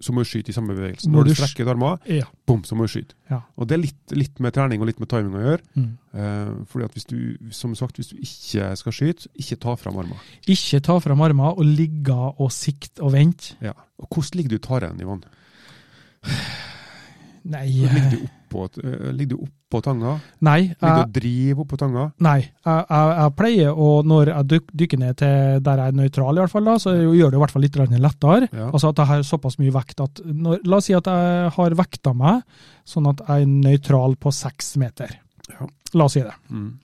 [SPEAKER 2] så må du skyte i samme bevegelse.
[SPEAKER 1] Må
[SPEAKER 2] Når du
[SPEAKER 1] du sk-
[SPEAKER 2] strekker ut armene,
[SPEAKER 1] Ja.
[SPEAKER 2] bom, så må du skyte.
[SPEAKER 1] Ja.
[SPEAKER 2] Og det er litt, litt med trening og litt med timing å gjøre.
[SPEAKER 1] Mm.
[SPEAKER 2] Eh, fordi at hvis du, som sagt, hvis du ikke skal skyte, ikke ta frem armene.
[SPEAKER 1] Ikke ta fram armene og ligge og sikte og vente.
[SPEAKER 2] Ja. Og hvordan ligger du i taren, Ivan?
[SPEAKER 1] Nei,
[SPEAKER 2] Ligger
[SPEAKER 1] eh,
[SPEAKER 2] du oppå, eh, ligger du oppå tanga?
[SPEAKER 1] nei.
[SPEAKER 2] Ligger
[SPEAKER 1] Jeg,
[SPEAKER 2] du og driver oppå tanga?
[SPEAKER 1] Nei, jeg, jeg, jeg pleier å, når jeg dyk, dykker ned til der jeg er nøytral, i hvert fall, da, så gjør det i hvert fall litt grann lettere.
[SPEAKER 2] Ja.
[SPEAKER 1] Altså at jeg har såpass mye vekt at når, La oss si at jeg har vekta meg sånn at jeg er nøytral på seks meter.
[SPEAKER 2] Ja.
[SPEAKER 1] La oss si det.
[SPEAKER 2] Mm.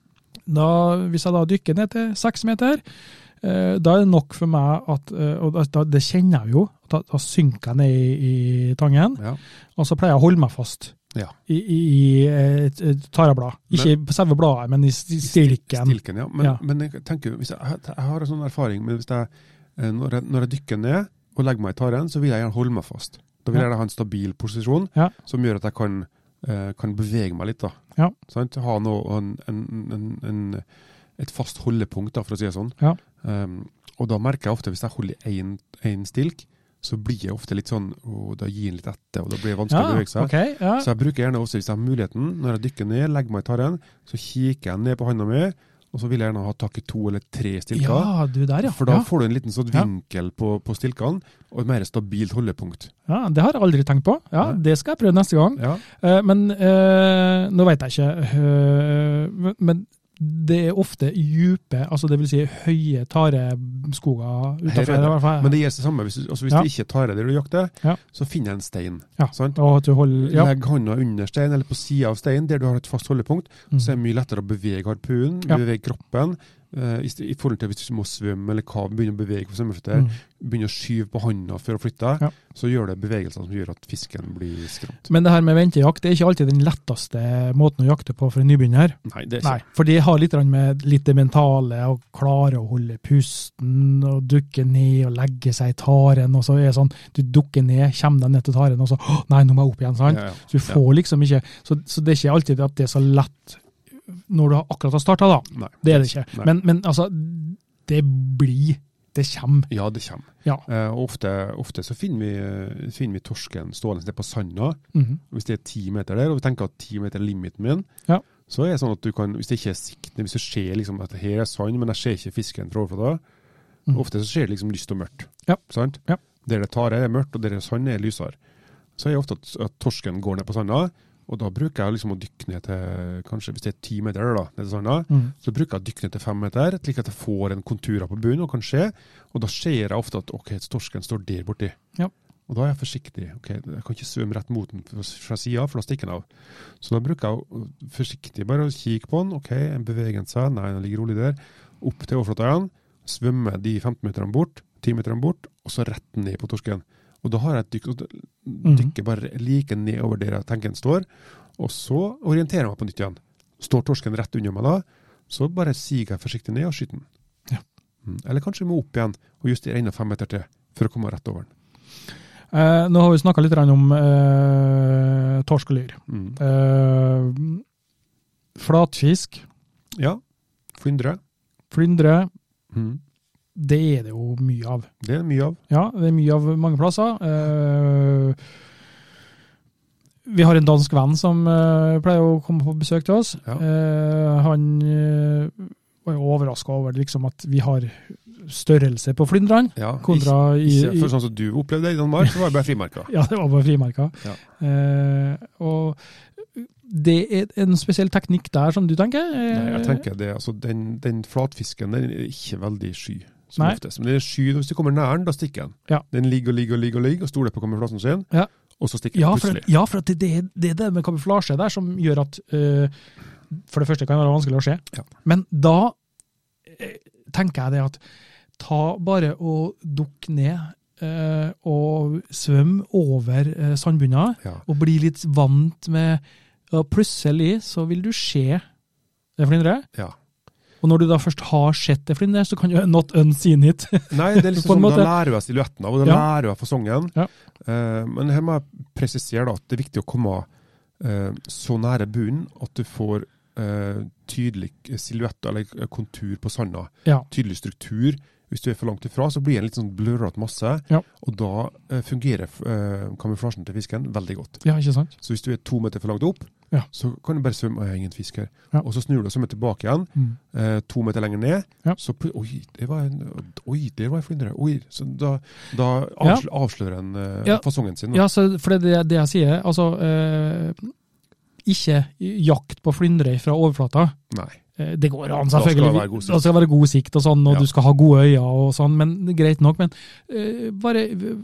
[SPEAKER 1] Da, hvis jeg da dykker ned til seks meter, eh, da er det nok for meg at eh, Og da, da, det kjenner jeg jo. at Da, da synker jeg ned i, i tangen,
[SPEAKER 2] Ja.
[SPEAKER 1] og så pleier jeg å holde meg fast.
[SPEAKER 2] Ja.
[SPEAKER 1] I, i, i et, et tareblad. Ikke på selve bladet, men i sti- stilken.
[SPEAKER 2] Stilken, ja. Men,
[SPEAKER 1] Ja.
[SPEAKER 2] men jeg tenker, hvis jeg, jeg har en sånn erfaring men hvis jeg, eh, når, jeg, når jeg dykker ned og legger meg i taren, så vil jeg gjerne holde meg fast. Da vil
[SPEAKER 1] Ja.
[SPEAKER 2] jeg gjerne ha en stabil posisjon
[SPEAKER 1] Ja.
[SPEAKER 2] som gjør at jeg kan, eh, kan bevege meg litt. da.
[SPEAKER 1] Ja.
[SPEAKER 2] Sant? Ha noe, og en, en, en, en, et fast holdepunkt, da, for å si det sånn.
[SPEAKER 1] Ja.
[SPEAKER 2] Um, og da merker jeg ofte, hvis jeg holder i én stilk, så blir jeg ofte litt sånn å, Da gir den litt etter, og da blir det vanskelig å bevege seg.
[SPEAKER 1] ok, ja.
[SPEAKER 2] Så jeg bruker gjerne også, hvis jeg har muligheten, når jeg dykker ned, legger meg i tarren, så kikker jeg ned på handa mi, og så vil jeg gjerne ha tak i to eller tre stilker.
[SPEAKER 1] ja, du der, ja.
[SPEAKER 2] For da
[SPEAKER 1] ja.
[SPEAKER 2] får du en liten sånn
[SPEAKER 1] Ja.
[SPEAKER 2] vinkel på, på stilkene, og et mer stabilt holdepunkt.
[SPEAKER 1] ja. Det har jeg aldri tenkt på. Ja,
[SPEAKER 2] Nei.
[SPEAKER 1] Det skal jeg prøve neste gang.
[SPEAKER 2] Ja.
[SPEAKER 1] Eh, men eh, nå vet jeg ikke eh, men- Men det er ofte dype, altså det vil si høye tareskoger
[SPEAKER 2] Her er
[SPEAKER 1] utenfor.
[SPEAKER 2] det.
[SPEAKER 1] i hvert fall.
[SPEAKER 2] Men det gjør seg samme. Hvis, du- altså hvis
[SPEAKER 1] Ja.
[SPEAKER 2] du ikke tar det der du jakter,
[SPEAKER 1] Ja.
[SPEAKER 2] så finner jeg en stein.
[SPEAKER 1] ja.
[SPEAKER 2] Sant?
[SPEAKER 1] Og at du holder ja.
[SPEAKER 2] Legg handa under steinen, eller på sida av steinen, der du har et fast holdepunkt. Så er
[SPEAKER 1] Mm.
[SPEAKER 2] det mye lettere å bevege harpunen,
[SPEAKER 1] Ja.
[SPEAKER 2] bevege kroppen, eh, i, st- i forhold til hvis du må svømme eller hva, begynne å bevege på svømmeføtter.
[SPEAKER 1] Mm.
[SPEAKER 2] begynner å skyve på hånda for å flytte,
[SPEAKER 1] Ja.
[SPEAKER 2] så gjør det bevegelser som gjør at fisken blir skremt.
[SPEAKER 1] Men det her med ventejakt det er ikke alltid den letteste måten å jakte på for en nybegynner.
[SPEAKER 2] Nei, det
[SPEAKER 1] Nei, For det har litt grann med litt det mentale, å klare å holde pusten, og dukke ned og legge seg i taren. og så er det sånn, Du dukker ned, kommer deg ned til taren, og så «Åh, Nei, nå må jeg opp igjen. sant?
[SPEAKER 2] Ja, ja.
[SPEAKER 1] Så du får liksom ikke, så, så det er ikke alltid at det er så lett når du har akkurat har starta, da.
[SPEAKER 2] Nei.
[SPEAKER 1] Det er det ikke.
[SPEAKER 2] Nei.
[SPEAKER 1] Men, men altså, det blir Det kommer.
[SPEAKER 2] Ja, det kommer.
[SPEAKER 1] Ja.
[SPEAKER 2] Eh, og ofte, ofte så finner vi, eh, finner vi torsken stående nede på sanda,
[SPEAKER 1] Mhm.
[SPEAKER 2] hvis det er ti meter der, og vi tenker at ti meter er limiten min,
[SPEAKER 1] Ja.
[SPEAKER 2] Så er det sånn at du kan, hvis det ikke er sikten, hvis du ser liksom at her er sand, men jeg ser ikke fisken fra overflata,
[SPEAKER 1] Mm.
[SPEAKER 2] ofte så ser det liksom lyst og mørkt.
[SPEAKER 1] Ja.
[SPEAKER 2] Sant?
[SPEAKER 1] Ja.
[SPEAKER 2] Der det tar er mørkt, og der det er sand er lysere. Så er det ofte at, at torsken går ned på sanda, og da bruker jeg liksom å dykke ned til kanskje hvis det er ti meter da, ned til sanda,
[SPEAKER 1] Mm.
[SPEAKER 2] så bruker jeg å dykke ned til fem meter, slik at jeg får en konturer på bunnen, og kan se. Og da ser jeg ofte at ok, torsken står der borti.
[SPEAKER 1] Ja.
[SPEAKER 2] Og da er jeg forsiktig. Ok, Jeg kan ikke svømme rett mot den fra sida, for da stikker den av. Så da bruker jeg å- forsiktig bare å kikke på den. Ok, en bevegelse. Nei, den ligger rolig der. Opp til overflata igjen. Svømme de 15 meterne bort, 10 meterne bort, og så rett ned på torsken. Og da har jeg et dykk, og da dykker bare like nedover der jeg tenker den står, og så orienterer jeg meg på nytt igjen. Står torsken rett under meg da, så bare siger jeg forsiktig ned og skyter den.
[SPEAKER 1] Ja.
[SPEAKER 2] Mm, Eller kanskje jeg må opp igjen og justere enda fem meter til for å komme rett over den.
[SPEAKER 1] Eh, nå har vi snakka litt grann om eh, torsk og lyr.
[SPEAKER 2] Mm.
[SPEAKER 1] Eh, flatfisk,
[SPEAKER 2] Ja, flyndre.
[SPEAKER 1] flyndre,
[SPEAKER 2] Mm.
[SPEAKER 1] det er det jo mye av.
[SPEAKER 2] Det er mye av.
[SPEAKER 1] Ja, det er mye av mange plasser. Eh, vi har en dansk venn som eh, pleier å komme på besøk til oss.
[SPEAKER 2] Ja.
[SPEAKER 1] Eh, han eh, var jo overraska over liksom, at vi har størrelse på flyndrene.
[SPEAKER 2] Ja,
[SPEAKER 1] Kontra i,
[SPEAKER 2] ikke, ikke
[SPEAKER 1] i
[SPEAKER 2] for sånn som du opplevde det i Danmark, så var det bare frimerker.
[SPEAKER 1] Ja, det var bare frimerker.
[SPEAKER 2] Ja.
[SPEAKER 1] Eh, og det er en spesiell teknikk der, som du tenker? Eh,
[SPEAKER 2] Nei, jeg tenker det, altså den, den flatfisken den er ikke veldig sky, som
[SPEAKER 1] Nei.
[SPEAKER 2] oftest. Men den er sky hvis du kommer nær den, da stikker den.
[SPEAKER 1] Ja.
[SPEAKER 2] Den ligger og ligger og ligger og ligger, og stoler på kommer plassen sin,
[SPEAKER 1] Ja.
[SPEAKER 2] og så stikker den
[SPEAKER 1] Ja, for,
[SPEAKER 2] plutselig.
[SPEAKER 1] ja, for at det, det, det er det med kamuflasje der som gjør at eh, For det første kan det være vanskelig å se,
[SPEAKER 2] Ja.
[SPEAKER 1] men da eh, tenker jeg det at ta bare og dukk ned eh, og svøm over uh, sandbunnen
[SPEAKER 2] Ja.
[SPEAKER 1] og bli litt vant med og Plutselig så vil du se det flyndret.
[SPEAKER 2] Ja.
[SPEAKER 1] Og når du da først har sett det flyndret, så kan du not unseen it.
[SPEAKER 2] Nei, det er liksom
[SPEAKER 1] På en
[SPEAKER 2] sånn, da
[SPEAKER 1] måte.
[SPEAKER 2] lærer jeg silhuetten av, og da
[SPEAKER 1] Ja.
[SPEAKER 2] lærer jeg fasongen.
[SPEAKER 1] Ja.
[SPEAKER 2] Eh, men her må jeg presisere da, at det er viktig å komme eh, så nære bunnen at du får eh, tydelig silhuett eller eh, kontur på sanda.
[SPEAKER 1] Ja.
[SPEAKER 2] Tydelig struktur. Hvis du er for langt ifra, så blir det en litt sånn blurrete masse,
[SPEAKER 1] Ja.
[SPEAKER 2] og da eh, fungerer eh, kamuflasjen til fisken veldig godt.
[SPEAKER 1] ja, ikke sant?
[SPEAKER 2] Så hvis du er to meter for langt opp,
[SPEAKER 1] Ja.
[SPEAKER 2] så kan du bare svømme «Å, jeg er ingen fisk her.
[SPEAKER 1] Ja.
[SPEAKER 2] Og så snur du og svømmer tilbake igjen,
[SPEAKER 1] Mm.
[SPEAKER 2] eh, to meter lenger ned.
[SPEAKER 1] Ja.
[SPEAKER 2] Så plut- oi, det var en Oi, der var en flyndre. Oi. Så da, da avslører, avslører en eh,
[SPEAKER 1] Ja.
[SPEAKER 2] fasongen sin. da.
[SPEAKER 1] Ja, så for det, er det jeg sier, altså eh, Ikke jakt på flyndre fra overflata.
[SPEAKER 2] Nei.
[SPEAKER 1] Eh, Det går an,
[SPEAKER 2] Da skal
[SPEAKER 1] selvfølgelig.
[SPEAKER 2] det være god sikt.
[SPEAKER 1] Da skal det være god sikt og sånn, og
[SPEAKER 2] Ja.
[SPEAKER 1] du skal ha gode øyne og sånn, men det er greit nok. Men eh, bare eh,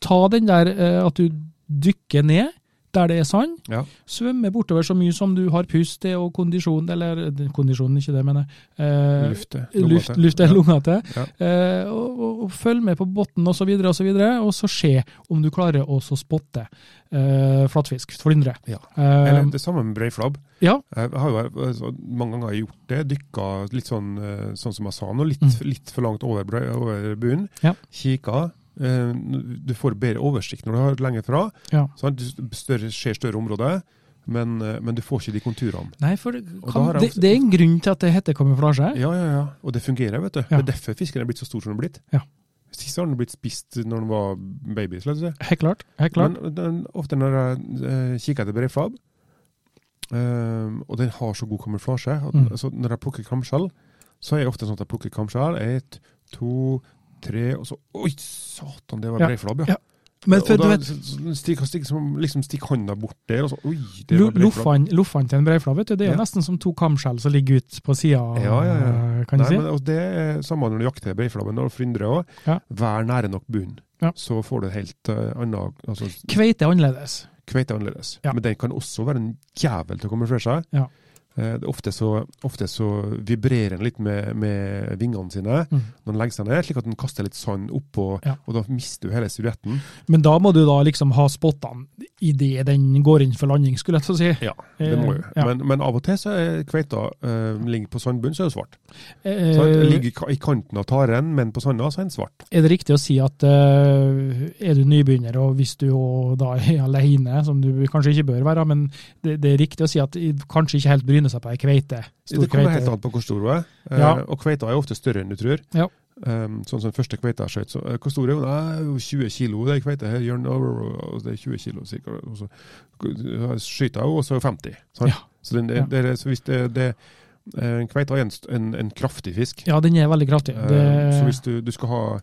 [SPEAKER 1] ta den der eh, at du dykker ned der det er sand,
[SPEAKER 2] Ja.
[SPEAKER 1] svømme bortover så mye som du har pust til og kondisjon, eller eh, kondisjon, ikke det, mener jeg. Eh,
[SPEAKER 2] Lufte.
[SPEAKER 1] Luft,
[SPEAKER 2] lommete.
[SPEAKER 1] luft er lunga til.
[SPEAKER 2] Ja.
[SPEAKER 1] Eh, og, og, og følg med på bunnen osv., og, så videre, og så se om du klarer å så spotte eh, flatfisk, flyndre.
[SPEAKER 2] Ja.
[SPEAKER 1] Eh,
[SPEAKER 2] Eller det samme med breiflabb.
[SPEAKER 1] ja,
[SPEAKER 2] Jeg har jo eh, så mange ganger gjort det. Dykka litt sånn, eh, sånn som jeg sa nå, litt,
[SPEAKER 1] Mm.
[SPEAKER 2] litt for langt over, brei- over bunnen.
[SPEAKER 1] Ja.
[SPEAKER 2] Kikka. eh, Du får bedre oversikt når du har lenge fra.
[SPEAKER 1] Ja.
[SPEAKER 2] Sant? Du større, ser større områder, men, eh, men du får ikke de konturene.
[SPEAKER 1] Nei, for det,
[SPEAKER 2] Og da
[SPEAKER 1] kan,
[SPEAKER 2] har jeg
[SPEAKER 1] det,
[SPEAKER 2] også-
[SPEAKER 1] det er en grunn til at det heter kamuflasje.
[SPEAKER 2] Ja, ja, ja. Og det fungerer, vet du.
[SPEAKER 1] Ja.
[SPEAKER 2] Det er derfor fisken er blitt så stor som den er blitt.
[SPEAKER 1] Ja.
[SPEAKER 2] Hvis ikke så har den blitt spist når den var baby. slett og slett.
[SPEAKER 1] Helt klart. Helt klart.
[SPEAKER 2] Men eh, den, ofte når jeg eh, kikker etter breiflabb, eh, og den har så god kamuflasje at,
[SPEAKER 1] Mm.
[SPEAKER 2] altså, Når jeg plukker kamskjell, så er det ofte sånn at jeg plukker kamskjell. Ett, to, tre, og så Oi, satan, det var
[SPEAKER 1] Ja.
[SPEAKER 2] breiflabb,
[SPEAKER 1] Ja,
[SPEAKER 2] ja.
[SPEAKER 1] Men, for,
[SPEAKER 2] og
[SPEAKER 1] du
[SPEAKER 2] da
[SPEAKER 1] vet,
[SPEAKER 2] stikker stikk, stikk, som- liksom stikk hånda bort der, og så Oi, det
[SPEAKER 1] lo-
[SPEAKER 2] var breiflabb.
[SPEAKER 1] loffene loffene til en breiflabb, vet du, det er jo
[SPEAKER 2] Ja.
[SPEAKER 1] nesten som to kamskjell som ligger ut på sida,
[SPEAKER 2] Ja, ja, ja.
[SPEAKER 1] kan du
[SPEAKER 2] Nei,
[SPEAKER 1] si.
[SPEAKER 2] men, og det er samme når du jakter breiflabben og flyndre òg.
[SPEAKER 1] Ja.
[SPEAKER 2] Vær nære nok bunnen,
[SPEAKER 1] Ja.
[SPEAKER 2] så får du et helt eh, annet altså,
[SPEAKER 1] Kveite er annerledes.
[SPEAKER 2] Kveite er annerledes.
[SPEAKER 1] Ja.
[SPEAKER 2] Men den kan også være en jævel til å kamuflere seg.
[SPEAKER 1] Ja.
[SPEAKER 2] Eh, det er ofte, så, ofte så vibrerer den litt med, med vingene sine
[SPEAKER 1] Mm.
[SPEAKER 2] når den legger seg ned, slik at den kaster litt sand oppå,
[SPEAKER 1] Ja.
[SPEAKER 2] og da mister du hele silhuetten.
[SPEAKER 1] Men da må du da liksom ha spottene idet den går inn for landing, skulle jeg til å si. Eh,
[SPEAKER 2] Ja, det må jo.
[SPEAKER 1] Ja.
[SPEAKER 2] Men, men av og til så er kveita eh, ligger på sandbunnen, så er det svart.
[SPEAKER 1] Eh,
[SPEAKER 2] Så den ligger i ka- i kanten av taren, men på sanda så er den svart.
[SPEAKER 1] Er det riktig å si at eh, er du nybegynner, og hvis du jo da er alene, som du kanskje ikke bør være, men det, det er riktig å si at i- kanskje ikke helt bryne seg på ei kveite? Stor
[SPEAKER 2] det kommer helt
[SPEAKER 1] kveite.
[SPEAKER 2] an på hvor stor hun er. Eh,
[SPEAKER 1] Ja.
[SPEAKER 2] Og kveita er ofte større enn du tror.
[SPEAKER 1] Ja.
[SPEAKER 2] Um, sånn som den første kveita jeg skjøt. så, eh, Hvor stor er hun? Nei, hun er 20 kilo, det er kveita her. Gjør den over, eh, og Det er 20 kilo, sikkert. Og så skyter jeg henne, og så er hun 50. sant?
[SPEAKER 1] Ja.
[SPEAKER 2] Så, den,
[SPEAKER 1] Ja.
[SPEAKER 2] det, er- så hvis det, det eh, en kveite er en, st- en, en kraftig fisk.
[SPEAKER 1] Ja, den er veldig kraftig.
[SPEAKER 2] Eh,
[SPEAKER 1] Det,
[SPEAKER 2] Så hvis du, du skal ha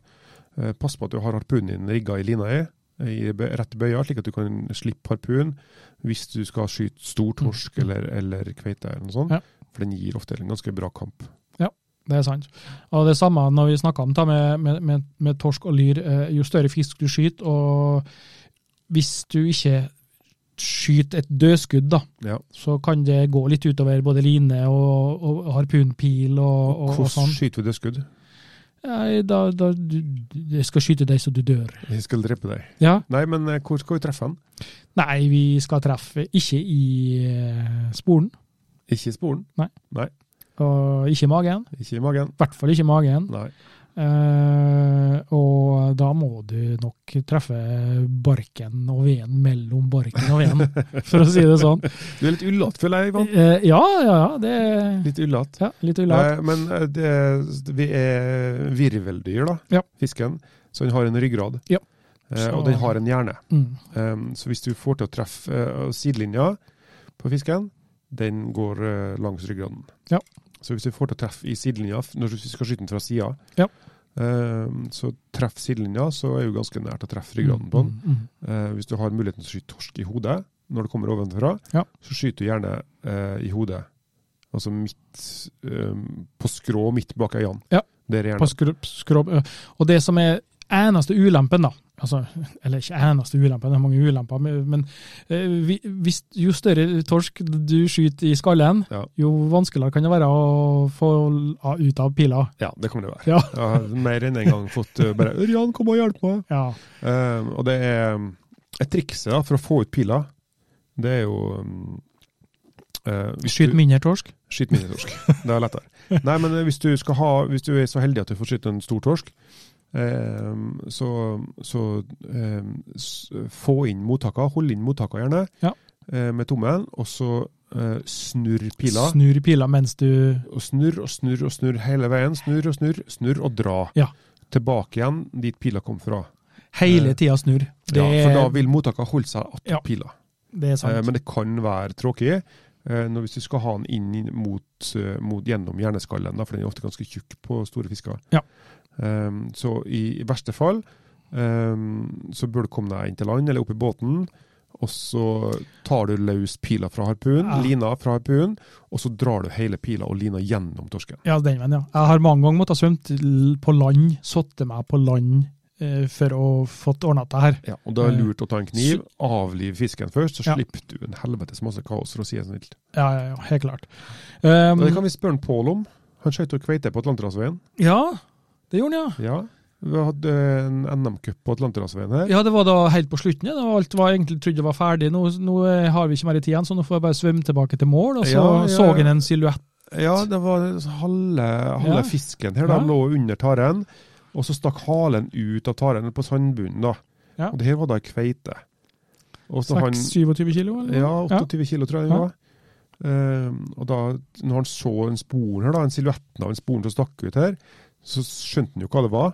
[SPEAKER 2] eh, Pass på at du har harpunen din rigga i lina i, i bø- rett bøya, slik at du kan slippe harpunen hvis du skal skyte stor torsk
[SPEAKER 1] Mm.
[SPEAKER 2] eller, eller kveite eller noe sånt.
[SPEAKER 1] Ja.
[SPEAKER 2] For den gir ofte en ganske bra kamp.
[SPEAKER 1] det er sant. Og det samme når vi snakka om det med, med, med, med torsk og lyr. eh, Jo større fisk du skyter, og hvis du ikke skyter et dødskudd, da,
[SPEAKER 2] Ja.
[SPEAKER 1] så kan det gå litt utover både line og, og harpunpil og, og, og
[SPEAKER 2] Hvordan
[SPEAKER 1] sånn.
[SPEAKER 2] skyter vi dødskudd?
[SPEAKER 1] Nei, da, da du, Jeg skal skyte deg så du dør.
[SPEAKER 2] Jeg skal drepe deg.
[SPEAKER 1] Ja.
[SPEAKER 2] Nei, men eh, hvor skal vi treffe han?
[SPEAKER 1] Nei, vi skal treffe ikke i eh, sporen,
[SPEAKER 2] Ikke i sporen,
[SPEAKER 1] og ikke i magen.
[SPEAKER 2] ikke i magen.
[SPEAKER 1] I hvert fall ikke i magen.
[SPEAKER 2] Nei.
[SPEAKER 1] Eh, og da må du nok treffe barken og veden mellom barken og veden, for å si det sånn.
[SPEAKER 2] Du er litt ullete, føler jeg, Ivan.
[SPEAKER 1] Eh, ja, ja, ja. Det er
[SPEAKER 2] Litt ullete.
[SPEAKER 1] ja, litt ullart.
[SPEAKER 2] Eh, Men eh, det, vi er virveldyr, da,
[SPEAKER 1] Ja.
[SPEAKER 2] fisken. Så den har en ryggrad.
[SPEAKER 1] Ja.
[SPEAKER 2] Eh,
[SPEAKER 1] Så-
[SPEAKER 2] og den har en hjerne.
[SPEAKER 1] Mm.
[SPEAKER 2] Um, så hvis du får til å treffe eh, sidelinja på fisken, den går eh, langs ryggraden.
[SPEAKER 1] Ja.
[SPEAKER 2] Så hvis du får til å treffe i sidelinja, f- når du skal skyte den fra sida,
[SPEAKER 1] Ja.
[SPEAKER 2] um, så treff sidelinja, så er du ganske nær til å treffe ryggraden på den.
[SPEAKER 1] Mm, mm.
[SPEAKER 2] Eh, hvis du har muligheten til å skyte torsk i hodet når det kommer ovenfra,
[SPEAKER 1] Ja.
[SPEAKER 2] så skyter du gjerne eh, i hodet. Altså midt eh, på skrå midt bak øynene.
[SPEAKER 1] Ja.
[SPEAKER 2] Der er
[SPEAKER 1] på
[SPEAKER 2] gjerne.
[SPEAKER 1] skrubb, skrubb. ø. Og det som er eneste ulempen, da altså, Eller ikke eneste ulempen, det er mange ulemper, men men, ø, vi- hvis, jo større torsk du skyter i skallen,
[SPEAKER 2] Ja.
[SPEAKER 1] jo vanskeligere kan det være å få a- ut av pila.
[SPEAKER 2] Ja, det kommer det å være.
[SPEAKER 1] Ja.
[SPEAKER 2] Jeg har mer enn en gang fått eh, bare 'Ørjan, kom og hjelp meg'.
[SPEAKER 1] Ja,
[SPEAKER 2] Eh, og det er um, et triks da, for å få ut pila. Det er jo um, eh, hvis
[SPEAKER 1] Skyt
[SPEAKER 2] du-
[SPEAKER 1] mindre torsk.
[SPEAKER 2] Skyt mindre torsk. Det er lettere. Nei, men eh, hvis du, skal ha, hvis du er så heldig at du får skyte en stor torsk, eh, så, så eh, s- få inn mottaker, hold inn mottaker gjerne
[SPEAKER 1] Ja.
[SPEAKER 2] eh, med tommelen, og så eh, snurr pila.
[SPEAKER 1] Snur pila mens du
[SPEAKER 2] Og snurr og snurr og snurr hele veien. Snurr og snurr, snurr og dra.
[SPEAKER 1] Ja.
[SPEAKER 2] Tilbake igjen dit pila kom fra.
[SPEAKER 1] Hele
[SPEAKER 2] Eh,
[SPEAKER 1] tida snur. Det,
[SPEAKER 2] ja, for da vil mottaker holde seg att
[SPEAKER 1] Ja.
[SPEAKER 2] pila.
[SPEAKER 1] det er
[SPEAKER 2] Eh,
[SPEAKER 1] sant.
[SPEAKER 2] Men det kan være tråkig. eh, Når hvis du skal ha den inn i- mot, eh, mot gjennom hjerneskallen, da, for den er ofte ganske tjukk på store fisker.
[SPEAKER 1] Ja.
[SPEAKER 2] Eh, Så i, i verste fall eh, så bør du komme deg inn til land eller opp i båten, og så tar du løs pila fra harpunen,
[SPEAKER 1] Ja.
[SPEAKER 2] lina fra harpunen, og så drar du hele pila og lina gjennom torsken.
[SPEAKER 1] Ja, den veien, ja. Jeg har mange ganger måttet svømme på land, satte meg på land eh, for å få ordna det her.
[SPEAKER 2] Ja, og da er det lurt å ta en kniv,
[SPEAKER 1] Eh, Så-
[SPEAKER 2] avlive fisken først, så
[SPEAKER 1] Ja.
[SPEAKER 2] slipper du en helvetes masse kaos, for å si det sånn snilt.
[SPEAKER 1] Ja, ja, ja, helt klart. Um,
[SPEAKER 2] Og det kan vi spørre en Pål om. Han skøyt og kveite på Atlanterhavsveien.
[SPEAKER 1] Ja, det gjorde han, ja.
[SPEAKER 2] Ja, vi hadde en NM-cup på Atlanterhavsveien her.
[SPEAKER 1] Ja, det var da helt på slutten. Ja. Det var alt var egentlig trodde var ferdig. Nå, nå eh, har vi ikke mer tid igjen, så nå får jeg bare svømme tilbake til mål. Og så
[SPEAKER 2] Ja, ja,
[SPEAKER 1] så
[SPEAKER 2] ja.
[SPEAKER 1] han en silhuett.
[SPEAKER 2] Ja, det var halve, halve
[SPEAKER 1] Ja.
[SPEAKER 2] fisken her. Da
[SPEAKER 1] Ja.
[SPEAKER 2] lå under taren, og så stakk halen ut av taren på sandbunnen. da.
[SPEAKER 1] Ja.
[SPEAKER 2] Og det her var da ei kveite. Og så han,
[SPEAKER 1] 6-27 kilo, eller?
[SPEAKER 2] ja, 28 kilo, tror jeg det
[SPEAKER 1] Ja.
[SPEAKER 2] var. Ehm, og da, når han så den sporen her, da, en silhuetten av en sporen som stakk ut her, så skjønte han jo hva det var.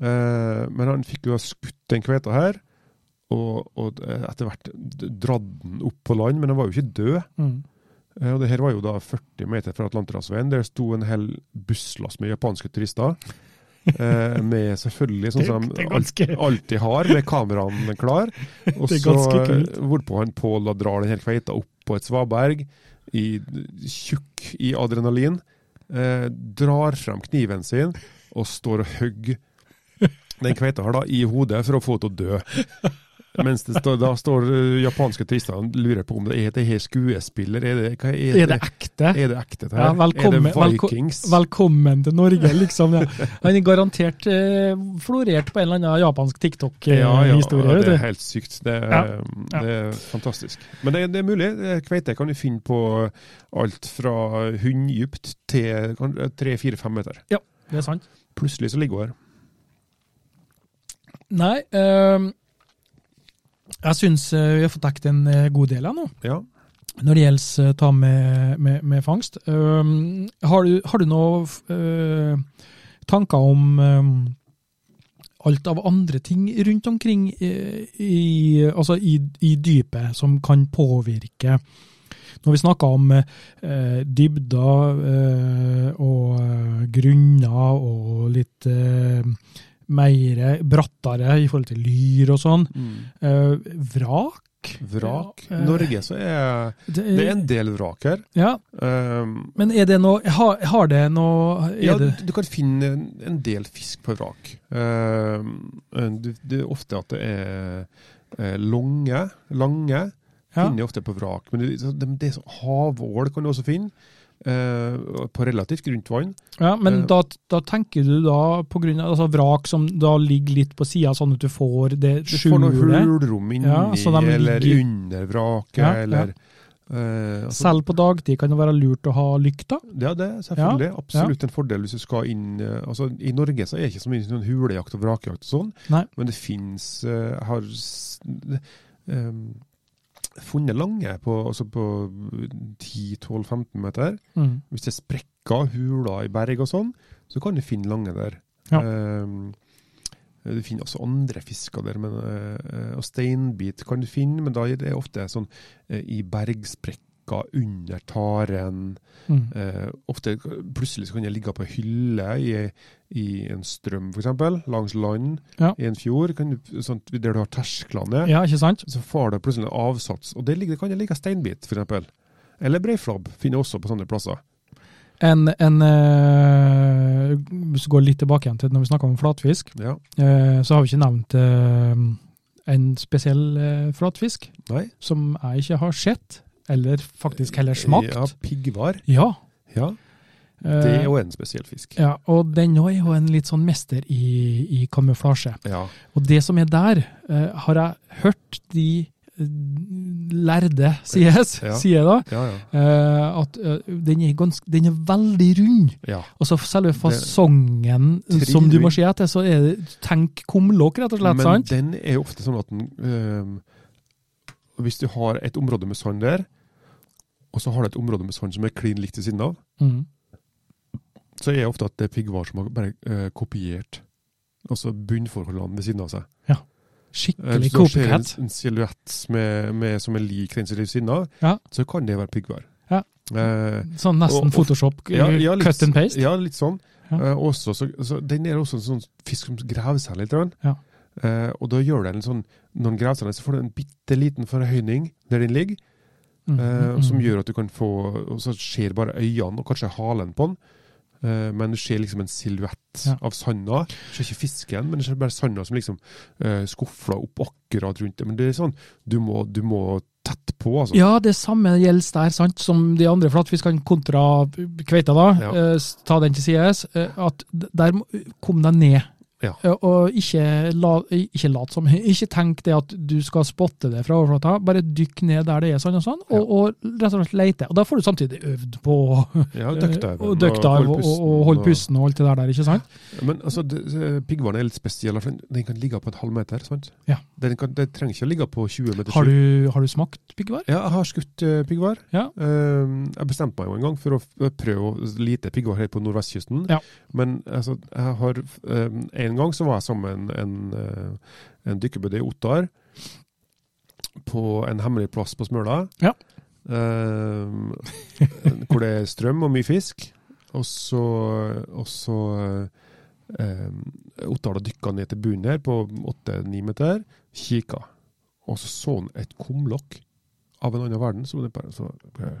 [SPEAKER 2] Eh, men han fikk jo da skutt den kveita her, og, og eh, etter hvert dratt den opp på land, men den var jo ikke død.
[SPEAKER 1] Mm.
[SPEAKER 2] Eh, Og det her var jo da 40 meter fra Atlanterhavsveien. Der sto en hel busslass med japanske turister. Eh, med selvfølgelig, sånn som
[SPEAKER 1] Det
[SPEAKER 2] de
[SPEAKER 1] er
[SPEAKER 2] alt-
[SPEAKER 1] ganske-
[SPEAKER 2] alltid har, med kameraene klar. Og
[SPEAKER 1] Det er
[SPEAKER 2] så
[SPEAKER 1] ganske
[SPEAKER 2] eh,
[SPEAKER 1] kult.
[SPEAKER 2] hvorpå han Pål da drar den her kveita opp på et svaberg, i, tjukk i adrenalin, eh, drar frem kniven sin og står og hogger den kveita her da i hodet for å få henne til å dø. Mens det står, da står eh, japanske turister og lurer på om det er det her skuespiller, er det, hva er det,
[SPEAKER 1] Er det ekte?
[SPEAKER 2] er det ekte det her?
[SPEAKER 1] Ja, velkommen-
[SPEAKER 2] er det Vikings?
[SPEAKER 1] Velkommen til Norge, liksom. Ja. Han er garantert eh, florert på en eller annen japansk
[SPEAKER 2] ja, ja,
[SPEAKER 1] TikTok-historie.
[SPEAKER 2] det
[SPEAKER 1] vet
[SPEAKER 2] er
[SPEAKER 1] du.
[SPEAKER 2] helt sykt. Det er,
[SPEAKER 1] Ja, ja.
[SPEAKER 2] Det er fantastisk. Men det, er- det er mulig. Eh, Kveite kan du finne på alt fra hunddypt til eh, tre-fire-fem meter.
[SPEAKER 1] det er sant.
[SPEAKER 2] Plutselig så ligger hun her.
[SPEAKER 1] Nei, ehm, jeg syns eh, vi har fått dekket en eh, god del av nå.
[SPEAKER 2] Ja.
[SPEAKER 1] Når det gjelder eh, ta med, med, med fangst, øhm, har du, har du noen tanker om øhm, alt av andre ting rundt omkring eh, i, altså i, i dypet som kan påvirke Når vi snakker om eh, dybder eh, og eh, grunner og litt eh, meire, brattere i forhold til lyr og sånn. Eh, vrak?
[SPEAKER 2] Vrak.
[SPEAKER 1] Ja, eh,
[SPEAKER 2] Norge, så er
[SPEAKER 1] Det,
[SPEAKER 2] det er en del vrak her.
[SPEAKER 1] Ja,
[SPEAKER 2] Um,
[SPEAKER 1] men er det noe Har, har det noe er
[SPEAKER 2] ja,
[SPEAKER 1] det,
[SPEAKER 2] du du kan finne en, en del fisk på vrak. Um, det, det er ofte at det er eh, lange. Lange
[SPEAKER 1] ja.
[SPEAKER 2] finner jeg ofte på vrak. Men det, så de- det er så, havål kan du også finne. eh, på relativt grunt vann.
[SPEAKER 1] ja, men
[SPEAKER 2] eh,
[SPEAKER 1] da, da tenker du da på grunn av altså vrak som da ligger litt på sida, sånn at du får det
[SPEAKER 2] Du får noen
[SPEAKER 1] skjulet?
[SPEAKER 2] hulrom inni
[SPEAKER 1] Ja, så de
[SPEAKER 2] eller
[SPEAKER 1] ligger-
[SPEAKER 2] under vraket.
[SPEAKER 1] Ja, ja.
[SPEAKER 2] eller, eh, altså-
[SPEAKER 1] Selv på dagtid kan det være lurt å ha lykta?
[SPEAKER 2] Ja, det er selvfølgelig absolutt en fordel hvis du skal inn eh, altså I Norge så er det ikke så mye sånn hulejakt og vrakjakt og sånn,
[SPEAKER 1] Nei.
[SPEAKER 2] men det fins Jeg har s- em, funnet lange på, altså på 10-12-15 meter.
[SPEAKER 1] Mm.
[SPEAKER 2] Hvis det er sprekker, huler i berg og sånn, så kan du finne lange der.
[SPEAKER 1] Ja.
[SPEAKER 2] Em, du finner også andre fisker der, men, eh, eh, og steinbit kan du finne, men da er det ofte sånn eh, i bergsprekker, under taren.
[SPEAKER 1] Mm.
[SPEAKER 2] Eh, ofte plutselig så kan jeg ligge på ei hylle i, i en strøm, f.eks., langs land,
[SPEAKER 1] Ja.
[SPEAKER 2] i en fjord, kan du, sånn, der du har tersklene.
[SPEAKER 1] Ja, ikke sant?
[SPEAKER 2] Så får du plutselig en avsats, og der ligger, kan det ligge steinbit, f.eks. Eller breiflabb, finner jeg også på sånne plasser.
[SPEAKER 1] En, en eh, Hvis du går litt tilbake igjen til når vi snakka om flatfisk,
[SPEAKER 2] Ja.
[SPEAKER 1] eh, så har vi ikke nevnt eh, en spesiell eh, flatfisk
[SPEAKER 2] Nei.
[SPEAKER 1] som jeg ikke har sett, eller faktisk heller smakt.
[SPEAKER 2] Ja, piggvar.
[SPEAKER 1] Ja.
[SPEAKER 2] Ja,
[SPEAKER 1] eh,
[SPEAKER 2] det er jo en spesiell fisk.
[SPEAKER 1] ja, og den nå er jo en litt sånn mester i, i kamuflasje.
[SPEAKER 2] Ja.
[SPEAKER 1] Og det som er der, eh, har jeg hørt de eh, lærde sies,
[SPEAKER 2] Ja.
[SPEAKER 1] sier da,
[SPEAKER 2] Ja, ja.
[SPEAKER 1] eh, at eh, den, er ganske, den er veldig rund.
[SPEAKER 2] ja.
[SPEAKER 1] Og så selve fasongen
[SPEAKER 2] Det-
[SPEAKER 1] som du må se etter, så er det Tenk kumlokk, rett og slett.
[SPEAKER 2] Men
[SPEAKER 1] sant?
[SPEAKER 2] den er jo ofte sånn at den, ehm, hvis du har et område med sand der, og så har du et område med sand som er klin likt ved siden av,
[SPEAKER 1] Mm.
[SPEAKER 2] så er det ofte at det er piggvar som har bare eh, kopiert altså bunnforholdene ved siden av seg. Eh,
[SPEAKER 1] Skikkelig
[SPEAKER 2] Hvis du ser en,
[SPEAKER 1] copycat.
[SPEAKER 2] en silhuett med, med, som er lik den som er ved siden av,
[SPEAKER 1] Ja.
[SPEAKER 2] så kan det være piggvar.
[SPEAKER 1] Ja.
[SPEAKER 2] Eh,
[SPEAKER 1] Sånn nesten
[SPEAKER 2] og- og-
[SPEAKER 1] Photoshop,
[SPEAKER 2] ja, ja, litt-
[SPEAKER 1] cut and paste.
[SPEAKER 2] Ja, litt sånn.
[SPEAKER 1] Ja.
[SPEAKER 2] Eh, også, så, så den er også en sånn fisk som graver seg litt. grann.
[SPEAKER 1] Ja.
[SPEAKER 2] Eh, og da gjør den en sånn, når den graver seg, ned, så får du en bitte liten forhøyning der den ligger,
[SPEAKER 1] Mm,
[SPEAKER 2] eh,
[SPEAKER 1] mm,
[SPEAKER 2] som
[SPEAKER 1] mm.
[SPEAKER 2] gjør at du kan få og Så ser bare øynene og kanskje halen på den, eh, men du ser liksom en silhuett
[SPEAKER 1] Ja.
[SPEAKER 2] av sanda. Du ser ikke fisken, men du ser bare sanda som liksom eh, skufla opp akkurat rundt det. Men det er sånn, du må, du må tett på, altså.
[SPEAKER 1] Ja, det samme gjelder der, sant, som de andre flatfiskene kontra kveita, da.
[SPEAKER 2] Ja.
[SPEAKER 1] Eh, s- ta den til sides. Eh, at d- der må- kom deg ned.
[SPEAKER 2] Ja.
[SPEAKER 1] Eh, og ikke, la, ikke lat som Ikke tenk det at du skal spotte det fra overflata, bare dykk ned der det er sånn og sånn, og, og rett og slett leite. Og da får du samtidig øvd på
[SPEAKER 2] Ja,
[SPEAKER 1] eh,
[SPEAKER 2] duckdive.
[SPEAKER 1] og duckdive og, og, og holde pusten og alt det der der, ikke sant?
[SPEAKER 2] Men altså, piggvaren er litt spesiell, for den- den kan ligge på en halv meter. sant?
[SPEAKER 1] Ja.
[SPEAKER 2] Den, kan, den trenger ikke å ligge på 20 meter. skyld.
[SPEAKER 1] Har du, har du smakt piggvar?
[SPEAKER 2] Ja, jeg har skutt uh, piggvar.
[SPEAKER 1] Ja.
[SPEAKER 2] Ehm, jeg bestemte meg jo en gang for å f- eh, prøve å lite piggvar her på nordvestkysten.
[SPEAKER 1] Ja.
[SPEAKER 2] Men altså, jeg har, ehm, en gang så var jeg sammen med en, en, eh, en dykkerbuddy i Ottar på en hemmelig plass på Smøla.
[SPEAKER 1] Ja.
[SPEAKER 2] Ehm, hvor det er strøm og mye fisk. Og så, og så eh, Ottar da dykka ned til bunnen her på åtte-ni meter, kikka. Og så så han et kumlokk av en annen verden. Så det bare, så, hva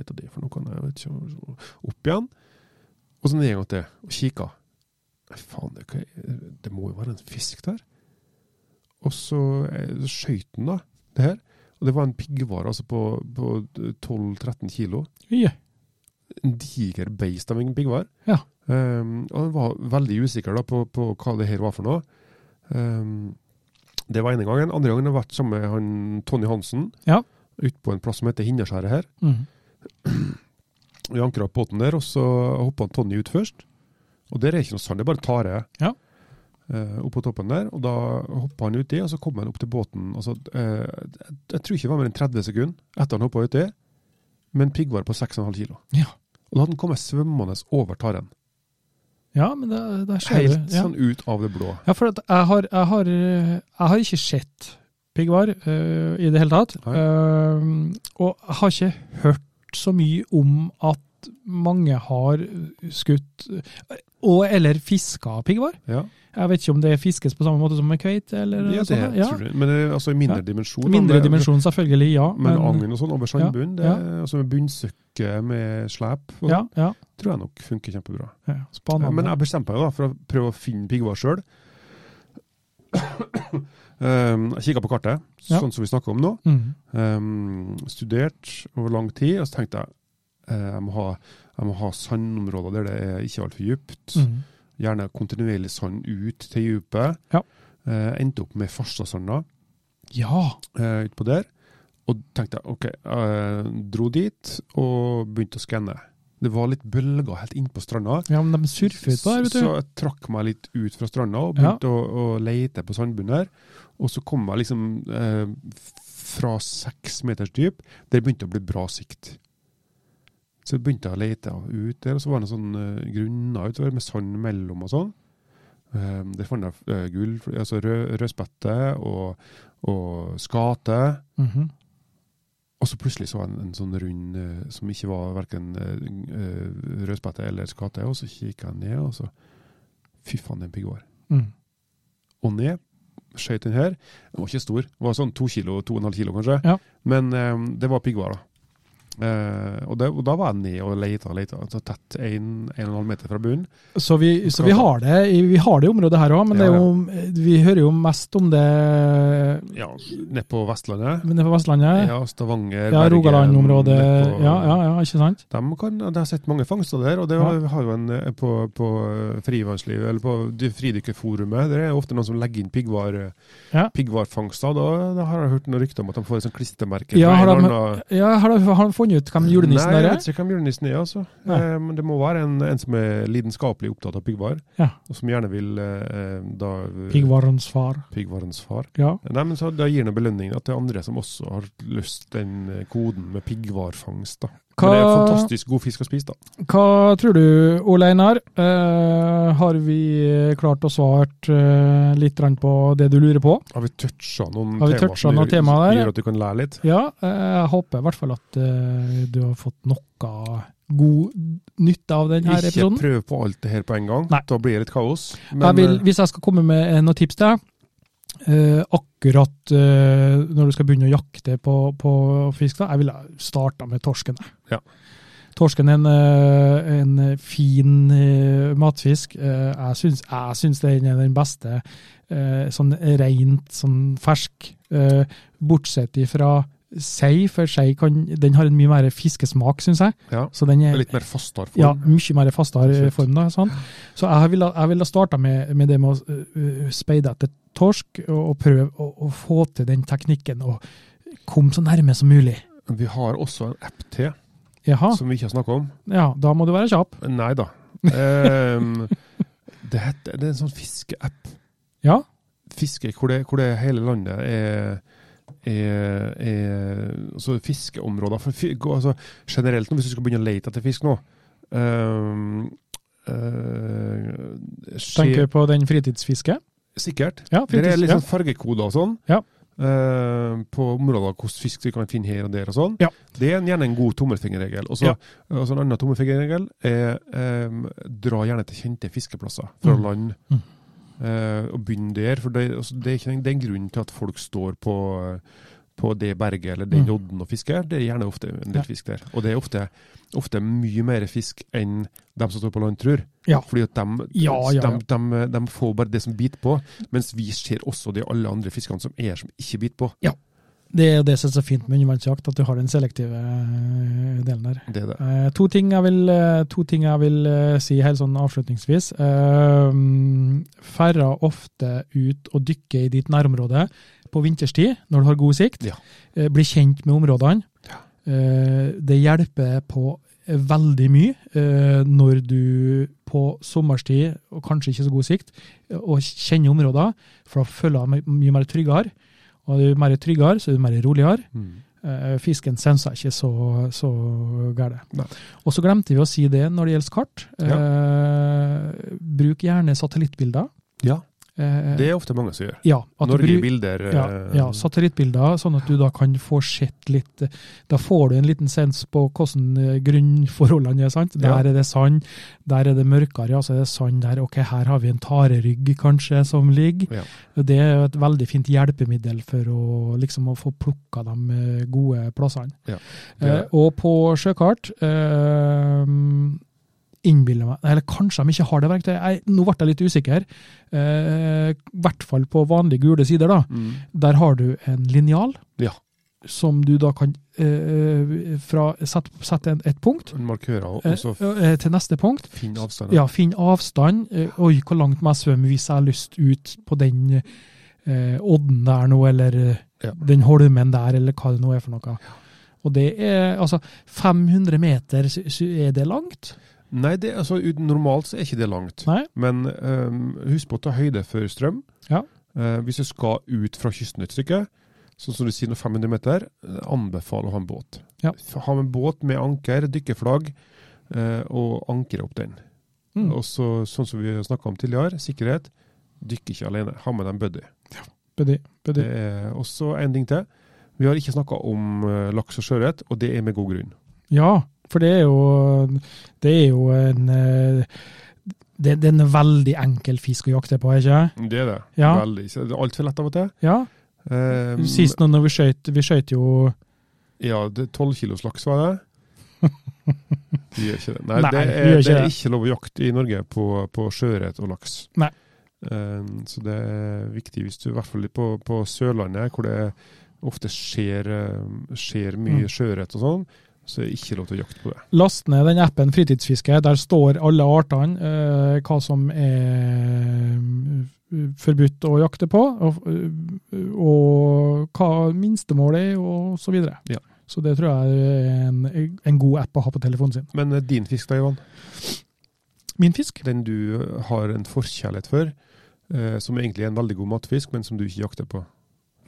[SPEAKER 2] heter det for noe? Nei, Jeg vet ikke. Så Opp igjen. Og så ned en gang til, og kikka. Nei, faen, det, hva er- det må jo være en fisk der. Og så eh, så skjøt han da, det her. Og det var en piggvar altså på, på 12-13 kilo
[SPEAKER 1] Ja.
[SPEAKER 2] en diger beist av en piggvar.
[SPEAKER 1] Ja.
[SPEAKER 2] Um, og han var veldig usikker da på, på hva det her var for noe. Um, det var ene gangen. Andre gangen har jeg vært sammen med han, Tony Hansen
[SPEAKER 1] Ja.
[SPEAKER 2] ute på en plass som heter Hinnaskjæret her.
[SPEAKER 1] Mm.
[SPEAKER 2] Vi ankra opp båten der, og så hoppa Tony ut først. Og der er ikke noe sand, det er bare tare.
[SPEAKER 1] Ja.
[SPEAKER 2] Eh, opp på toppen der, og da hoppa han uti, og så kom han opp til båten. Altså, eh, jeg, jeg tror ikke det var mer enn 30 sekunder etter han hoppa uti, med en piggvar på 6,5 kilo.
[SPEAKER 1] Ja.
[SPEAKER 2] Og da hadde han kommet svømmende over taren.
[SPEAKER 1] ja, men der, der ser du.
[SPEAKER 2] Helt
[SPEAKER 1] Ja.
[SPEAKER 2] sånn ut av det blå.
[SPEAKER 1] Ja, for at jeg har, jeg har, eh, jeg har ikke sett Fisk var eh, i det hele tatt.
[SPEAKER 2] Nei.
[SPEAKER 1] Eh, og jeg har ikke hørt så mye om at mange har skutt eh, og eller fiska piggvar.
[SPEAKER 2] Ja,
[SPEAKER 1] Jeg vet ikke om det fiskes på samme måte som med kveite. eller
[SPEAKER 2] ja det
[SPEAKER 1] sånne.
[SPEAKER 2] tror jeg. Men det er altså i mindre
[SPEAKER 1] sånn Ja.
[SPEAKER 2] dimensjon. da.
[SPEAKER 1] Mindre
[SPEAKER 2] Men-
[SPEAKER 1] dimensjon, selvfølgelig, ja.
[SPEAKER 2] Men agn og sånn over sandbunnen, det
[SPEAKER 1] ja.
[SPEAKER 2] er altså med bunnsøkke med slep, og
[SPEAKER 1] ja, ja,
[SPEAKER 2] tror jeg nok funker kjempebra.
[SPEAKER 1] ja. Spennende.
[SPEAKER 2] Eh, Men jeg bestemte meg da for å prøve å finne piggvar sjøl. Um, jeg kikka på kartet,
[SPEAKER 1] Ja.
[SPEAKER 2] sånn som vi snakker om nå.
[SPEAKER 1] Mm.
[SPEAKER 2] Um, studert over lang tid, og så tenkte jeg eh, jeg må ha, jeg må ha sandområder der det er ikke altfor dypt.
[SPEAKER 1] Mm.
[SPEAKER 2] Gjerne kontinuerlig sand ut til dypet.
[SPEAKER 1] Ja.
[SPEAKER 2] Eh, endte opp med Farstadsanda
[SPEAKER 1] Ja!
[SPEAKER 2] eh, utpå der. Og tenkte jeg, ok, jeg dro dit og begynte å skanne. Det var litt bølger helt innpå stranda.
[SPEAKER 1] ja, men de surfer utpå der, vet
[SPEAKER 2] Så
[SPEAKER 1] du.
[SPEAKER 2] jeg trakk meg litt ut fra stranda og begynte å, å lete på sandbunnen her. Og så kom jeg liksom eh, fra seks meters dyp. Der begynte å bli bra sikt. Så jeg begynte å lete ut der, og så var det noen sånne eh, grunner utover med sand mellom og sånn. Eh, der fant jeg eh, gull, altså rød, rødspette og, og skate.
[SPEAKER 1] Mhm.
[SPEAKER 2] Og så plutselig så var det en, en sånn rund eh, som ikke var verken uh, rødspette eller skate, og så kikket jeg ned, og så Fy faen, det er en piggvar.
[SPEAKER 1] mm.
[SPEAKER 2] Og ned skjøt den her. Den var ikke stor, den var sånn to kilo, to og en halv kilo kanskje.
[SPEAKER 1] Ja.
[SPEAKER 2] Men eh, det var piggvar, da. Eh, og, det, og da var jeg ned og leita og leita, altså tett en, en og en halv meter fra bunnen.
[SPEAKER 1] Så, vi, så vi, har det, i- vi har det i området her òg, men det er jo, vi hører jo mest om det
[SPEAKER 2] Ja, ned på Vestlandet.
[SPEAKER 1] nede på Vestlandet.
[SPEAKER 2] Ja, Stavanger,
[SPEAKER 1] Ja,
[SPEAKER 2] Bergen,
[SPEAKER 1] Rogaland-området.
[SPEAKER 2] ned på-
[SPEAKER 1] Ja, ja, ja, ikke sant?
[SPEAKER 2] De kan, de har sett mange fangster der, og det
[SPEAKER 1] Ja.
[SPEAKER 2] har- har jo en eh, på, på eh, frivannslivet, eller på dy- fridykkerforumet. Det er ofte noen som legger inn piggvar, eh,
[SPEAKER 1] Ja.
[SPEAKER 2] piggvarfangster. Da, da har jeg hørt noen rykter om at de får et sånt klistremerke.
[SPEAKER 1] Ja,
[SPEAKER 2] fra
[SPEAKER 1] har
[SPEAKER 2] en
[SPEAKER 1] de-
[SPEAKER 2] eller annen-
[SPEAKER 1] Ja, har du, har du funnet ut hvem julenissen
[SPEAKER 2] Nei,
[SPEAKER 1] der
[SPEAKER 2] jeg
[SPEAKER 1] er?
[SPEAKER 2] vet ikke hvem julenissen er, altså.
[SPEAKER 1] Nei.
[SPEAKER 2] Eh, Men det må være en, en som er lidenskapelig opptatt av piggvar,
[SPEAKER 1] Ja.
[SPEAKER 2] og som gjerne vil eh, eh, da
[SPEAKER 1] Piggvarens far.
[SPEAKER 2] Piggvarens far.
[SPEAKER 1] Ja.
[SPEAKER 2] Nei, men så Da gir det belønning at det er andre som også har løst den eh, koden med piggvarfangst. da. Men det er
[SPEAKER 1] Hva-
[SPEAKER 2] fantastisk god fisk å spise, da.
[SPEAKER 1] Hva tror du, Ole Einar? Eh, har vi klart å svare eh, litt grann på det du lurer på?
[SPEAKER 2] Har vi toucha noen
[SPEAKER 1] Har vi
[SPEAKER 2] temaer
[SPEAKER 1] touchet
[SPEAKER 2] som
[SPEAKER 1] noen
[SPEAKER 2] gjør,
[SPEAKER 1] temaer der?
[SPEAKER 2] gjør at du kan lære litt?
[SPEAKER 1] Ja, eh, jeg håper i hvert fall at eh, du har fått noe god nytte av denne
[SPEAKER 2] Ikke
[SPEAKER 1] episoden.
[SPEAKER 2] prøv på alt det her på en gang.
[SPEAKER 1] Nei.
[SPEAKER 2] Da blir det litt kaos.
[SPEAKER 1] jeg vil,
[SPEAKER 2] eh,
[SPEAKER 1] hvis jeg skal komme med eh, noen tips til deg, eh, akkurat eh, når du skal begynne å jakte på, på fisk, da, jeg ville starta med torsken. jeg.
[SPEAKER 2] Ja.
[SPEAKER 1] Torsken er en, eh, en fin eh, matfisk. Eh, Jeg syns, jeg syns den er den beste eh, sånn rent, sånn fersk. eh, Bortsett ifra sei, for sei kan, den har en mye mer fiskesmak, syns jeg.
[SPEAKER 2] ja,
[SPEAKER 1] Så den er,
[SPEAKER 2] litt mer fastere
[SPEAKER 1] ja,
[SPEAKER 2] form.
[SPEAKER 1] mye mer fastere
[SPEAKER 2] Absolutt.
[SPEAKER 1] form. Da, sånn. Så jeg ville, jeg ville starta med, med det med å øh, speide etter torsk, og, og prøve å, å få til den teknikken, og komme så nærme som mulig.
[SPEAKER 2] Vi har også en app til,
[SPEAKER 1] Jaha,
[SPEAKER 2] som vi ikke har snakka om.
[SPEAKER 1] ja, da må du være kjapp.
[SPEAKER 2] Nei da. Ehm, det, heter, det er en sånn fiskeapp.
[SPEAKER 1] Ja,
[SPEAKER 2] Fiske hvor det, hvor det hele landet er er, er altså fiskeområder. For, fi- gå- altså, generelt, nå, hvis du skal begynne å lete etter fisk nå ehm, eh, skje-
[SPEAKER 1] tenker på den fritidsfisket.
[SPEAKER 2] Sikkert.
[SPEAKER 1] Ja,
[SPEAKER 2] Det er
[SPEAKER 1] fritids,
[SPEAKER 2] litt
[SPEAKER 1] ja.
[SPEAKER 2] sånn fargekoder og sånn.
[SPEAKER 1] Ja.
[SPEAKER 2] eh, på områder hvordan fisk vi kan finne her og der og sånn.
[SPEAKER 1] Ja.
[SPEAKER 2] Det er gjerne en god tommelfingerregel. Og så
[SPEAKER 1] Ja.
[SPEAKER 2] og så en annen tommelfingerregel er eh, dra gjerne til kjente fiskeplasser fra
[SPEAKER 1] Mm.
[SPEAKER 2] land.
[SPEAKER 1] Mm.
[SPEAKER 2] Eh, og begynn der. For det, altså, det, er ikke, det er en grunn til at folk står på på det berget eller den
[SPEAKER 1] Mm.
[SPEAKER 2] odden og fisker, det er gjerne ofte en
[SPEAKER 1] Ja.
[SPEAKER 2] del fisk der. Og det er ofte, ofte mye mer fisk enn dem som står på land, tror.
[SPEAKER 1] Ja.
[SPEAKER 2] Fordi at dem,
[SPEAKER 1] Ja, ja, ja.
[SPEAKER 2] dem- dem- dem får bare det som biter på, mens vi ser også de alle andre fiskene som er her, som ikke biter på.
[SPEAKER 1] Det er jo det som er så fint med undervannsjakt, at du har den selektive øh, delen der.
[SPEAKER 2] Det er det.
[SPEAKER 1] Eh, to, ting jeg vil, eh, to ting jeg vil eh, si helt sånn avslutningsvis. Eh, Færre ofte ut og dykke i ditt nærområde på vinterstid, når du har god sikt.
[SPEAKER 2] Ja.
[SPEAKER 1] Eh, bli kjent med områdene. Eh, det hjelper på veldig mye eh, når du på sommerstid, og kanskje ikke så god sikt, eh, og kjenner områder, for da føler jeg meg mye mer tryggere. Og er du mer tryggere, så er du mer roligere.
[SPEAKER 2] Mm.
[SPEAKER 1] Eh, Fisken sensa ikke så, så gære.
[SPEAKER 2] Nei.
[SPEAKER 1] Og så glemte vi å si det når det gjelder kart. Eh, bruk gjerne satellittbilder.
[SPEAKER 2] Ja.
[SPEAKER 1] Eh, Eh,
[SPEAKER 2] Det er ofte mange som gjør.
[SPEAKER 1] ja, at du
[SPEAKER 2] Norge i
[SPEAKER 1] bru-
[SPEAKER 2] bilder.
[SPEAKER 1] ja,
[SPEAKER 2] eh,
[SPEAKER 1] ja, satellittbilder, sånn at du da kan få sett litt eh, Da får du en liten sens på hvordan eh, grunnforholdene er. sant? Der
[SPEAKER 2] Ja.
[SPEAKER 1] er det sand, der er det mørkere, ja, så er det sand der. Ok, her har vi en tarerygg kanskje som ligger.
[SPEAKER 2] Ja.
[SPEAKER 1] Det er jo et veldig fint hjelpemiddel for å, liksom, å få plukka de eh, gode plassene.
[SPEAKER 2] Ja, det er
[SPEAKER 1] Eh,
[SPEAKER 2] det.
[SPEAKER 1] og på sjøkart eh, innbiller meg, eller kanskje de ikke har det verktøyet, Jeg- nå ble jeg litt usikker, eh, i hvert fall på vanlige gule sider da,
[SPEAKER 2] Mm.
[SPEAKER 1] der har du en linjal,
[SPEAKER 2] Ja.
[SPEAKER 1] som du da kan eh, fra, sette, sette en, et punkt
[SPEAKER 2] Markører og
[SPEAKER 1] eh,
[SPEAKER 2] og så
[SPEAKER 1] eh, til neste punkt.
[SPEAKER 2] finn avstander.
[SPEAKER 1] Ja, finn avstand. Eh, oi, hvor langt må jeg svømme hvis jeg har lyst ut på den eh, odden der nå, eller eh,
[SPEAKER 2] Ja.
[SPEAKER 1] den holmen der, eller hva det nå er for noe. Og det er altså 500 meter, sy- sy- er det langt?
[SPEAKER 2] Nei, det, altså, ut- normalt så er ikke det langt.
[SPEAKER 1] Nei.
[SPEAKER 2] Men ehm, husk på å ta høyde for strøm.
[SPEAKER 1] Ja.
[SPEAKER 2] Eh, hvis du skal ut fra kysten et stykke, sånn som du sier nå 500 meter, eh, anbefaler å ha en båt.
[SPEAKER 1] Ja.
[SPEAKER 2] Ha en båt med anker, dykkerflagg, eh, og ankre opp den.
[SPEAKER 1] Mm.
[SPEAKER 2] Og så, sånn som vi snakka om tidligere, sikkerhet. Dykk ikke alene. Ha med deg en buddy.
[SPEAKER 1] Buddy, buddy.
[SPEAKER 2] Det er også en ting til. Vi har ikke snakka om eh, laks og sjøørret, og det er med god grunn.
[SPEAKER 1] Ja, for det er jo, det er jo en eh, det, det er en veldig enkel fisk å jakte på, er ikke det?
[SPEAKER 2] Det er det.
[SPEAKER 1] Ja.
[SPEAKER 2] Veldig. Så Det er altfor lett av og til.
[SPEAKER 1] Ja.
[SPEAKER 2] Um,
[SPEAKER 1] Sist nå når vi skøyt, vi skøyt jo
[SPEAKER 2] Ja, det- 12 kilos laks var det. De gjør ikke det. Nei,
[SPEAKER 1] Nei,
[SPEAKER 2] det,
[SPEAKER 1] de
[SPEAKER 2] er,
[SPEAKER 1] gjør ikke
[SPEAKER 2] det er
[SPEAKER 1] det.
[SPEAKER 2] ikke lov å jakte i Norge på, på sjøørret og laks.
[SPEAKER 1] Nei.
[SPEAKER 2] Um, så det er viktig, hvis du, i hvert fall på, på Sørlandet, hvor det ofte skjer, um, skjer mye
[SPEAKER 1] Mm.
[SPEAKER 2] sjøørret og sånn, så er det ikke lov til å jakte på det.
[SPEAKER 1] Last ned den appen Fritidsfiske. Der står alle artene, eh, hva som er eh, forbudt å jakte på, og, eh, og hva minstemålet er, og så videre.
[SPEAKER 2] Ja.
[SPEAKER 1] Så det tror jeg er en, en god app å ha på telefonen sin.
[SPEAKER 2] Men eh, din fisk da, Ivan,
[SPEAKER 1] Min fisk?
[SPEAKER 2] den du eh, har en forkjærlighet for, eh, som egentlig er en veldig god matfisk, men som du ikke jakter på.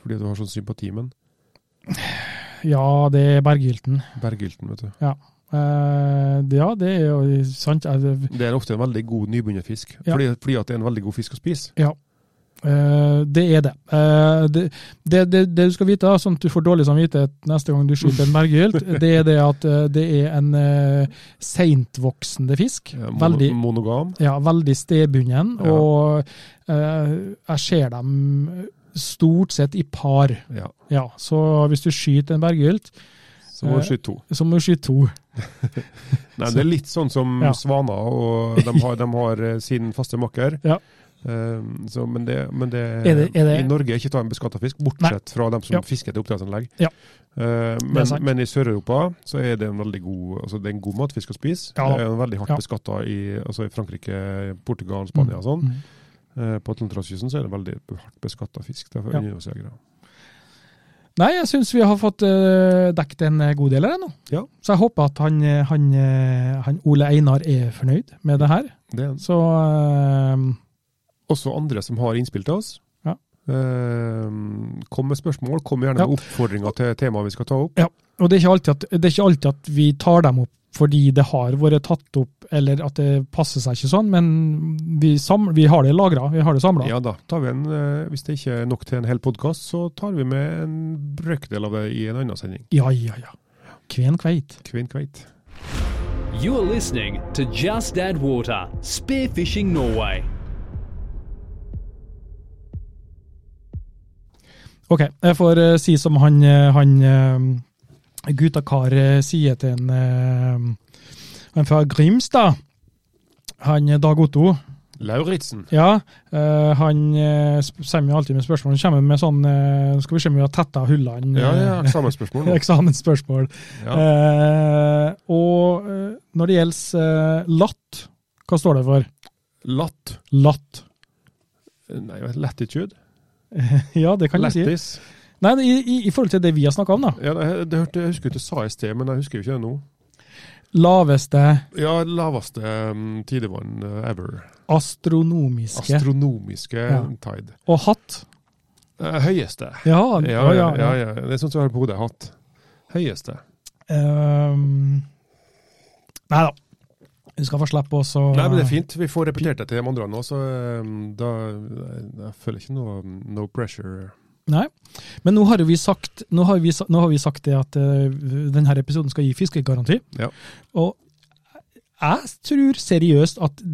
[SPEAKER 2] Fordi du har sånn sympati med den.
[SPEAKER 1] Ja, det er berghilten.
[SPEAKER 2] Bergylten, vet du.
[SPEAKER 1] Eh, det- ja, det er jo sant. Eh, Jeg-
[SPEAKER 2] Det er ofte en veldig god nybegynnerfisk,
[SPEAKER 1] Ja.
[SPEAKER 2] fordi, fordi at det er en veldig god fisk å spise.
[SPEAKER 1] Eh, det er det. Eh, det, det, det. Det du skal vite, da, sånn at du får dårlig samvittighet neste gang du skyter en berggylt, det er det at eh, det er en uh, seintvoksende fisk.
[SPEAKER 2] Ja, mono,
[SPEAKER 1] veldig,
[SPEAKER 2] monogam.
[SPEAKER 1] ja, veldig stedbunden.
[SPEAKER 2] Ja.
[SPEAKER 1] Og eh, jeg ser dem stort sett i par.
[SPEAKER 2] Ja.
[SPEAKER 1] Ja, så hvis du skyter en berggylt,
[SPEAKER 2] Så må
[SPEAKER 1] Eh,
[SPEAKER 2] du skyte to.
[SPEAKER 1] så må du skyte to.
[SPEAKER 2] Nei,
[SPEAKER 1] så-
[SPEAKER 2] det er litt sånn som
[SPEAKER 1] Ja.
[SPEAKER 2] svaner, og de har, de har eh, sin faste makker.
[SPEAKER 1] Ja.
[SPEAKER 2] Um, så, men det, men det,
[SPEAKER 1] Er det- er det-
[SPEAKER 2] I Norge er ikke ta en beskatta fisk, bortsett fra dem som
[SPEAKER 1] Ja.
[SPEAKER 2] fisker til oppdrettsanlegg.
[SPEAKER 1] Ja.
[SPEAKER 2] Eh,
[SPEAKER 1] Det er
[SPEAKER 2] men,
[SPEAKER 1] sant.
[SPEAKER 2] men i Sør-Europa så er det en veldig god altså det er en god matfisk å spise.
[SPEAKER 1] Ja da.
[SPEAKER 2] Det er en veldig hardt
[SPEAKER 1] Ja.
[SPEAKER 2] beskatta i, altså i Frankrike, Portugal, Spania og sånn.
[SPEAKER 1] Mm.
[SPEAKER 2] Eh, på Atlanterhavskysten så er det en veldig hardt beskatta fisk. Det er for
[SPEAKER 1] Ja.
[SPEAKER 2] undervannsjegere.
[SPEAKER 1] Nei, jeg syns vi har fått uh, dekket en god del av det nå.
[SPEAKER 2] Ja.
[SPEAKER 1] Så jeg håper at han, eh, han, eh, han Ole Einar er fornøyd med det her.
[SPEAKER 2] Det er en
[SPEAKER 1] Så eh,
[SPEAKER 2] også andre som har innspill til oss.
[SPEAKER 1] Ja.
[SPEAKER 2] Eh, kom med spørsmål, kom gjerne med
[SPEAKER 1] Ja.
[SPEAKER 2] oppfordringer til temaet vi skal ta opp.
[SPEAKER 1] Og det er, ikke alltid at, det er ikke alltid at vi tar dem opp fordi det har vært tatt opp, eller at det passer seg ikke sånn, men vi, samler, vi har det lagra, vi har det samla.
[SPEAKER 2] Ja da, tar vi en, eh, Hvis det ikke er nok til en hel podkast, så tar vi med en brøkdel av det i en annen sending.
[SPEAKER 1] ja, ja. ja. Kven kveit.
[SPEAKER 2] Kvein kveit.
[SPEAKER 3] You're listening to Just Add Water Spearfishing Norway.
[SPEAKER 1] Ok, jeg får eh, si som han, eh, han eh, guttakar eh, sier til en eh, Han fra Grimstad, han eh, Dag Otto.
[SPEAKER 2] Lauritzen.
[SPEAKER 1] Ja, eh, han eh, sp- kommer jo alltid med spørsmål. Han kommer med sånn eh, Skal vi se om vi har tetta hullene? eh,
[SPEAKER 2] Ja, ja, samme spørsmål. nå.
[SPEAKER 1] eksamensspørsmål.
[SPEAKER 2] Ja.
[SPEAKER 1] Eh, og eh, når det gjelder eh, latt, hva står det for?
[SPEAKER 2] Latt.
[SPEAKER 1] Latt.
[SPEAKER 2] Nei, latitude.
[SPEAKER 1] ja, det kan du si.
[SPEAKER 2] Lattis.
[SPEAKER 1] Nei, i, i, I forhold til det vi har snakka om, da.
[SPEAKER 2] Ja, det, det hørte, jeg husker du sa i sted, men jeg husker jo ikke det nå.
[SPEAKER 1] Laveste
[SPEAKER 2] Ja, laveste um, tidevann eh, ever.
[SPEAKER 1] astronomiske.
[SPEAKER 2] Astronomiske
[SPEAKER 1] Ja.
[SPEAKER 2] tide.
[SPEAKER 1] og hatt.
[SPEAKER 2] Eh, høyeste.
[SPEAKER 1] Ja,
[SPEAKER 2] Ja, ja, ja, ja. Det er sånt som jeg har på hodet hatt. Høyeste.
[SPEAKER 1] nei da. Ehm, Du skal få slippe også å
[SPEAKER 2] Nei, men det er fint. Vi får repetert det til de andre nå, så eh, da jeg føler jeg ikke noe no pressure.
[SPEAKER 1] Nei. Men nå har jo vi sagt, nå har vi, sa- nå har vi sagt det at eh, denne episoden skal gi fiskegaranti.
[SPEAKER 2] Ja.
[SPEAKER 1] Og jeg tror seriøst at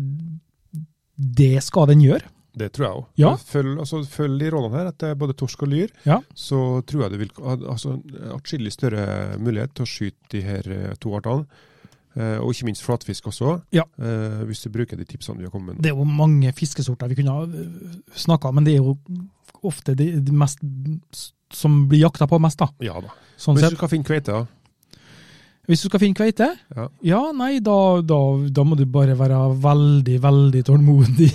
[SPEAKER 1] det skal den gjøre.
[SPEAKER 2] Det tror jeg òg.
[SPEAKER 1] Ja.
[SPEAKER 2] Følg, altså, følg de rådene her, at det er både torsk og lyr.
[SPEAKER 1] Ja.
[SPEAKER 2] Så tror jeg du vil ha altså, atskillig større mulighet til å skyte de her eh, to artene. Eh, og ikke minst flatfisk også,
[SPEAKER 1] Ja.
[SPEAKER 2] eh, hvis du bruker de tipsene vi har kommet med. nå.
[SPEAKER 1] Det er jo mange fiskesorter vi kunne ha snakka om, men det er jo ofte de, de mest som blir jakta på mest, da.
[SPEAKER 2] Ja da.
[SPEAKER 1] Sånn
[SPEAKER 2] Hvis du
[SPEAKER 1] sett.
[SPEAKER 2] skal finne kveite,
[SPEAKER 1] Hvis du skal finne kveite,
[SPEAKER 2] Ja.
[SPEAKER 1] ja, nei, da, da, da må du bare være veldig, veldig tålmodig.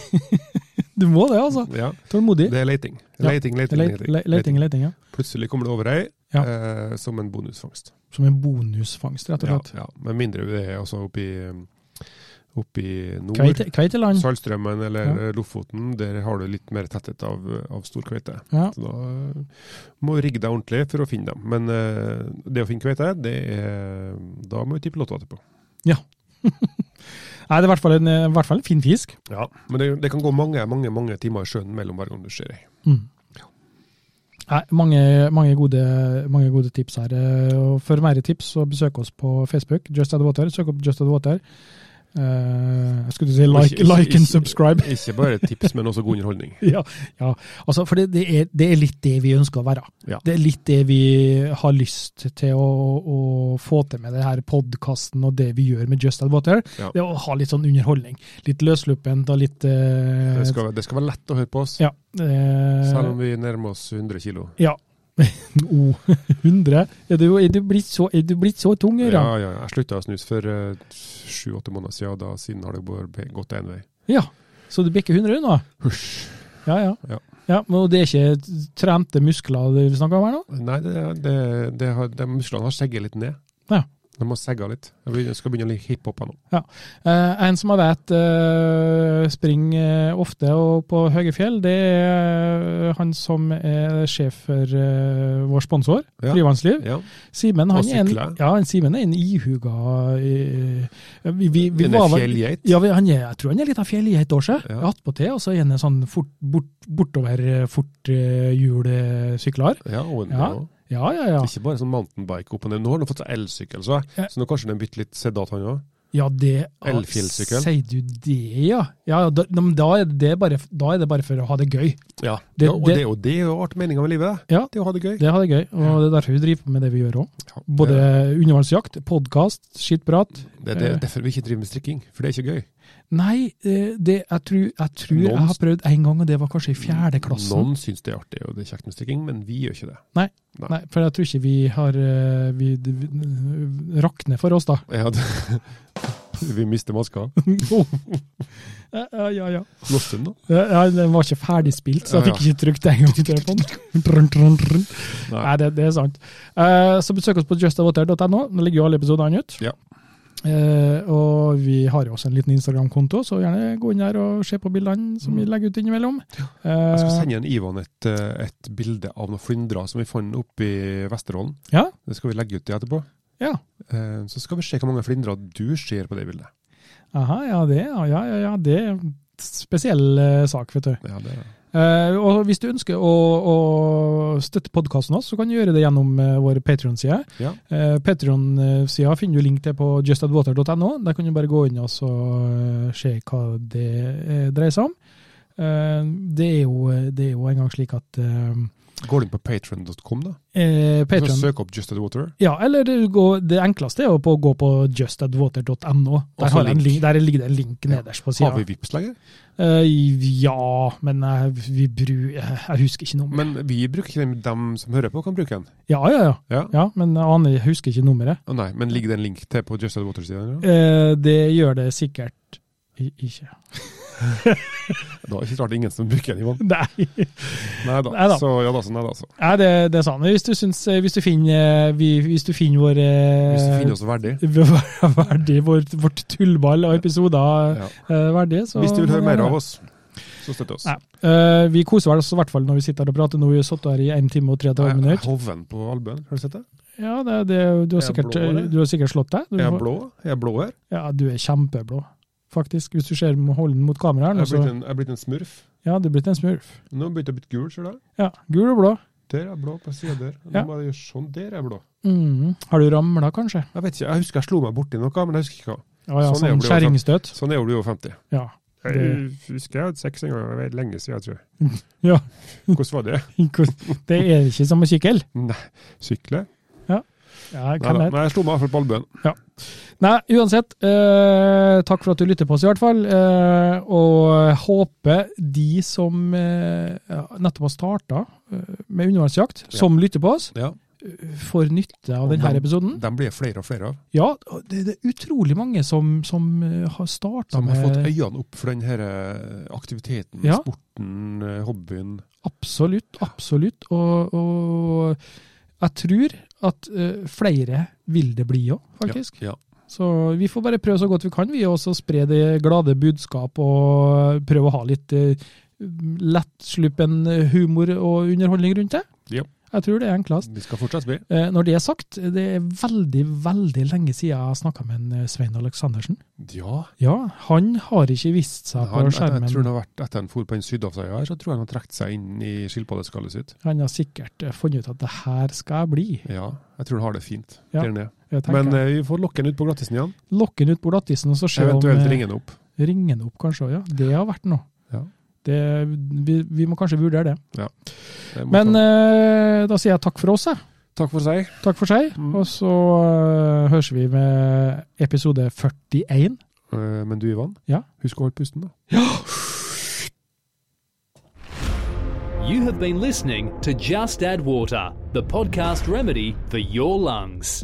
[SPEAKER 1] du må det, altså.
[SPEAKER 2] ja,
[SPEAKER 1] Tålmodig.
[SPEAKER 2] det er leiting.
[SPEAKER 1] Ja.
[SPEAKER 2] Leiting, leiting,
[SPEAKER 1] Leit-
[SPEAKER 2] leiting,
[SPEAKER 1] le- Leiting, leiting, ja.
[SPEAKER 2] Plutselig kommer det over ei
[SPEAKER 1] Ja.
[SPEAKER 2] eh, som en bonusfangst.
[SPEAKER 1] Som en bonusfangst, rett og
[SPEAKER 2] Ja,
[SPEAKER 1] slett.
[SPEAKER 2] ja. Med mindre vi er altså oppi, oppi nord.
[SPEAKER 1] Kveite, kveiteland.
[SPEAKER 2] Saltstrømmen eller Lofoten, der har du litt mer tetthet av, av stor kveite.
[SPEAKER 1] Ja.
[SPEAKER 2] Så da eh, må du rigge deg ordentlig for å finne dem. Men eh, det å finne kveite, det er, da må vi tippe lotto etterpå.
[SPEAKER 1] Nei, det er i hvert fall en, i hvert fall en fin fisk.
[SPEAKER 2] Ja, Men det, det kan gå mange mange, mange timer i sjøen mellom hver gang du ser ei.
[SPEAKER 1] Mm. Nei, mange, mange, gode, mange gode tips her. eh, Og for mer tips, så besøk oss på Facebook. Just Add Water. Søk opp Just Add Water. Eh, jeg skulle si like,
[SPEAKER 2] Ikke- ikke-
[SPEAKER 1] like
[SPEAKER 2] ikke-
[SPEAKER 1] and subscribe.
[SPEAKER 2] Ikke bare tips, men også god underholdning.
[SPEAKER 1] ja, ja. Altså, for det, det, er, det er litt det vi ønsker å være.
[SPEAKER 2] Ja.
[SPEAKER 1] Det er litt det vi har lyst til å, å få til med denne podkasten og det vi gjør med Just Add Water.
[SPEAKER 2] Ja.
[SPEAKER 1] Det er å ha litt sånn underholdning. Litt løssluppent og litt eh,
[SPEAKER 2] Det skal, det skal være lett å høre på oss,
[SPEAKER 1] Ja. eh,
[SPEAKER 2] selv om vi nærmer oss 100 kilo.
[SPEAKER 1] Ja. O, 100. Er du, er du, blitt, så, er du blitt så tung,
[SPEAKER 2] Ja,
[SPEAKER 1] Gøran?
[SPEAKER 2] ja, jeg slutta å snuse for eh, sju-åtte måneder siden, og da, siden har det bare gått én vei.
[SPEAKER 1] Ja. Så du bikker 100 nå?
[SPEAKER 2] Husj.
[SPEAKER 1] Ja, ja.
[SPEAKER 2] Ja.
[SPEAKER 1] Men det er ikke trente muskler det vi snakker om her nå?
[SPEAKER 2] Nei, det, det, det har, de musklene har segget litt ned.
[SPEAKER 1] Ja.
[SPEAKER 2] De har segget litt. Jeg begynner- skal begynne å like hiphopa nå.
[SPEAKER 1] Eh, en som jeg vet eh, springer eh, ofte og på høye fjell, det er eh, han som er sjef for eh, vår sponsor,
[SPEAKER 2] Ja.
[SPEAKER 1] Frivannsliv.
[SPEAKER 2] Ja.
[SPEAKER 1] Simen han
[SPEAKER 2] Og
[SPEAKER 1] er en,
[SPEAKER 2] sykler.
[SPEAKER 1] ja, en Simen er en ihuga eh, vi, vi, vi
[SPEAKER 2] Denne
[SPEAKER 1] var vel-
[SPEAKER 2] fjellgeit.
[SPEAKER 1] Ja, vi- han er, jeg tror han er litt av fjellgeit òg, seg.
[SPEAKER 2] Ja.
[SPEAKER 1] Attpåtil, og så er han en sånn fort, bort, bortover eh, forthjulsykler.
[SPEAKER 2] Ja, og en,
[SPEAKER 1] Ja.
[SPEAKER 2] og-
[SPEAKER 1] Ja, ja, ja.
[SPEAKER 2] Ikke bare sånn mountainbike opp og ned. Nå har han fått seg elsykkel, så,
[SPEAKER 1] Ja.
[SPEAKER 2] så nå kanskje han har byttet litt sedat, han òg.
[SPEAKER 1] ja det,
[SPEAKER 2] Elfjellsykkel.
[SPEAKER 1] Sier du det, ja? ja da, da, men da er det bare, da er det bare for å ha det gøy.
[SPEAKER 2] Ja.
[SPEAKER 1] Det-
[SPEAKER 2] og
[SPEAKER 1] det-
[SPEAKER 2] det, er jo- det er jo art meninga med livet, det.
[SPEAKER 1] Ja.
[SPEAKER 2] Det er å ha det gøy.
[SPEAKER 1] Det har det gøy, og det er derfor vi driver på med det vi gjør òg.
[SPEAKER 2] Ja.
[SPEAKER 1] Både
[SPEAKER 2] det,
[SPEAKER 1] undervannsjakt, podkast, skittprat.
[SPEAKER 2] det, det er derfor vi ikke driver med strikking, for det er ikke gøy.
[SPEAKER 1] Nei, eh, det, jeg tror, jeg, tror jeg
[SPEAKER 2] Noen-
[SPEAKER 1] har prøvd én gang, og det var kanskje i fjerde klassen.
[SPEAKER 2] Noen syns det er artig og det er kjekt med strikking, men vi gjør ikke det.
[SPEAKER 1] Nei, For jeg tror ikke vi har eh, Vi, vi rakner for oss, da.
[SPEAKER 2] Ja, det vi mister maska.
[SPEAKER 1] Oh. ja, ja, ja, ja.
[SPEAKER 2] Lost den, da?
[SPEAKER 1] Ja, Den var ikke ferdigspilt, så jeg
[SPEAKER 2] Ja,
[SPEAKER 1] fikk ikke trykt en gang i telefonen. Trun, trun, trun. Nei, det, det er sant. Eh, så besøk oss på justawater.no. Nå ligger jo alle episodene ut.
[SPEAKER 2] Ja.
[SPEAKER 1] Eh, og vi har jo også en liten Instagram-konto, så gjerne gå inn der og se på bildene som vi legger ut innimellom.
[SPEAKER 2] Mm. Jeg skal
[SPEAKER 1] Eh,
[SPEAKER 2] sende en Ivan et, eh, et bilde av noen flyndrer som vi fant oppe i Vesterålen.
[SPEAKER 1] Ja.
[SPEAKER 2] Det skal vi legge ut til etterpå.
[SPEAKER 1] Ja.
[SPEAKER 2] Eh, Så skal vi se hvor mange flyndrer du ser på det bildet.
[SPEAKER 1] aha, ja, det, ja, ja, ja, ja, det er en spesiell eh, sak, vet du.
[SPEAKER 2] Ja, det er
[SPEAKER 1] Eh, og hvis du ønsker å, å støtte podkasten vår, så kan du gjøre det gjennom eh, vår Patrion-side.
[SPEAKER 2] Ja.
[SPEAKER 1] Eh, Patrion-sida finner du link til på justadwater.no. Der kan du bare gå inn og så, eh, se hva det eh, dreier seg om. Eh, det, er jo, det er jo engang slik at eh,
[SPEAKER 2] Går du inn på patron.com, da?
[SPEAKER 1] eh,
[SPEAKER 2] Så
[SPEAKER 1] Patreon-
[SPEAKER 2] søk opp Just At Water.
[SPEAKER 1] ja, eller du går- Det enkleste er jo på å gå på justadwater.no.
[SPEAKER 2] Og så
[SPEAKER 1] Der, har jeg en
[SPEAKER 2] link.
[SPEAKER 1] link- der ligger det en link nederst på
[SPEAKER 2] Har
[SPEAKER 1] sida.
[SPEAKER 2] vi Vipps lenger?
[SPEAKER 1] ja, men jeg, vi bru, jeg, jeg husker ikke nummeret.
[SPEAKER 2] Men vi bruker ikke den. Dem som hører på, kan bruke den.
[SPEAKER 1] Ja, ja, ja.
[SPEAKER 2] Ja.
[SPEAKER 1] Ja, men jeg aner, jeg husker ikke nummeret.
[SPEAKER 2] Å nei, men ligger det en link til på Just At Water-siden?
[SPEAKER 1] Eh, det gjør det sikkert i- ikke.
[SPEAKER 2] Da er det ikke rart det er ingen som bruker den, Ivan.
[SPEAKER 1] Nei.
[SPEAKER 2] Nei
[SPEAKER 1] Neida.
[SPEAKER 2] da. Så ja da, så nei da, så.
[SPEAKER 1] Nei, det, det er sant. Hvis du, syns, hvis du finner, eh, vi, hvis du finner vår eh,
[SPEAKER 2] Hvis du finner oss verdig.
[SPEAKER 1] verdig, vårt, vårt tullball av episoder
[SPEAKER 2] Ja.
[SPEAKER 1] eh, verdig, så
[SPEAKER 2] Hvis du vil høre mer av oss, så støtt oss.
[SPEAKER 1] Nei. Eh, vi koser oss i hvert fall når vi sitter her og prater. Nå har vi sittet her i 1 time og 33
[SPEAKER 2] Jeg er
[SPEAKER 1] minutter.
[SPEAKER 2] Hoven på albuen, har du sett det?
[SPEAKER 1] Ja, det, det, du,
[SPEAKER 2] Er
[SPEAKER 1] har
[SPEAKER 2] jeg
[SPEAKER 1] sikkert,
[SPEAKER 2] blå, eller?
[SPEAKER 1] du har sikkert slått deg. Du,
[SPEAKER 2] Er jeg
[SPEAKER 1] får-
[SPEAKER 2] blå? Er jeg blå her?
[SPEAKER 1] Ja, du er kjempeblå, faktisk. Hvis du ser med holden mot kameraet.
[SPEAKER 2] Jeg er blitt
[SPEAKER 1] her nå, så-
[SPEAKER 2] en, jeg er blitt en smurf.
[SPEAKER 1] Ja, du er blitt en smurf.
[SPEAKER 2] Nå begynte jeg å bli gul, ser du.
[SPEAKER 1] Ja, gul og blå.
[SPEAKER 2] Der er jeg blå, på siden der. Nå
[SPEAKER 1] Ja.
[SPEAKER 2] må jeg gjøre sånn, der er jeg blå.
[SPEAKER 1] Mhm. Har du ramla, kanskje?
[SPEAKER 2] Jeg vet ikke, jeg husker jeg slo meg borti noe, men jeg husker ikke hva.
[SPEAKER 1] Ja, ja,
[SPEAKER 2] Sånn er
[SPEAKER 1] sånn
[SPEAKER 2] det å bli
[SPEAKER 1] skjæringstøt.
[SPEAKER 2] Sånn er jo du over 50.
[SPEAKER 1] Ja.
[SPEAKER 2] Jeg husker jeg hadde sex en gang, det var lenge siden, jeg tror jeg.
[SPEAKER 1] Ja.
[SPEAKER 2] Hvordan var det?
[SPEAKER 1] Det er ikke som å kikke, eller?
[SPEAKER 2] Sykle?
[SPEAKER 1] Ja,
[SPEAKER 2] Nei,
[SPEAKER 1] hvem
[SPEAKER 2] da,
[SPEAKER 1] vet?
[SPEAKER 2] men jeg slo meg i hvert fall på albuen.
[SPEAKER 1] Nei, uansett. eh, takk for at du lytter på oss, i hvert fall. eh, og håper de som eh, ja, nettopp har starta med undervannsjakt,
[SPEAKER 2] Ja.
[SPEAKER 1] som lytter på oss,
[SPEAKER 2] Ja.
[SPEAKER 1] får nytte av
[SPEAKER 2] Og
[SPEAKER 1] denne
[SPEAKER 2] dem-
[SPEAKER 1] episoden.
[SPEAKER 2] De blir flere og flere av,
[SPEAKER 1] Ja, det, det er utrolig mange som, som eh, har starta
[SPEAKER 2] som har fått
[SPEAKER 1] med
[SPEAKER 2] øynene opp for denne aktiviteten,
[SPEAKER 1] Ja.
[SPEAKER 2] sporten, eh, hobbyen.
[SPEAKER 1] Absolutt, absolutt. Og, og jeg tror at eh, flere vil det bli òg, faktisk.
[SPEAKER 2] Ja.
[SPEAKER 1] Så vi får bare prøve så godt vi kan, vi også spre det glade budskap og prøve å ha litt eh, lettsluppen humor og underholdning rundt det.
[SPEAKER 2] Ja.
[SPEAKER 1] Jeg tror det er
[SPEAKER 2] ja.
[SPEAKER 1] enklest.
[SPEAKER 2] Vi skal fortsatt bli.
[SPEAKER 1] Eh, Når det er sagt, det er veldig, veldig lenge siden jeg har snakka med en eh, Svein Aleksandersen.
[SPEAKER 2] Ja.
[SPEAKER 1] Ja, han har ikke vist seg på
[SPEAKER 2] Han, jeg, jeg
[SPEAKER 1] skjermen.
[SPEAKER 2] tror han har vært etter han for på en sydhavsøya her, så tror jeg han har trukket seg inn i skilpaddeskallet sitt.
[SPEAKER 1] Han har sikkert eh, funnet ut at det her skal jeg bli.
[SPEAKER 2] Ja, jeg tror han har det fint
[SPEAKER 1] Ja,
[SPEAKER 2] der nede.
[SPEAKER 1] Jeg tenker.
[SPEAKER 2] Men eh, vi får lokke han ut på glattisen igjen.
[SPEAKER 1] Lokke han ut på glattisen og så se om
[SPEAKER 2] Eventuelt
[SPEAKER 1] eh,
[SPEAKER 2] ringe han opp.
[SPEAKER 1] ringer han opp, kanskje. også, Ja. Det har vært noe.
[SPEAKER 2] Ja.
[SPEAKER 1] Det, vi, vi må kanskje vurdere det.
[SPEAKER 2] Det må
[SPEAKER 1] Men
[SPEAKER 2] ta-
[SPEAKER 1] eh, da sier jeg takk for oss, jeg.
[SPEAKER 2] takk for seg.
[SPEAKER 1] Takk for seg.
[SPEAKER 2] Mm.
[SPEAKER 1] Og så eh, høres vi med episode 41.
[SPEAKER 2] Eh, Men du, Ivan,
[SPEAKER 1] Ja.
[SPEAKER 2] husk å holde pusten, da.
[SPEAKER 3] You have been listening to Just Add Water, the podcast remedy for your lungs.